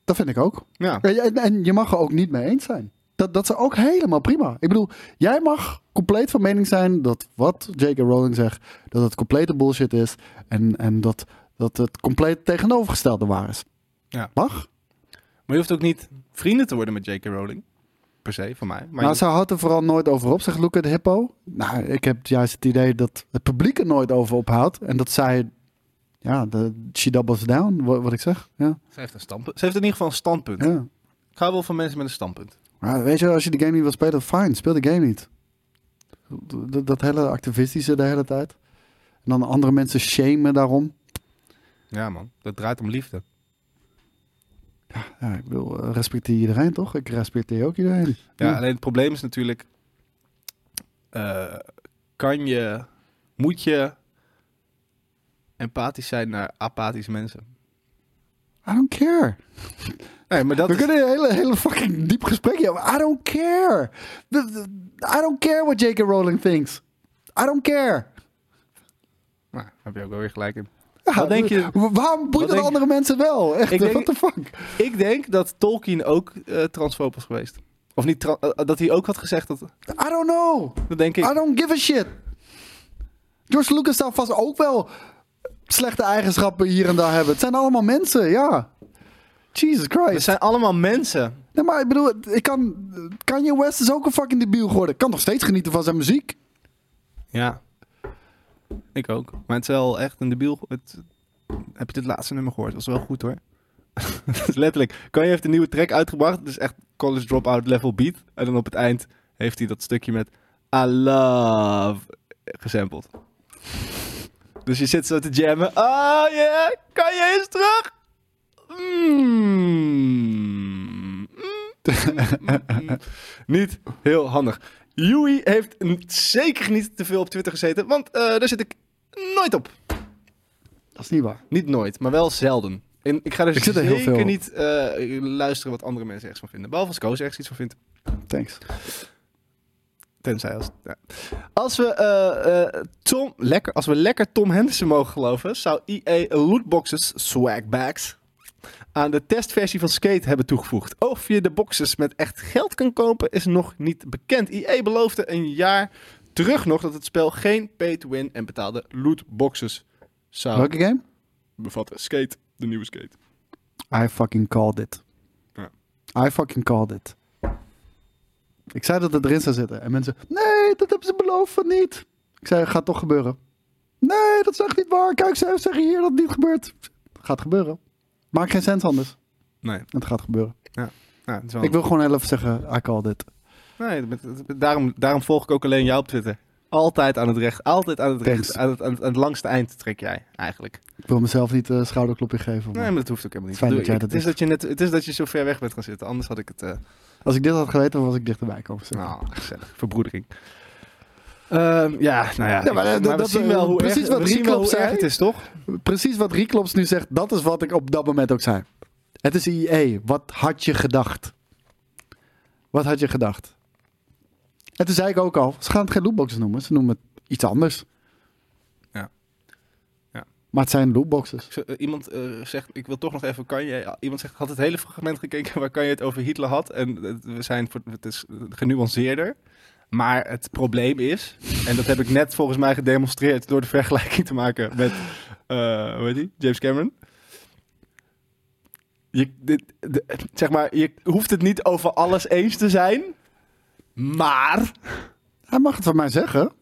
Speaker 2: Dat vind ik ook.
Speaker 1: Ja.
Speaker 2: En, en- en je mag er ook niet mee eens zijn. Dat, dat is ook helemaal prima. Ik bedoel, jij mag compleet van mening zijn dat wat J.K. Rowling zegt, dat het complete bullshit is. En, en dat, dat het compleet tegenovergestelde waar is.
Speaker 1: Ja.
Speaker 2: Mag.
Speaker 1: Maar je hoeft ook niet vrienden te worden met J.K. Rowling. Per se, van mij. Maar
Speaker 2: nou,
Speaker 1: je-
Speaker 2: ze houdt er vooral nooit over op, zegt Luca de Hippo. Nou, ik heb juist het idee dat het publiek er nooit over ophoudt. En dat zij, ja, de, she doubles down, wat, wat ik zeg. Ja,
Speaker 1: ze, heeft een standpunt. ze heeft in ieder geval een standpunt.
Speaker 2: ja.
Speaker 1: Ik hou wel van mensen met een standpunt.
Speaker 2: Maar weet je, als je de game niet wil spelen, fijn, speel de game niet. Dat, dat hele activistische de hele tijd. En dan andere mensen shamen daarom.
Speaker 1: Ja, man. Dat draait om liefde.
Speaker 2: Ja, ik bedoel, eh, respecteer iedereen toch? Ik respecteer ook iedereen.
Speaker 1: Ja,
Speaker 2: Ja.
Speaker 1: alleen het probleem is natuurlijk... eh, kan je... Moet je empathisch zijn naar apathische mensen?
Speaker 2: I don't care.
Speaker 1: Nee, maar dat
Speaker 2: We
Speaker 1: is-
Speaker 2: kunnen een hele, hele fucking diep gesprekje hebben. I don't care. The- the- I don't care what J.K. Rowling thinks. I don't care.
Speaker 1: Nou, daar heb je ook wel weer gelijk in.
Speaker 2: Ja,
Speaker 1: Wat denk je-
Speaker 2: wa- Waarom boeit dat
Speaker 1: denk-
Speaker 2: andere mensen wel? Echt,
Speaker 1: Ik denk-
Speaker 2: what the fuck?
Speaker 1: Ik denk dat Tolkien ook eh transfoob was geweest. Of niet, tra- eh, dat hij ook had gezegd dat...
Speaker 2: I don't know.
Speaker 1: Dat denk ik.
Speaker 2: I don't give a shit. George Lucas zou vast ook wel slechte eigenschappen hier en daar hebben. Het zijn allemaal mensen, ja. Jesus
Speaker 1: Het
Speaker 2: Christ.
Speaker 1: zijn allemaal mensen.
Speaker 2: Nee, maar ik bedoel, ik kan, Kanye West is ook een fucking debiel geworden. Kan nog steeds genieten van zijn muziek.
Speaker 1: Ja. Ik ook. Maar het is wel echt een debiel. Het, heb je dit laatste nummer gehoord? Dat was wel goed hoor. Dat is letterlijk. Kanye heeft een nieuwe track uitgebracht. Het is echt college dropout level beat. En dan op het eind heeft hij dat stukje met I love gesampled. Dus je zit zo te jammen. Oh yeah, Kanye is terug. Mm. Mm. Mm. Niet heel handig. Yui heeft n- zeker niet te veel op Twitter gezeten, want eh, daar zit ik nooit op.
Speaker 2: Dat is niet waar.
Speaker 1: Niet nooit, maar wel zelden. En ik ga dus
Speaker 2: Ik zit er heel
Speaker 1: zeker
Speaker 2: veel op.
Speaker 1: niet eh, luisteren wat andere mensen ergens van vinden. Behalve als Koos ergens iets van vindt.
Speaker 2: Thanks.
Speaker 1: Tenzij als... ja. Als, we, eh, eh, Tom, lekker, als we lekker Tom Henderson mogen geloven... zou EA lootboxes, swagbags... aan de testversie van Skate hebben toegevoegd. Of je de boxes met echt geld kan kopen is nog niet bekend. EA beloofde een jaar terug nog dat het spel geen pay-to-win... en betaalde lootboxes zou
Speaker 2: Welke game?
Speaker 1: bevatten. Skate, de nieuwe Skate.
Speaker 2: I fucking called it.
Speaker 1: Ja.
Speaker 2: I fucking called it. Ik zei dat het erin zou zitten. En mensen, nee, dat hebben ze beloofd van niet. Ik zei, gaat toch gebeuren. Nee, dat is echt niet waar. Kijk, ze zeggen hier dat het niet gebeurt. Gaat gebeuren. Maakt geen sens anders.
Speaker 1: Nee,
Speaker 2: Het gaat gebeuren.
Speaker 1: nou, het is wel
Speaker 2: Ik wil gewoon heel even zeggen, I called it.
Speaker 1: Nee, met- met- daarom, daarom volg ik ook alleen jou op Twitter. Altijd aan het recht, altijd aan het recht,
Speaker 2: Thanks.
Speaker 1: aan het, aan, het, aan het langste eind trek jij eigenlijk.
Speaker 2: Ik wil mezelf niet eh, een schouderklopje
Speaker 1: Nee,
Speaker 2: geven. maar
Speaker 1: maar dat hoeft ook helemaal niet.
Speaker 2: Fijn
Speaker 1: Ik
Speaker 2: dat jij
Speaker 1: bedoel,
Speaker 2: dat
Speaker 1: het, is dat je net, het is dat je zo ver weg bent gaan zitten, anders had ik het... eh,
Speaker 2: Als ik dit had geweten, was ik dichterbij komen zitten.
Speaker 1: nou, gezellig, verbroedering. Ehm, ja, nou ja.
Speaker 2: Ja, maar, eh,
Speaker 1: ik-
Speaker 2: dat-
Speaker 1: we
Speaker 2: dat-
Speaker 1: zien wel hoe
Speaker 2: precies
Speaker 1: erg,
Speaker 2: wat
Speaker 1: we zien wel
Speaker 2: Rieklop
Speaker 1: hoe erg
Speaker 2: zei.
Speaker 1: het is, toch?
Speaker 2: Precies wat Rieklops nu zegt, dat is wat ik op dat moment ook zei. Het is IE. Wat had je gedacht? Wat had je gedacht? En toen zei ik ook al, ze gaan het geen lootboxes noemen. Ze noemen het iets anders.
Speaker 1: Ja. Ja.
Speaker 2: Maar het zijn lootboxes.
Speaker 1: Ik z- eh, Iemand eh, zegt, ik wil toch nog even Kanye. ja, Iemand zegt, ik had het hele fragment gekeken waar Kanye het over Hitler had. En eh, het- we zijn, voor- het is genuanceerder. Maar het probleem is, en dat heb ik net volgens mij gedemonstreerd door de vergelijking te maken met, eh, hoe heet die? James Cameron. Je, dit, de- zeg maar, je hoeft het niet over alles eens te zijn. Maar,
Speaker 2: Hij mag het van mij zeggen.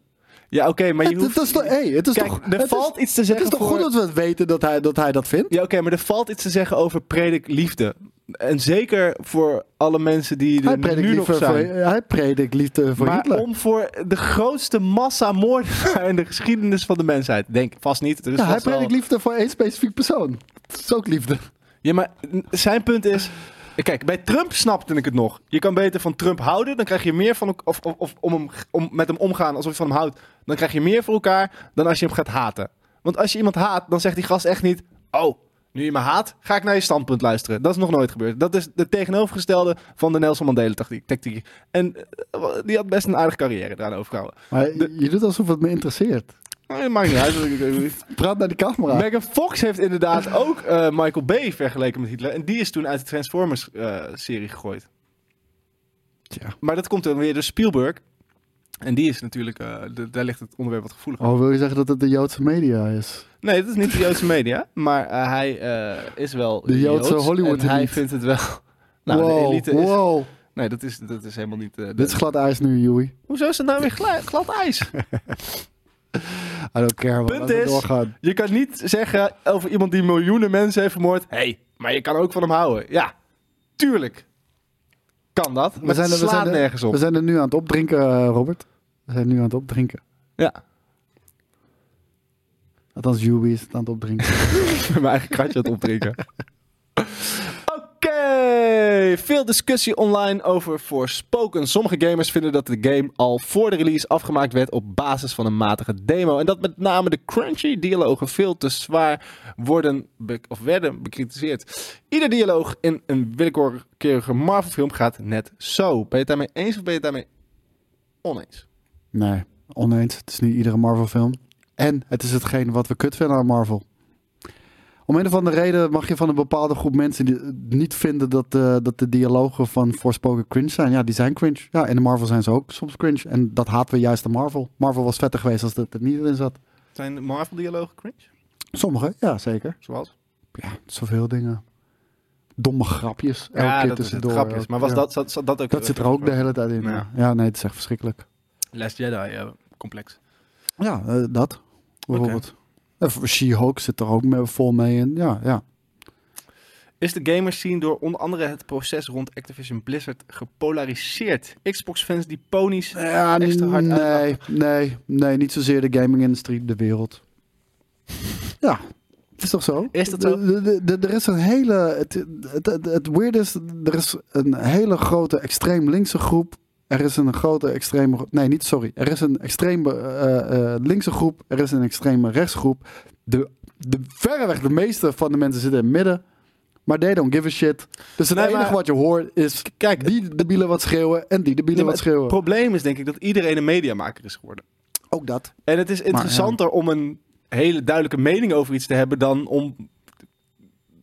Speaker 1: ja oké, maar je
Speaker 2: Het,
Speaker 1: hoeft...
Speaker 2: het is toch, hey, het is
Speaker 1: Kijk,
Speaker 2: toch,
Speaker 1: er
Speaker 2: het
Speaker 1: valt
Speaker 2: is,
Speaker 1: iets te
Speaker 2: het
Speaker 1: zeggen
Speaker 2: is toch
Speaker 1: voor-
Speaker 2: goed dat we het weten dat hij dat, hij dat vindt?
Speaker 1: Ja, oké, maar er valt iets te zeggen over predik liefde. En zeker voor alle mensen die
Speaker 2: Hij
Speaker 1: er
Speaker 2: predikt,
Speaker 1: nu nog
Speaker 2: liefde voor,
Speaker 1: zijn.
Speaker 2: hij predikt liefde voor
Speaker 1: maar
Speaker 2: Hitler.
Speaker 1: om voor de grootste massa moordenaar in de geschiedenis van de mensheid. Denk vast niet. Er is
Speaker 2: Ja, hij
Speaker 1: vast wel-
Speaker 2: predikt liefde voor één specifiek persoon. Dat is ook liefde.
Speaker 1: Ja, maar n- zijn punt is... Kijk, bij Trump snapte ik het nog. Je kan beter van Trump houden, dan krijg je meer van... elk- Of, of, of om hem, om, met hem omgaan alsof je van hem houdt. Dan krijg je meer voor elkaar dan als je hem gaat haten. Want als je iemand haat, dan zegt die gast echt niet... Oh, nu je me haat, ga ik naar je standpunt luisteren. Dat is nog nooit gebeurd. Dat is de tegenovergestelde van de Nelson Mandela-tactiek. En eh, die had best een aardige carrière eraan overgehouden.
Speaker 2: Maar
Speaker 1: De-
Speaker 2: je doet alsof het me interesseert.
Speaker 1: Maar het maakt niet uit.
Speaker 2: Praat naar de camera.
Speaker 1: Megan Fox heeft inderdaad ook eh, Michael Bay vergeleken met Hitler. En die is toen uit de Transformers-serie gegooid.
Speaker 2: Tja.
Speaker 1: Maar dat komt dan weer door Spielberg. En die is natuurlijk, eh, de- daar ligt het onderwerp wat gevoeliger.
Speaker 2: Oh, wil je zeggen dat het de Joodse media is?
Speaker 1: Nee, dat is niet de Joodse media. Maar eh, hij eh, is wel
Speaker 2: De Joodse
Speaker 1: Joods
Speaker 2: Hollywood
Speaker 1: En hij
Speaker 2: elite.
Speaker 1: vindt het wel... Nou, de
Speaker 2: wow,
Speaker 1: elite is...
Speaker 2: wow.
Speaker 1: Nee, dat is, dat is helemaal niet... eh, de-
Speaker 2: Dit is glad ijs nu, Joey.
Speaker 1: Hoezo is dat nou weer gla- glad ijs?
Speaker 2: I don't care.
Speaker 1: Punt
Speaker 2: Punt laten we
Speaker 1: is-
Speaker 2: doorgaan.
Speaker 1: Je kan niet zeggen over iemand die miljoenen mensen heeft vermoord. Hé, hey, maar je kan ook van hem houden. Ja, tuurlijk. Kan dat. Maar
Speaker 2: zijn
Speaker 1: het
Speaker 2: er- we
Speaker 1: slaat
Speaker 2: zijn er-
Speaker 1: nergens op.
Speaker 2: We zijn er nu aan het opdrinken, eh, Robert. We zijn nu aan het opdrinken.
Speaker 1: Ja,
Speaker 2: Althans, Joey is het aan het opdrinken.
Speaker 1: mijn eigen kratje aan het opdrinken. Oké, veel discussie online over Forspoken. Sommige gamers vinden dat de game al voor de release afgemaakt werd op basis van een matige demo. En dat met name de crunchy dialogen veel te zwaar worden be- of werden bekritiseerd. Ieder dialoog in een willekeurige Marvel film gaat net zo. Ben je het daarmee eens of ben je het daarmee oneens?
Speaker 2: nee, oneens. Het is nu iedere Marvel film. En het is hetgeen wat we kut vinden aan Marvel. Om een of andere reden mag je van een bepaalde groep mensen die eh, niet vinden dat, eh, dat de dialogen van Forspoken cringe zijn. Ja, die zijn cringe. Ja, in de Marvel zijn ze ook soms cringe. En dat haten we juist aan Marvel. Marvel was vetter geweest als dat er niet in zat.
Speaker 1: Zijn de Marvel dialogen cringe?
Speaker 2: Sommige, ja, zeker.
Speaker 1: Zoals?
Speaker 2: Ja, zoveel dingen. domme grapjes elke
Speaker 1: ja,
Speaker 2: keer
Speaker 1: dat is het
Speaker 2: tussendoor.
Speaker 1: grapjes. Maar was
Speaker 2: Ja.
Speaker 1: dat, zat, zat dat ook...
Speaker 2: Dat zit er ook de
Speaker 1: bij.
Speaker 2: hele tijd in.
Speaker 1: Ja.
Speaker 2: Ja, nee, het is echt verschrikkelijk.
Speaker 1: Last Jedi, eh, complex.
Speaker 2: Ja, eh, dat bijvoorbeeld. Eh, voor She-Hulk zit er ook mee, vol mee in. Ja, ja.
Speaker 1: Is de gamer scene door onder andere het proces rond Activision Blizzard gepolariseerd? Xbox-fans die ponies...
Speaker 2: ja
Speaker 1: Extra hard
Speaker 2: nee,
Speaker 1: uitlachen.
Speaker 2: nee, nee, niet zozeer de gaming-industrie, de wereld. Ja, het is toch zo?
Speaker 1: Is dat zo?
Speaker 2: De- de- de- de- Er is een hele... Het, het, het, het weird is, er is een hele grote extreem linkse groep. Er is een grote extreme... gro- Nee, niet, sorry. Er is een extreem eh, eh, linkse groep. Er is een extreme rechtsgroep. De, de, verreweg de meeste van de mensen zitten in het midden. Maar they don't give a shit. Dus het
Speaker 1: Nee,
Speaker 2: enige
Speaker 1: maar-
Speaker 2: wat je hoort is...
Speaker 1: Kijk,
Speaker 2: Die debielen wat schreeuwen en die debielen
Speaker 1: Nee, maar
Speaker 2: wat schreeuwen.
Speaker 1: Het probleem is denk ik dat iedereen een mediamaker is geworden.
Speaker 2: Ook dat.
Speaker 1: En het is interessanter om een hele duidelijke mening over iets te hebben dan om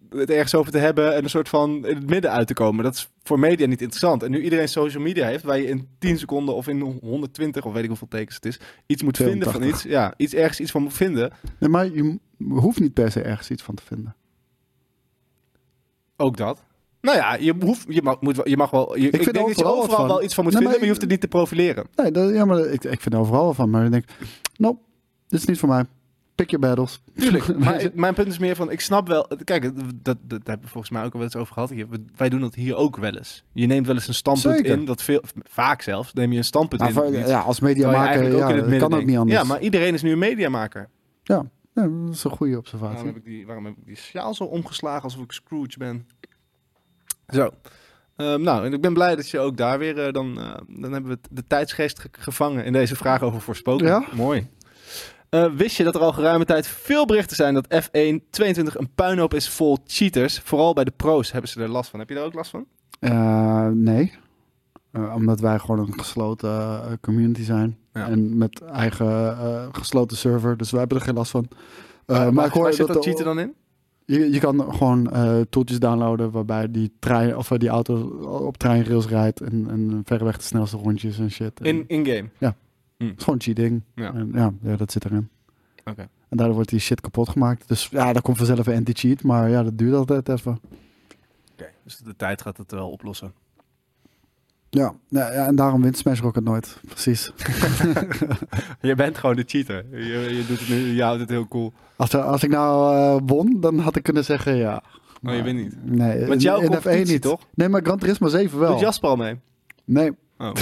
Speaker 1: het ergens over te hebben en een soort van in het midden uit te komen. Dat is voor media niet interessant. En nu iedereen social media heeft, waar je in 10 seconden of in 120 of weet ik hoeveel tekens het is, iets moet vinden van
Speaker 2: 82.
Speaker 1: iets. Ja, iets ergens iets van moet vinden.
Speaker 2: Nee, maar je m- hoeft niet per se ergens iets van te vinden.
Speaker 1: Ook dat. Nou ja, je, hoeft, je, mag, moet, wel- je mag wel. Je, ik,
Speaker 2: vind
Speaker 1: denk dat je
Speaker 2: overal wat
Speaker 1: overal
Speaker 2: van.
Speaker 1: wel iets van moet
Speaker 2: Nee,
Speaker 1: vinden, maar
Speaker 2: maar
Speaker 1: je
Speaker 2: ik-
Speaker 1: hoeft het niet te profileren.
Speaker 2: Nee, dat, ja, maar ik, ik vind er overal wel van. Maar ik denk, nope, dit is niet voor mij. Pick your battles.
Speaker 1: Tuurlijk, maar
Speaker 2: Weet je?
Speaker 1: ik- mijn punt is meer van, ik snap wel... Kijk, dat, dat, dat hebben we volgens mij ook al wel eens over gehad. hier. We- Wij doen dat hier ook wel eens. Je neemt wel eens een standpunt
Speaker 2: Zeker.
Speaker 1: in. Dat veel, vaak zelfs neem je een standpunt
Speaker 2: Nou,
Speaker 1: in.
Speaker 2: voor-
Speaker 1: op iets,
Speaker 2: ja, als
Speaker 1: terwijl je
Speaker 2: mediamaker
Speaker 1: eigenlijk
Speaker 2: ja,
Speaker 1: in het
Speaker 2: dat
Speaker 1: midden
Speaker 2: kan ook
Speaker 1: denkt.
Speaker 2: niet anders.
Speaker 1: Ja, maar iedereen is nu een mediamaker.
Speaker 2: Ja, dat is een goede observatie.
Speaker 1: Waarom heb, ik die, waarom heb ik die sjaal zo omgeslagen alsof ik Scrooge ben? Zo. Ehm, nou, en ik ben blij dat je ook daar weer... eh, dan, eh, dan hebben we het- de tijdsgeest ge- gevangen in deze vraag over voorspoken.
Speaker 2: Ja?
Speaker 1: Mooi. Eh, wist je dat er al geruime tijd veel berichten zijn dat F1 22 een puinhoop is vol cheaters? Vooral bij de pro's hebben ze er last van. Heb je daar ook last van?
Speaker 2: Eh, nee. Eh, omdat wij gewoon een gesloten eh, community zijn.
Speaker 1: Ja.
Speaker 2: En met eigen eh, gesloten server. Dus wij hebben er geen last van. Eh,
Speaker 1: Waar-
Speaker 2: maar,
Speaker 1: waar-
Speaker 2: ik hoor
Speaker 1: waar zit
Speaker 2: dat
Speaker 1: dat
Speaker 2: de-
Speaker 1: cheaten dan in?
Speaker 2: Je, je kan gewoon eh toeltjes downloaden waarbij die, trein, of eh, die auto op treinrails rijdt en, en verreweg de snelste rondjes en shit. En
Speaker 1: In- In-game.
Speaker 2: het is gewoon cheating.
Speaker 1: Ja.
Speaker 2: En ja, ja, dat zit erin.
Speaker 1: Oké.
Speaker 2: En daardoor wordt die shit kapot gemaakt. Dus ja, daar komt vanzelf een anti-cheat, maar ja, dat duurt altijd even.
Speaker 1: Dus de tijd gaat het wel oplossen.
Speaker 2: Ja, ja, ja, en daarom wint Smash Rocket nooit. Precies.
Speaker 1: Je bent gewoon de cheater. Je, je, doet het nu, je houdt het heel cool.
Speaker 2: Als, eh, als ik nou eh, won, dan had ik kunnen zeggen ja.
Speaker 1: Maar Oh, je wint niet.
Speaker 2: Nee,
Speaker 1: Want jouw
Speaker 2: in- in F1
Speaker 1: competitie,
Speaker 2: niet.
Speaker 1: toch?
Speaker 2: Nee, maar Gran Turismo 7 wel.
Speaker 1: Doet Jasper al mee?
Speaker 2: Nee.
Speaker 1: Oh.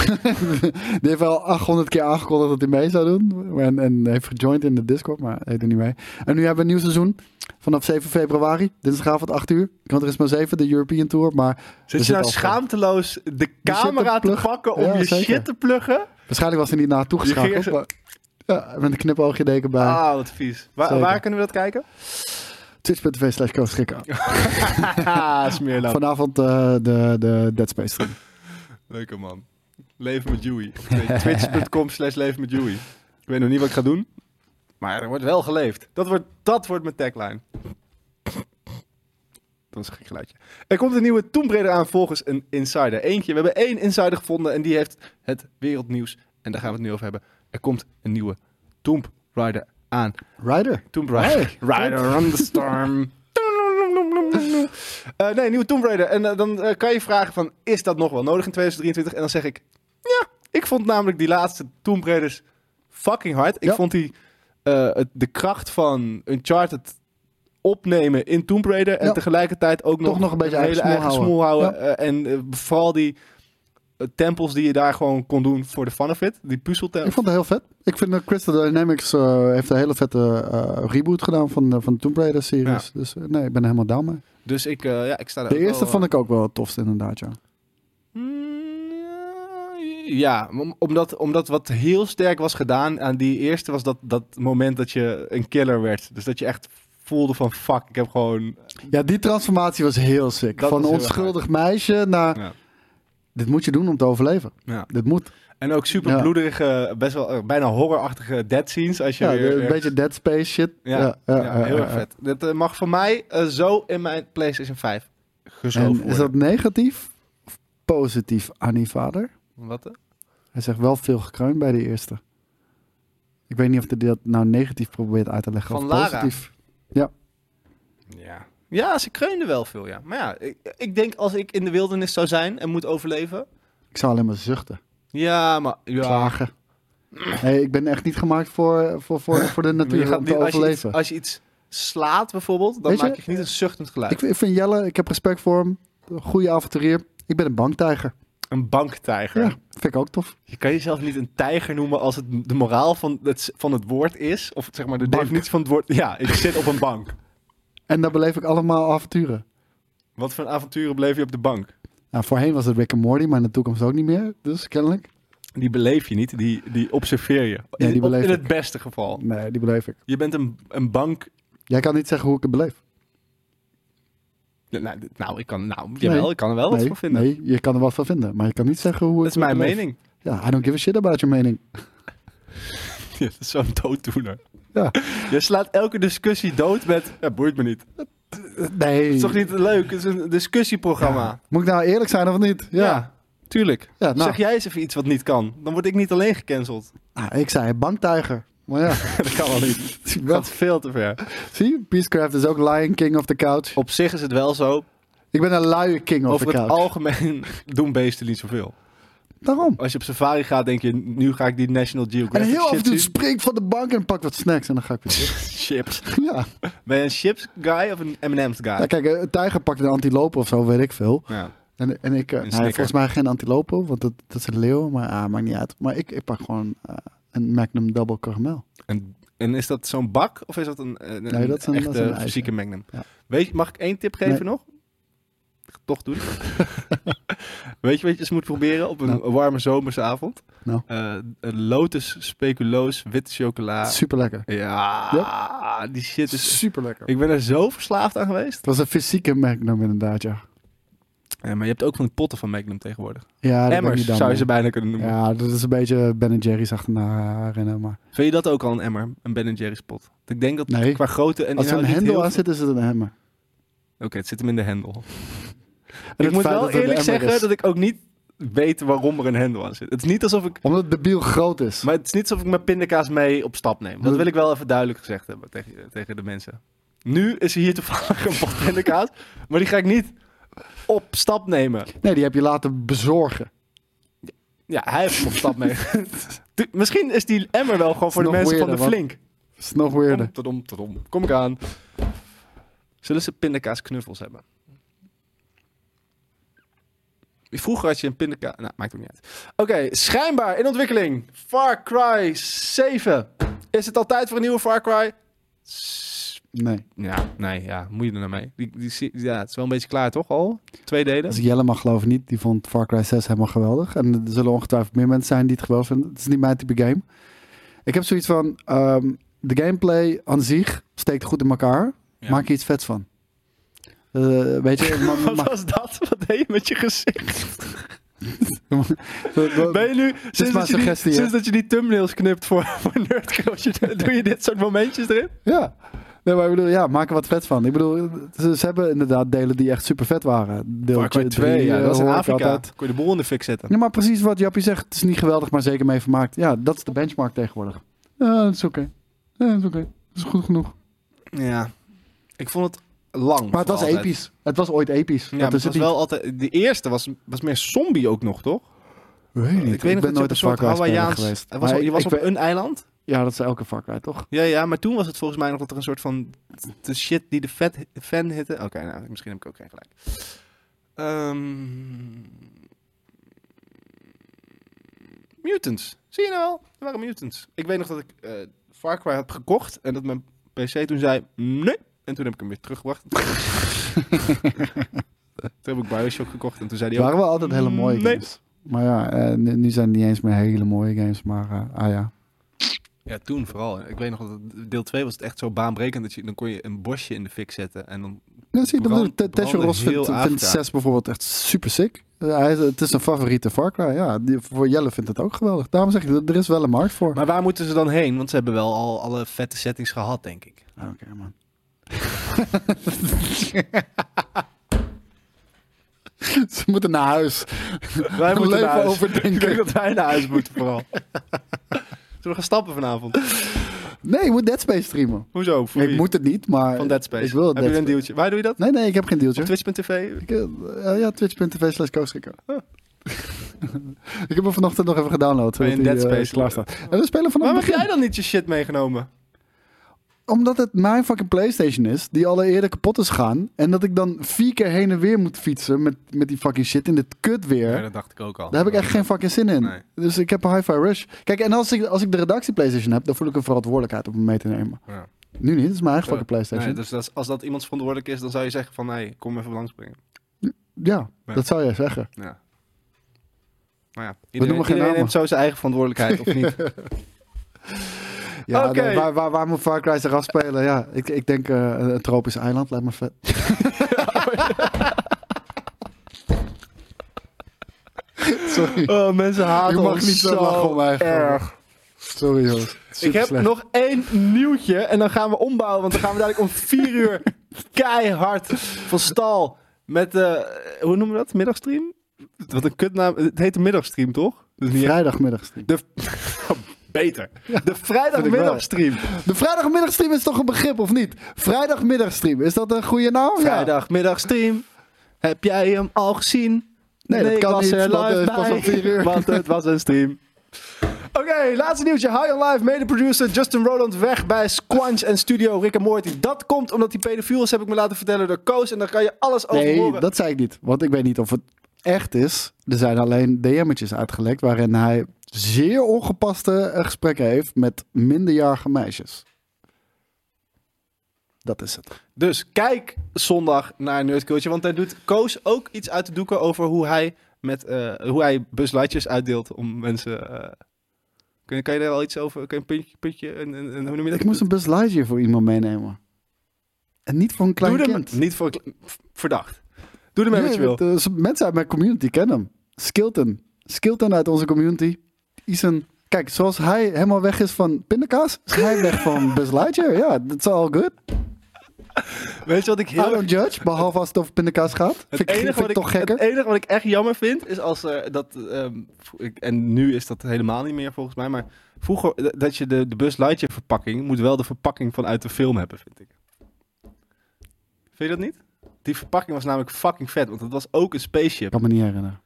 Speaker 2: Die heeft wel 800 keer aangekondigd dat hij mee zou doen. En, en heeft gejoind in de Discord, maar hij doet niet mee. En nu hebben we een nieuw seizoen. Vanaf 7 februari, dinsdagavond 8 uur. Gran Turismo 7, de European Tour. Maar
Speaker 1: Zit je
Speaker 2: zit
Speaker 1: nou
Speaker 2: al-
Speaker 1: schaamteloos de camera
Speaker 2: shit
Speaker 1: te,
Speaker 2: te pluggen.
Speaker 1: pakken om
Speaker 2: Ja,
Speaker 1: je
Speaker 2: zeker.
Speaker 1: shit te pluggen?
Speaker 2: waarschijnlijk was hij niet naartoe
Speaker 1: Je ging
Speaker 2: geschakeld.
Speaker 1: er-
Speaker 2: maar- Ja, met een knipoogje deken bij.
Speaker 1: Ah, wat vies. Waar,
Speaker 2: Zeker.
Speaker 1: waar kunnen we dat kijken?
Speaker 2: Twitch.tv slash Koos Schikker. Ah,
Speaker 1: Haha, smeerlap.
Speaker 2: Vanavond eh, de, de Dead Space stream.
Speaker 1: Leuke man. Leven met Dewey. Nee, Twitch.com slash leven met Dewey. Ik weet nog niet wat ik ga doen. Maar er wordt wel geleefd. Dat wordt, dat wordt mijn tagline. Dat is een gek geluidje. Er komt een nieuwe Tomb Raider aan volgens een insider. Eentje. We hebben één insider gevonden en die heeft het wereldnieuws. En daar gaan we het nu over hebben. Er komt een nieuwe Tomb Raider aan.
Speaker 2: Rider.
Speaker 1: Tomb Raider. Rider on the Storm. Eh, nee, nieuwe Tomb Raider. En eh, dan eh, kan je vragen van, is dat nog wel nodig in 2023? En dan zeg ik, ja. Ik vond namelijk die laatste Tomb Raiders fucking hard. Ik
Speaker 2: Ja.
Speaker 1: vond die, eh, het, de kracht van Uncharted opnemen in Tomb Raider. En
Speaker 2: Ja.
Speaker 1: tegelijkertijd ook
Speaker 2: Toch
Speaker 1: nog,
Speaker 2: nog een beetje eigen
Speaker 1: hele
Speaker 2: smoel
Speaker 1: eigen
Speaker 2: houden.
Speaker 1: smoel houden. Eh, en eh, vooral die eh, tempels die je daar gewoon kon doen voor de fun of it. Die
Speaker 2: Ik
Speaker 1: puzzeltempels.
Speaker 2: vond het heel vet. Ik vind dat Crystal Dynamics eh, heeft een hele vette eh, reboot gedaan van, de- van de Tomb Raider series. Dus eh, nee, ik ben er helemaal down mee.
Speaker 1: Dus ik, eh, ja, ik sta daar
Speaker 2: De
Speaker 1: ook wel,
Speaker 2: eerste
Speaker 1: eh,
Speaker 2: vond ik ook wel het tofste inderdaad, ja.
Speaker 1: Mm, Ja, om- omdat, omdat wat heel sterk was gedaan aan die eerste was dat, dat moment dat je een killer werd. Dus dat je echt voelde van fuck, ik heb gewoon... eh,
Speaker 2: Ja, die transformatie was heel sick.
Speaker 1: Dat
Speaker 2: Van
Speaker 1: was
Speaker 2: een
Speaker 1: heel erg
Speaker 2: onschuldig meisje naar...
Speaker 1: Ja.
Speaker 2: Dit moet je doen om te overleven.
Speaker 1: Ja.
Speaker 2: Dit moet.
Speaker 1: En ook super
Speaker 2: Ja.
Speaker 1: bloederige, best wel eh, bijna horrorachtige dead scenes. Als je
Speaker 2: Ja,
Speaker 1: weer,
Speaker 2: een beetje Dead Space shit.
Speaker 1: Ja,
Speaker 2: ja,
Speaker 1: ja,
Speaker 2: ja,
Speaker 1: heel
Speaker 2: ja,
Speaker 1: erg
Speaker 2: ja.
Speaker 1: vet. Dat eh, mag voor mij eh, zo in mijn PlayStation 5 gezogen
Speaker 2: En
Speaker 1: worden.
Speaker 2: is dat negatief of positief aan die vader?
Speaker 1: Wat? eh?
Speaker 2: Hij zegt wel veel gekreun bij de eerste. Ik weet niet of hij dat nou negatief probeert uit te leggen
Speaker 1: Van
Speaker 2: of
Speaker 1: Lara.
Speaker 2: positief.
Speaker 1: Ja. Ja, ze kreunden wel veel, ja. Maar ja, ik, ik denk als ik in de wildernis zou zijn en moet overleven.
Speaker 2: Ik zou alleen maar zuchten,
Speaker 1: Ja, maar. Ja.
Speaker 2: klagen. Nee, ik ben echt niet gemaakt voor, voor, voor, voor de natuur
Speaker 1: Je gaat
Speaker 2: om
Speaker 1: niet-
Speaker 2: te
Speaker 1: als, je iets,
Speaker 2: overleven.
Speaker 1: als je iets slaat bijvoorbeeld, dan
Speaker 2: Weet je,
Speaker 1: maak je niet een zuchtend geluid.
Speaker 2: Ik, vind- ik vind Jelle, ik heb respect voor hem. Goede avonturier. Ik ben een banktijger.
Speaker 1: Een banktijger.
Speaker 2: Ja, vind ik ook tof.
Speaker 1: Je kan jezelf niet een tijger noemen als het de moraal van het, van het woord is. Of zeg maar de
Speaker 2: Bank.
Speaker 1: definitie van het woord. Ja, ik zit op een bank.
Speaker 2: En dan beleef ik allemaal avonturen.
Speaker 1: Wat voor avonturen beleef je op de bank?
Speaker 2: Nou, voorheen was het Rick and Morty, maar in de toekomst ook niet meer. Dus kennelijk.
Speaker 1: Die beleef je niet, die, die observeer je. In,
Speaker 2: Ja, die
Speaker 1: op-
Speaker 2: beleef
Speaker 1: in
Speaker 2: ik.
Speaker 1: het beste geval.
Speaker 2: Nee, die beleef ik.
Speaker 1: Je bent een, een bank.
Speaker 2: Jij kan niet zeggen hoe ik het beleef.
Speaker 1: Ja, Nou, dit- nou, ik kan, nou jawel, ik kan er wel wat
Speaker 2: nee,
Speaker 1: van vinden.
Speaker 2: nee, je kan er wat van vinden. Maar je kan niet zeggen hoe
Speaker 1: dat
Speaker 2: ik
Speaker 1: is
Speaker 2: het
Speaker 1: mijn
Speaker 2: beleef.
Speaker 1: mening.
Speaker 2: Ja, I don't give a shit about your mening.
Speaker 1: Ja, dat is zo'n dooddoener.
Speaker 2: Ja.
Speaker 1: Je slaat elke discussie dood met. Ja, boeit me niet. Het
Speaker 2: Nee.
Speaker 1: is toch niet leuk? Het is een discussieprogramma.
Speaker 2: Moet ik nou eerlijk zijn of niet? Ja. ja.
Speaker 1: tuurlijk.
Speaker 2: nou,
Speaker 1: Zeg jij eens even iets wat niet kan, dan word ik niet alleen gecanceld.
Speaker 2: nou, ik zei banktijger. Maar ja,
Speaker 1: dat kan wel niet.
Speaker 2: wel,
Speaker 1: Dat is veel te ver.
Speaker 2: zie je? Beastcraft is ook Lion King of the Couch.
Speaker 1: Op zich is het wel zo.
Speaker 2: Ik ben een luie King of
Speaker 1: Over
Speaker 2: the
Speaker 1: het
Speaker 2: Couch.
Speaker 1: algemeen doen beesten niet zoveel.
Speaker 2: Daarom.
Speaker 1: Als je op safari gaat, denk je, nu ga ik die National
Speaker 2: En
Speaker 1: Geographic
Speaker 2: heel af en
Speaker 1: shit
Speaker 2: toe
Speaker 1: zien.
Speaker 2: spring ik van de bank en pak wat snacks en dan ga ik weer terug.
Speaker 1: Chips.
Speaker 2: ja.
Speaker 1: Ben je een chips guy of een M&M's guy?
Speaker 2: ja, kijk, eh, een tijger pakt een antilope of zo, weet ik veel.
Speaker 1: Ja.
Speaker 2: En, en ik, eh, nou,
Speaker 1: snicker.
Speaker 2: volgens mij geen antilopen, want dat, dat is een leeuw, maar ah, maakt niet uit. Maar ik, ik pak gewoon eh, een Magnum Double Caramel.
Speaker 1: En, en is dat zo'n bak of is dat een, een,
Speaker 2: Nee, dat is een-
Speaker 1: een echte
Speaker 2: dat is een ijzer.
Speaker 1: fysieke magnum?
Speaker 2: Ja.
Speaker 1: Weet je, mag ik één tip geven
Speaker 2: Nee.
Speaker 1: nog? Toch doen. Weet je wat je eens moet proberen op een
Speaker 2: Nou.
Speaker 1: warme zomersavond?
Speaker 2: Nou.
Speaker 1: Eh, een lotus, speculoos, witte chocola.
Speaker 2: Super lekker.
Speaker 1: Ja, die shit Ah. is...
Speaker 2: Super lekker.
Speaker 1: Ik ben er zo verslaafd aan geweest.
Speaker 2: Het was een fysieke Magnum inderdaad, ja.
Speaker 1: Ja, maar je hebt ook van die potten van Magnum tegenwoordig.
Speaker 2: Ja, dat ben
Speaker 1: Emmers
Speaker 2: ik niet
Speaker 1: zou je ze
Speaker 2: dan.
Speaker 1: bijna kunnen noemen.
Speaker 2: Ja, dat is een beetje Ben Jerry's achterna rennen, maar...
Speaker 1: Vind je dat ook al een emmer? Een Ben Jerry's pot? Ik denk dat
Speaker 2: Nee.
Speaker 1: qua grootte en
Speaker 2: Als er een
Speaker 1: inhoud niet heel
Speaker 2: hendel aan
Speaker 1: veel-
Speaker 2: zit, is het een hemmer.
Speaker 1: Oké, het zit hem in de hendel.
Speaker 2: En
Speaker 1: Ik
Speaker 2: het
Speaker 1: moet
Speaker 2: feit
Speaker 1: wel
Speaker 2: dat het een
Speaker 1: eerlijk
Speaker 2: emmer
Speaker 1: zeggen
Speaker 2: is.
Speaker 1: dat ik ook niet weet waarom er een hendel aan zit. Het is niet alsof ik,
Speaker 2: Omdat de biel groot is.
Speaker 1: maar het is niet alsof ik mijn pindakaas mee op stap neem.
Speaker 2: Hm.
Speaker 1: Dat wil ik wel even duidelijk gezegd hebben tegen, tegen de mensen. Nu is er hier toevallig een pot pindakaas, maar die ga ik niet op stap nemen.
Speaker 2: Nee, die heb je laten bezorgen.
Speaker 1: Ja, hij heeft hem op stap mee. Du- Misschien is die emmer wel gewoon voor de
Speaker 2: nog
Speaker 1: mensen van de
Speaker 2: weirder,
Speaker 1: flink.
Speaker 2: Dat is nog
Speaker 1: Kom,
Speaker 2: weerder.
Speaker 1: tadom, tadom. Kom ik aan. Zullen ze pindakaas knuffels hebben? Vroeger had je een pindakaas... Nou, maakt ook niet uit. Oké, schijnbaar in ontwikkeling. Far Cry 7. Is het al tijd voor een nieuwe Far Cry? S-
Speaker 2: Nee.
Speaker 1: Ja, nee, ja. Moet je er nou mee? Die, die, zie- ja, het is wel een beetje klaar, toch al? Twee delen?
Speaker 2: Als ik Jelle mag geloven niet, die vond Far Cry 6 helemaal geweldig. En er zullen ongetwijfeld meer mensen zijn die het geweldig vinden. Het is niet mijn type game. Ik heb zoiets van, ehm, de gameplay aan zich steekt goed in elkaar.
Speaker 1: Ja.
Speaker 2: Maak er iets vets van. Eh, weet je, ma- ma-
Speaker 1: Wat was dat? Wat deed je met je gezicht?
Speaker 2: ma-
Speaker 1: Ben je nu, sinds,
Speaker 2: maar
Speaker 1: dat je, die,
Speaker 2: suggestie, hè?
Speaker 1: sinds dat je die thumbnails knipt voor, voor Nerdcoach, doe je dit soort momentjes erin?
Speaker 2: Ja. Nee, maar ik bedoel, ja, maak er wat vet van. Ik bedoel, ze, ze hebben inderdaad delen die echt super vet waren. Deel
Speaker 1: Far Cry
Speaker 2: 3,
Speaker 1: 2, ja,
Speaker 2: eh,
Speaker 1: dat was in
Speaker 2: hoor ik
Speaker 1: Afrika.
Speaker 2: altijd.
Speaker 1: Kon je de boel in de fik zetten.
Speaker 2: Ja, maar precies wat Jappie zegt. Het is niet geweldig, maar zeker mee vermaakt. Ja, dat is de benchmark tegenwoordig. Ja, dat is oké. Ja, dat is oké. Dat is goed genoeg.
Speaker 1: Ja. Ik vond het lang.
Speaker 2: Maar het was
Speaker 1: altijd.
Speaker 2: episch. Het was ooit episch.
Speaker 1: Ja,
Speaker 2: dat
Speaker 1: maar
Speaker 2: is
Speaker 1: het was
Speaker 2: niet.
Speaker 1: wel altijd... De eerste was, was meer zombie ook nog, toch?
Speaker 2: Weet niet.
Speaker 1: Ik weet nog dat je op
Speaker 2: ben nooit
Speaker 1: een
Speaker 2: een
Speaker 1: soort
Speaker 2: Far Cry speler
Speaker 1: Hawaiiaans...
Speaker 2: geweest.
Speaker 1: Er was,
Speaker 2: Maar
Speaker 1: al- je
Speaker 2: ik-
Speaker 1: was
Speaker 2: ik
Speaker 1: op
Speaker 2: ben-
Speaker 1: een eiland.
Speaker 2: Ja, dat is elke Far Cry, toch?
Speaker 1: Ja, ja, maar toen was het volgens mij nog dat er een soort van... De shit die de vet, fan hitte... Oké, nou, misschien heb ik ook geen gelijk. Ehm, mutants. Zie je nou wel? Er waren mutants. Ik weet nog dat ik eh, Far Cry had gekocht en dat mijn PC toen zei nee. En toen heb ik hem weer teruggebracht. toen heb ik Bioshock gekocht en toen zei
Speaker 2: Die
Speaker 1: hij ook...
Speaker 2: waren wel altijd hele mooie
Speaker 1: Nee.
Speaker 2: games. Maar ja, eh, nu, nu zijn het niet eens meer hele mooie games. Maar eh, ah ja.
Speaker 1: Ja, toen vooral. Ik weet nog dat het- deel 2 was het echt zo baanbrekend dat je... Dan kon je een bosje in de fik zetten en dan...
Speaker 2: Ja, zie je, dat
Speaker 1: Brand-
Speaker 2: bedoel ik. Te- Tesho
Speaker 1: brandde
Speaker 2: Ross
Speaker 1: heel
Speaker 2: vindt, vindt
Speaker 1: Afrika.
Speaker 2: 6 bijvoorbeeld echt super sick. Eh, hij, het is een favoriete Far Cry. Ja, die, voor Jelle vindt het ook geweldig. Daarom zeg ik, er- er is wel een markt voor.
Speaker 1: Maar waar moeten ze dan heen? Want ze hebben wel al alle vette settings gehad, denk ik.
Speaker 2: Ah, Oké, man. Ze moeten naar huis.
Speaker 1: Wij moeten
Speaker 2: Leven
Speaker 1: naar huis.
Speaker 2: overdenken.
Speaker 1: Ik denk dat wij naar huis moeten vooral. Zullen we gaan stappen vanavond?
Speaker 2: Nee, ik moet Dead Space streamen.
Speaker 1: Hoezo? Voor
Speaker 2: ik
Speaker 1: wie?
Speaker 2: moet het niet, maar...
Speaker 1: Van Dead Space. Nou,
Speaker 2: Ik wil
Speaker 1: Heb
Speaker 2: Dead
Speaker 1: je een
Speaker 2: Space.
Speaker 1: deeltje? Waar doe je dat?
Speaker 2: Nee, nee, ik heb geen dealtje.
Speaker 1: Op twitch.tv?
Speaker 2: Ik, eh, ja, twitch.tv slash kooschikker.
Speaker 1: Huh.
Speaker 2: ik heb hem vanochtend nog even gedownload.
Speaker 1: Ben je
Speaker 2: zodat
Speaker 1: in
Speaker 2: hij,
Speaker 1: Dead
Speaker 2: eh,
Speaker 1: Space?
Speaker 2: klaar staat. En we spelen vanaf
Speaker 1: Waarom
Speaker 2: het
Speaker 1: heb jij
Speaker 2: begin.
Speaker 1: dan niet je shit meegenomen?
Speaker 2: Omdat het mijn fucking Playstation is, die al eerder kapot is gegaan. En dat ik dan vier keer heen en weer moet fietsen met, met die fucking shit in dit kut weer.
Speaker 3: Ja, dat dacht ik ook al.
Speaker 2: Daar heb ik echt geen fucking zin in.
Speaker 3: Nee.
Speaker 2: Dus ik heb een hi-fi rush. Kijk, en als ik, als ik de redactie PlayStation heb, dan voel ik een verantwoordelijkheid om hem mee te nemen.
Speaker 3: Ja.
Speaker 2: Nu niet, het is mijn eigen
Speaker 1: Ja.
Speaker 2: fucking PlayStation.
Speaker 1: Nee, dus dat is- als dat iemands verantwoordelijk is, dan zou je zeggen van... Hey, kom even langspringen.
Speaker 2: Ja,
Speaker 3: Ja.
Speaker 2: dat zou jij zeggen.
Speaker 3: Ja. Maar ja,
Speaker 1: Iedereen,
Speaker 2: noemen geen
Speaker 1: iedereen
Speaker 2: namen.
Speaker 1: neemt zo zijn eigen verantwoordelijkheid, of niet?
Speaker 2: Ja,
Speaker 1: Oké.
Speaker 2: nee, waar, waar, waar moet Far Cry zich afspelen? Ja, ik, ik denk eh, een- een tropisch eiland, lijkt me vet. Sorry.
Speaker 1: Oh, mensen haten
Speaker 2: Je mag
Speaker 1: ons
Speaker 2: niet zo lachen om mij,
Speaker 1: erg.
Speaker 2: Sorry, jongens.
Speaker 1: Ik heb
Speaker 2: Superslecht.
Speaker 1: nog één nieuwtje en dan gaan we ombouwen. Want dan gaan we dadelijk om vier uur keihard van stal met... eh, hoe noemen we dat? Middagstream? Wat een kutnaam. Het heet de middagstream, toch? Dus niet echt-
Speaker 2: vrijdagmiddagstream.
Speaker 1: De... Beter. De vrijdagmiddagstream.
Speaker 2: De vrijdagmiddagstream is toch een begrip, of niet? Vrijdagmiddagstream, is dat een goede naam? Ja.
Speaker 1: Vrijdagmiddagstream. Heb jij hem al gezien?
Speaker 2: Nee, dat
Speaker 1: ik
Speaker 2: kan
Speaker 1: was
Speaker 2: niet,
Speaker 1: Er
Speaker 2: want,
Speaker 1: live
Speaker 2: eh, pas
Speaker 1: bij,
Speaker 2: om vier uur.
Speaker 1: Want het was een stream. Oké, laatste nieuwtje. High on Life, mede-producer Justin Roland weg bij Squanch en studio Rick en Morty. Dat komt omdat hij pedofiel is, heb ik me laten vertellen door Koos. En daar kan je alles over
Speaker 2: Nee,
Speaker 1: horen.
Speaker 2: dat zei ik niet. Want ik weet niet of het echt is. Er zijn alleen DM'tjes uitgelekt waarin hij zeer ongepaste eh, gesprekken heeft met minderjarige meisjes. Dat is het.
Speaker 1: Dus kijk zondag naar Nerd Culture, want daar doet Koos ook iets uit te doeken over hoe hij, met, eh, hoe hij buslightjes uitdeelt om mensen... eh, kun, je- kan je daar wel iets over? Kun je een puntje, puntje een, een, een- hoe noem je dat?
Speaker 2: Ik moest een bus lightje voor iemand meenemen. En niet voor een klein
Speaker 1: Doe er
Speaker 2: kind.
Speaker 1: maar- Niet voor kle- v- verdacht. Doe er mee wat je wil.
Speaker 2: Nee, het, eh, mensen uit mijn community kennen hem. Skilton. Skilton uit onze community. Is een... Kijk, zoals hij helemaal weg is van pindakaas, is hij weg van bus lightje. Ja, that's all good.
Speaker 1: Weet je wat ik heel
Speaker 2: I don't judge, behalve als het over pindakaas gaat.
Speaker 1: Het
Speaker 2: Ah, vind ik,
Speaker 1: enige,
Speaker 2: vind
Speaker 1: wat
Speaker 2: ik
Speaker 1: ik,
Speaker 2: toch
Speaker 1: het e-
Speaker 2: gekker.
Speaker 1: enige wat ik echt jammer vind is als eh, dat. ehm, v- ik- en nu is dat helemaal niet meer volgens mij. Maar vroeger d- dat je de, de Buzz Lightyear verpakking. moet wel de verpakking vanuit de film hebben, vind ik. Vind je dat niet? Die verpakking was namelijk fucking vet. Want het was ook een
Speaker 2: Ik
Speaker 1: spaceship.
Speaker 2: kan me niet herinneren.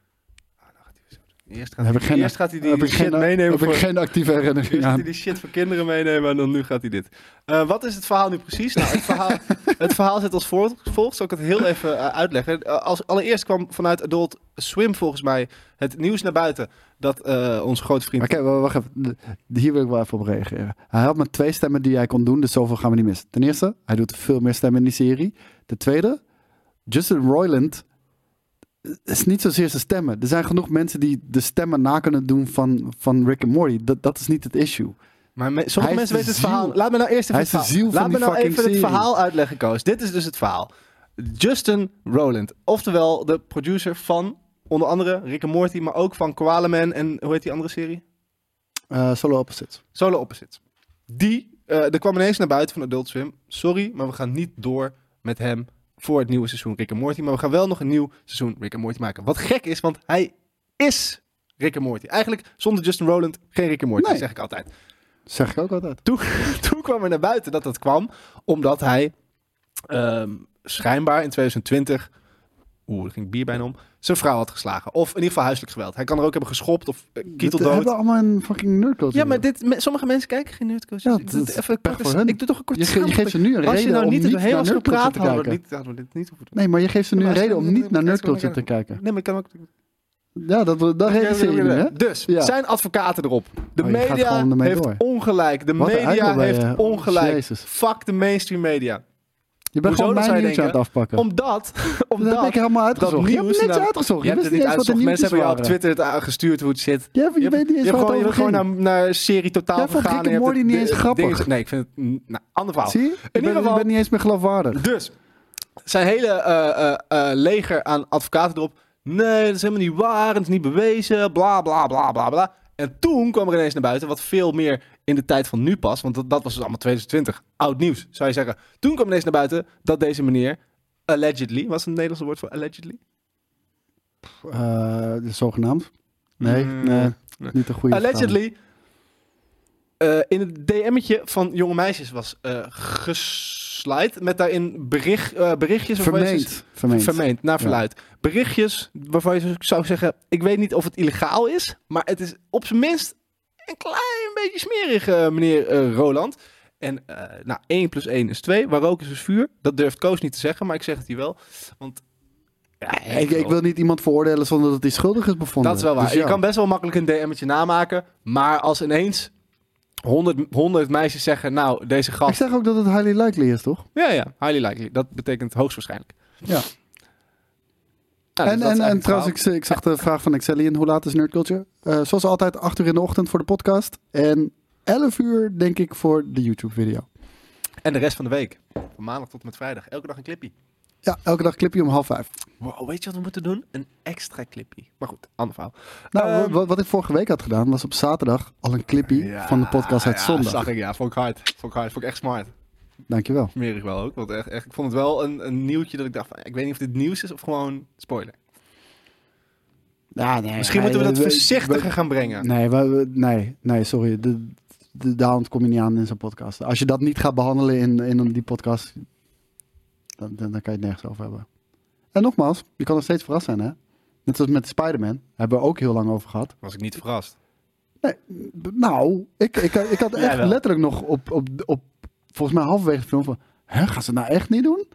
Speaker 1: Eerst gaat,
Speaker 2: Heb ik
Speaker 1: hij,
Speaker 2: geen,
Speaker 1: eerst gaat hij die
Speaker 2: heb ik
Speaker 1: shit
Speaker 2: geen,
Speaker 1: meenemen.
Speaker 2: Heb
Speaker 1: Voor,
Speaker 2: ik geen actieve herinnering
Speaker 1: Eerst gaat
Speaker 2: aan.
Speaker 1: hij die shit voor kinderen meenemen en dan nu gaat hij dit. Eh, wat is het verhaal nu precies? Nou, het, verhaal, het verhaal zit als voor- volgt. Zal ik het heel even eh, uitleggen. Eh, als, allereerst kwam vanuit Adult Swim volgens mij het nieuws naar buiten dat eh, onze grote vriend...
Speaker 2: Maar kijk, wa- wacht even. De- Hier wil ik wel even op reageren. Hij had maar twee stemmen die hij kon doen, dus zoveel gaan we niet missen. Ten eerste, hij doet veel meer stemmen in die serie. Ten tweede, Justin Roiland is niet zozeer zijn stemmen. Er zijn genoeg mensen die de stemmen na kunnen doen van, van Rick en Morty. Dat, dat is niet het issue.
Speaker 1: Maar me-
Speaker 2: Hij
Speaker 1: sommige
Speaker 2: is
Speaker 1: mensen
Speaker 2: de
Speaker 1: weten het
Speaker 2: ziel.
Speaker 1: verhaal. Laat me nou eerst even
Speaker 2: Hij
Speaker 1: het
Speaker 2: is de
Speaker 1: verhaal.
Speaker 2: ziel van
Speaker 1: Laat
Speaker 2: die
Speaker 1: me nou
Speaker 2: fucking
Speaker 1: even
Speaker 2: serie.
Speaker 1: het verhaal uitleggen, Koos. Dit is dus het verhaal. Justin Roland, oftewel de producer van onder andere Rick en Morty, maar ook van Koala Man en hoe heet die andere serie?
Speaker 2: Eh, solo opposites.
Speaker 1: Solo Opposites. Die, eh er kwam ineens naar buiten van Adult Swim. Sorry, maar we gaan niet door met hem voor het nieuwe seizoen Rick en Morty. Maar we gaan wel nog een nieuw seizoen Rick en Morty maken. Wat gek is, want hij is Rick en Morty. Eigenlijk zonder Justin Roland geen Rick en Morty,
Speaker 2: Nee.
Speaker 1: zeg ik altijd.
Speaker 2: Zeg ik ook altijd.
Speaker 1: Toen, toen kwam er naar buiten dat dat kwam omdat hij ehm, schijnbaar in 2020... Oeh, er ging bier bijna om. Zijn vrouw had geslagen. Of in ieder geval huiselijk geweld. Hij kan er ook hebben geschopt of eh,
Speaker 2: Dit
Speaker 1: kieteldood.
Speaker 2: hebben allemaal een fucking nerdculture.
Speaker 1: Ja, maar dit, me- sommige mensen kijken geen nerdcoach.
Speaker 2: Ja,
Speaker 1: Ja,
Speaker 2: dat
Speaker 1: ik, doe
Speaker 2: is
Speaker 1: het even een
Speaker 2: pech
Speaker 1: korte-
Speaker 2: voor hen.
Speaker 1: ik doe toch een korte
Speaker 2: Je, ge- je geeft ze nu een
Speaker 1: Als je
Speaker 2: reden
Speaker 1: nou
Speaker 2: om
Speaker 1: niet
Speaker 2: niet
Speaker 1: doorheen
Speaker 2: naar
Speaker 1: was gepraat,
Speaker 2: nerdculture te
Speaker 1: hadden we
Speaker 2: kijken.
Speaker 1: niet, hadden we dit niet hoeven doen.
Speaker 2: Nee, maar je geeft ze nu
Speaker 1: Maar
Speaker 2: een
Speaker 1: als je
Speaker 2: reden
Speaker 1: dan
Speaker 2: om
Speaker 1: niet
Speaker 2: niet naar
Speaker 1: naar
Speaker 2: nerdculture te
Speaker 1: kijken-
Speaker 2: kijken.
Speaker 1: Nee, maar ik kan ook...
Speaker 2: Ja, dat, dat realiseer je nu, hè?
Speaker 1: Dus,
Speaker 2: Ja.
Speaker 1: zijn advocaten erop. De
Speaker 2: Oh, je gaat
Speaker 1: media
Speaker 2: gewoon ermee
Speaker 1: heeft
Speaker 2: door.
Speaker 1: ongelijk. De
Speaker 2: Wat een
Speaker 1: media
Speaker 2: eikel ben je.
Speaker 1: heeft ongelijk.
Speaker 2: Jezus.
Speaker 1: Fuck de mainstream media.
Speaker 2: Je bent
Speaker 1: Hoezo,
Speaker 2: gewoon
Speaker 1: dat zou
Speaker 2: mijn
Speaker 1: je
Speaker 2: nieuwtje aan het
Speaker 1: denken?
Speaker 2: afpakken.
Speaker 1: Omdat...
Speaker 2: dat heb ik
Speaker 1: omdat
Speaker 2: helemaal uitgezocht. je
Speaker 1: nieuws
Speaker 2: hebt niks
Speaker 1: nou-
Speaker 2: uitgezocht.
Speaker 1: Je
Speaker 2: Je,
Speaker 1: hebt het
Speaker 2: wist
Speaker 1: niet
Speaker 2: niet eens wat
Speaker 1: uitgezocht. Mensen
Speaker 2: de nieuwtjes
Speaker 1: hebben jou
Speaker 2: waren.
Speaker 1: op Twitter het aangestuurd hoe het zit.
Speaker 2: Ja, je,
Speaker 1: Je
Speaker 2: weet niet
Speaker 1: je
Speaker 2: eens
Speaker 1: hebt
Speaker 2: waar het
Speaker 1: gewoon, je
Speaker 2: over
Speaker 1: bent gewoon naar,
Speaker 2: ging.
Speaker 1: naar serie totaal
Speaker 2: Jij vond
Speaker 1: gegaan.
Speaker 2: Rick
Speaker 1: en
Speaker 2: en
Speaker 1: je hebt
Speaker 2: Morty
Speaker 1: het-
Speaker 2: niet eens
Speaker 1: de-
Speaker 2: grappig.
Speaker 1: dingen- Nee, ik vind het... mm, Nou, ander verhaal.
Speaker 2: Zie je? Je bent-
Speaker 1: ieder
Speaker 2: Je
Speaker 1: geval-
Speaker 2: bent niet eens meer geloofwaardig.
Speaker 1: Dus zijn hele eh, eh, eh, leger aan advocaten erop. Nee, dat is helemaal niet waar. en Het is niet bewezen. Bla bla bla bla bla. En toen kwam er ineens naar buiten, wat veel meer in de tijd van nu past. Want dat, dat was dus allemaal 2020. Oud nieuws, zou je zeggen. Toen kwam ineens naar buiten dat deze meneer. Allegedly, was het Nederlandse woord voor allegedly?
Speaker 2: Eh, Zogenaamd. Nee,
Speaker 1: Mm,
Speaker 2: nee.
Speaker 1: nee.
Speaker 2: Niet een goede
Speaker 1: Allegedly. eh, in het DM'tje van jonge meisjes was eh geslaaid. Met daarin bericht, eh, berichtjes. of hoe heet
Speaker 2: Vermeend. Vermeend.
Speaker 1: het? Vermeend, naar
Speaker 2: Ja.
Speaker 1: verluid. Berichtjes waarvan je zou zeggen... Ik weet niet of het illegaal is. Maar het is op zijn minst een klein beetje smerig, eh, meneer eh, Roland. En eh nou, 1 plus 1 is 2. Waar rook is, is vuur. Dat durft Koos niet te zeggen, maar ik zeg het hier wel. Want... Ja,
Speaker 2: Ik, ik wil niet iemand veroordelen zonder dat hij schuldig is bevonden.
Speaker 1: Dat is wel waar.
Speaker 2: Dus
Speaker 1: je
Speaker 2: ja.
Speaker 1: kan best wel makkelijk een DM'tje namaken. Maar als ineens 100, 100 meisjes zeggen, nou, deze
Speaker 2: Ik
Speaker 1: gast...
Speaker 2: zeg ook dat het highly likely is, toch?
Speaker 1: Ja, ja, highly likely. Dat betekent hoogstwaarschijnlijk.
Speaker 2: Ja.
Speaker 1: Nou, dus dat is
Speaker 2: en en,
Speaker 1: eigenlijk
Speaker 2: en
Speaker 1: het
Speaker 2: trouwens, ik, z- ik zag de vraag van Excellion, hoe laat is Nerd Culture? Eh, zoals altijd, 8 uur in de ochtend voor de podcast. En 11 uur, denk ik, voor de YouTube-video.
Speaker 1: verhaal. En de rest van de week. Van maandag tot en met vrijdag. Elke dag een clipje.
Speaker 2: Ja, elke dag clipje om half vijf.
Speaker 1: Wow, weet je wat we moeten doen? Een extra clipje. Maar goed, ander verhaal.
Speaker 2: Nou,
Speaker 1: Ehm.
Speaker 2: wat, wat ik vorige week had gedaan, was op zaterdag al een clipje van de podcast uit
Speaker 1: Ah, ja,
Speaker 2: zondag.
Speaker 1: zag ik, ja. Vond ik hard. Vond ik hard. Vond ik echt smart.
Speaker 2: Dankjewel.
Speaker 1: Meer ik wel ook. Want echt, echt, ik vond het wel een, een nieuwtje dat ik dacht, van, ik weet niet of dit nieuws is of gewoon spoiler.
Speaker 2: Ja, nee,
Speaker 1: Misschien
Speaker 2: nee,
Speaker 1: moeten we dat
Speaker 2: we-
Speaker 1: voorzichtiger gaan brengen.
Speaker 2: Nee, we- we- nee, nee, sorry. De, de, de hand kom je niet aan in zo'n podcast. Als je dat niet gaat behandelen in, in die podcast, dan, dan, dan kan je het nergens over hebben. En nogmaals, je kan nog steeds verrast zijn, hè? Net zoals met Spider-Man. Daar hebben we ook heel lang over gehad.
Speaker 3: Was ik niet verrast.
Speaker 2: Nee, b- nou, ik, ik, ik had echt
Speaker 1: Jawel.
Speaker 2: letterlijk nog op, op, op, volgens mij halverwege de film van, hè, gaan ze het nou echt niet doen?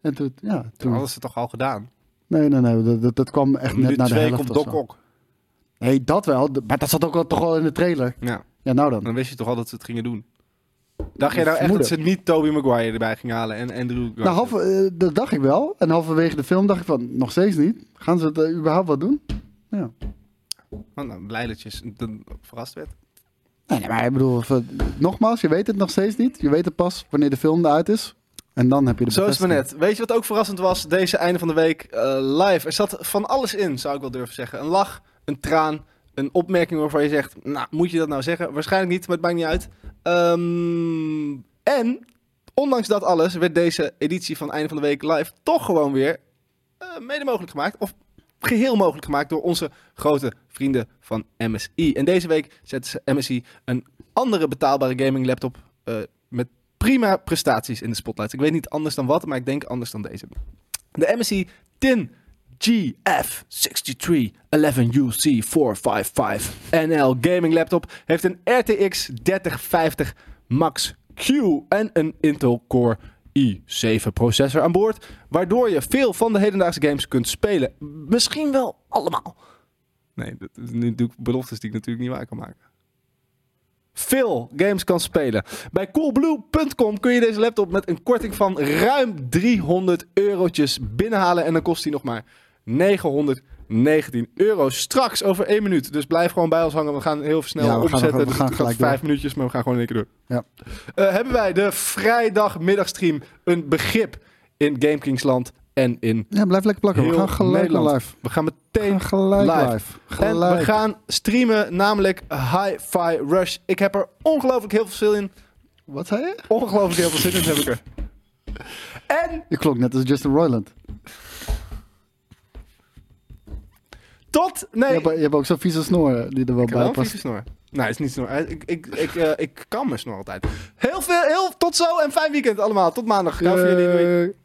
Speaker 2: En toen, ja,
Speaker 3: Toen
Speaker 2: toen,
Speaker 3: hadden ze het toch al gedaan.
Speaker 2: nee, nee, nee, dat, dat, dat kwam echt net
Speaker 3: Minuut
Speaker 2: na de
Speaker 3: 2
Speaker 2: helft
Speaker 3: komt
Speaker 2: of
Speaker 3: Doc
Speaker 2: zo.
Speaker 3: Ock.
Speaker 2: Nee, dat wel, d- maar dat zat ook al, toch al in de trailer.
Speaker 3: Ja,
Speaker 2: Ja, nou dan.
Speaker 3: dan wist je toch al dat ze het gingen doen.
Speaker 1: Dacht jij nou echt dat
Speaker 2: Vermoeden.
Speaker 1: ze niet Toby Maguire erbij ging halen en Andrew Garfield?
Speaker 2: Nou, half, eh, dat dacht ik wel. En halverwege de film dacht ik van, nog steeds niet. Gaan ze het eh, überhaupt wat doen? Ja.
Speaker 1: Oh, nou, blij dat je s- dan verrast werd.
Speaker 2: Nee, nee, maar ik bedoel, van- nogmaals, je weet het nog steeds niet. Je weet het pas wanneer de film eruit is. En dan heb je de
Speaker 1: Zo is het maar
Speaker 2: bevestiging.
Speaker 1: net. Weet je wat ook verrassend was? Deze einde van de week eh, live. Er zat van alles in, zou ik wel durven zeggen. Een lach, een traan, een opmerking waarvan je zegt... Nou, moet je dat nou zeggen? Waarschijnlijk niet, maar het maakt niet uit. Ehm, en, ondanks dat alles, werd deze editie van einde van de week live... toch gewoon weer eh, mede mogelijk gemaakt. Of geheel mogelijk gemaakt door onze grote vrienden van MSI. En deze week zetten ze MSI een andere betaalbare gaming laptop... eh, met prima prestaties in de spotlight. Ik weet niet anders dan wat, maar ik denk anders dan deze. De MSI 10 GF 6311UC 455 NL gaming laptop heeft een RTX 3050 Max Q en een Intel Core i7 processor aan boord, waardoor je veel van de hedendaagse games kunt spelen. Misschien wel allemaal.
Speaker 3: Nee, dat, nu doe ik beloftes die ik natuurlijk niet waar kan maken.
Speaker 1: veel games kan spelen. Bij coolblue.com kun je deze laptop met een korting van ruim 300 eurotjes binnenhalen. En dan kost die nog maar 919 euro. Straks over één minuut. Dus blijf gewoon bij ons hangen. We gaan heel snel
Speaker 2: Ja, we gaan-
Speaker 1: opzetten.
Speaker 2: we gaan
Speaker 1: Dus het
Speaker 2: gelijk
Speaker 1: gaat vijf minuutjes, maar we gaan gewoon in één keer door.
Speaker 2: Ja.
Speaker 1: Eh, hebben wij de vrijdagmiddagstream een begrip in Gamekingsland en in...
Speaker 2: Ja, blijf lekker plakken. We
Speaker 1: Heel
Speaker 2: gaan gelijk
Speaker 1: Nederland.
Speaker 2: live.
Speaker 1: We gaan
Speaker 2: We
Speaker 1: meteen
Speaker 2: gaan gelijk
Speaker 1: live.
Speaker 2: live.
Speaker 1: en we
Speaker 2: Gelijk.
Speaker 1: gaan streamen, namelijk Hi-Fi Rush. Ik heb er ongelooflijk heel veel zin in.
Speaker 2: Wat zei je?
Speaker 1: Ongelooflijk heel veel zin in heb ik er. En
Speaker 2: Je klonk net als Justin Roiland.
Speaker 1: tot...
Speaker 2: Je,
Speaker 1: Nee,
Speaker 2: hebt, je hebt ook zo'n vieze snor eh, die er wel
Speaker 1: ik heb wel
Speaker 2: bij
Speaker 1: een
Speaker 2: past.
Speaker 1: vieze snor. Nee, het is niet snor. Eh, Ik, ik, ik, eh, ik kan mijn snor altijd. Heel veel, heel, tot zo en fijn weekend allemaal. Tot maandag. Graag voor jullie. Doei.
Speaker 2: Eh,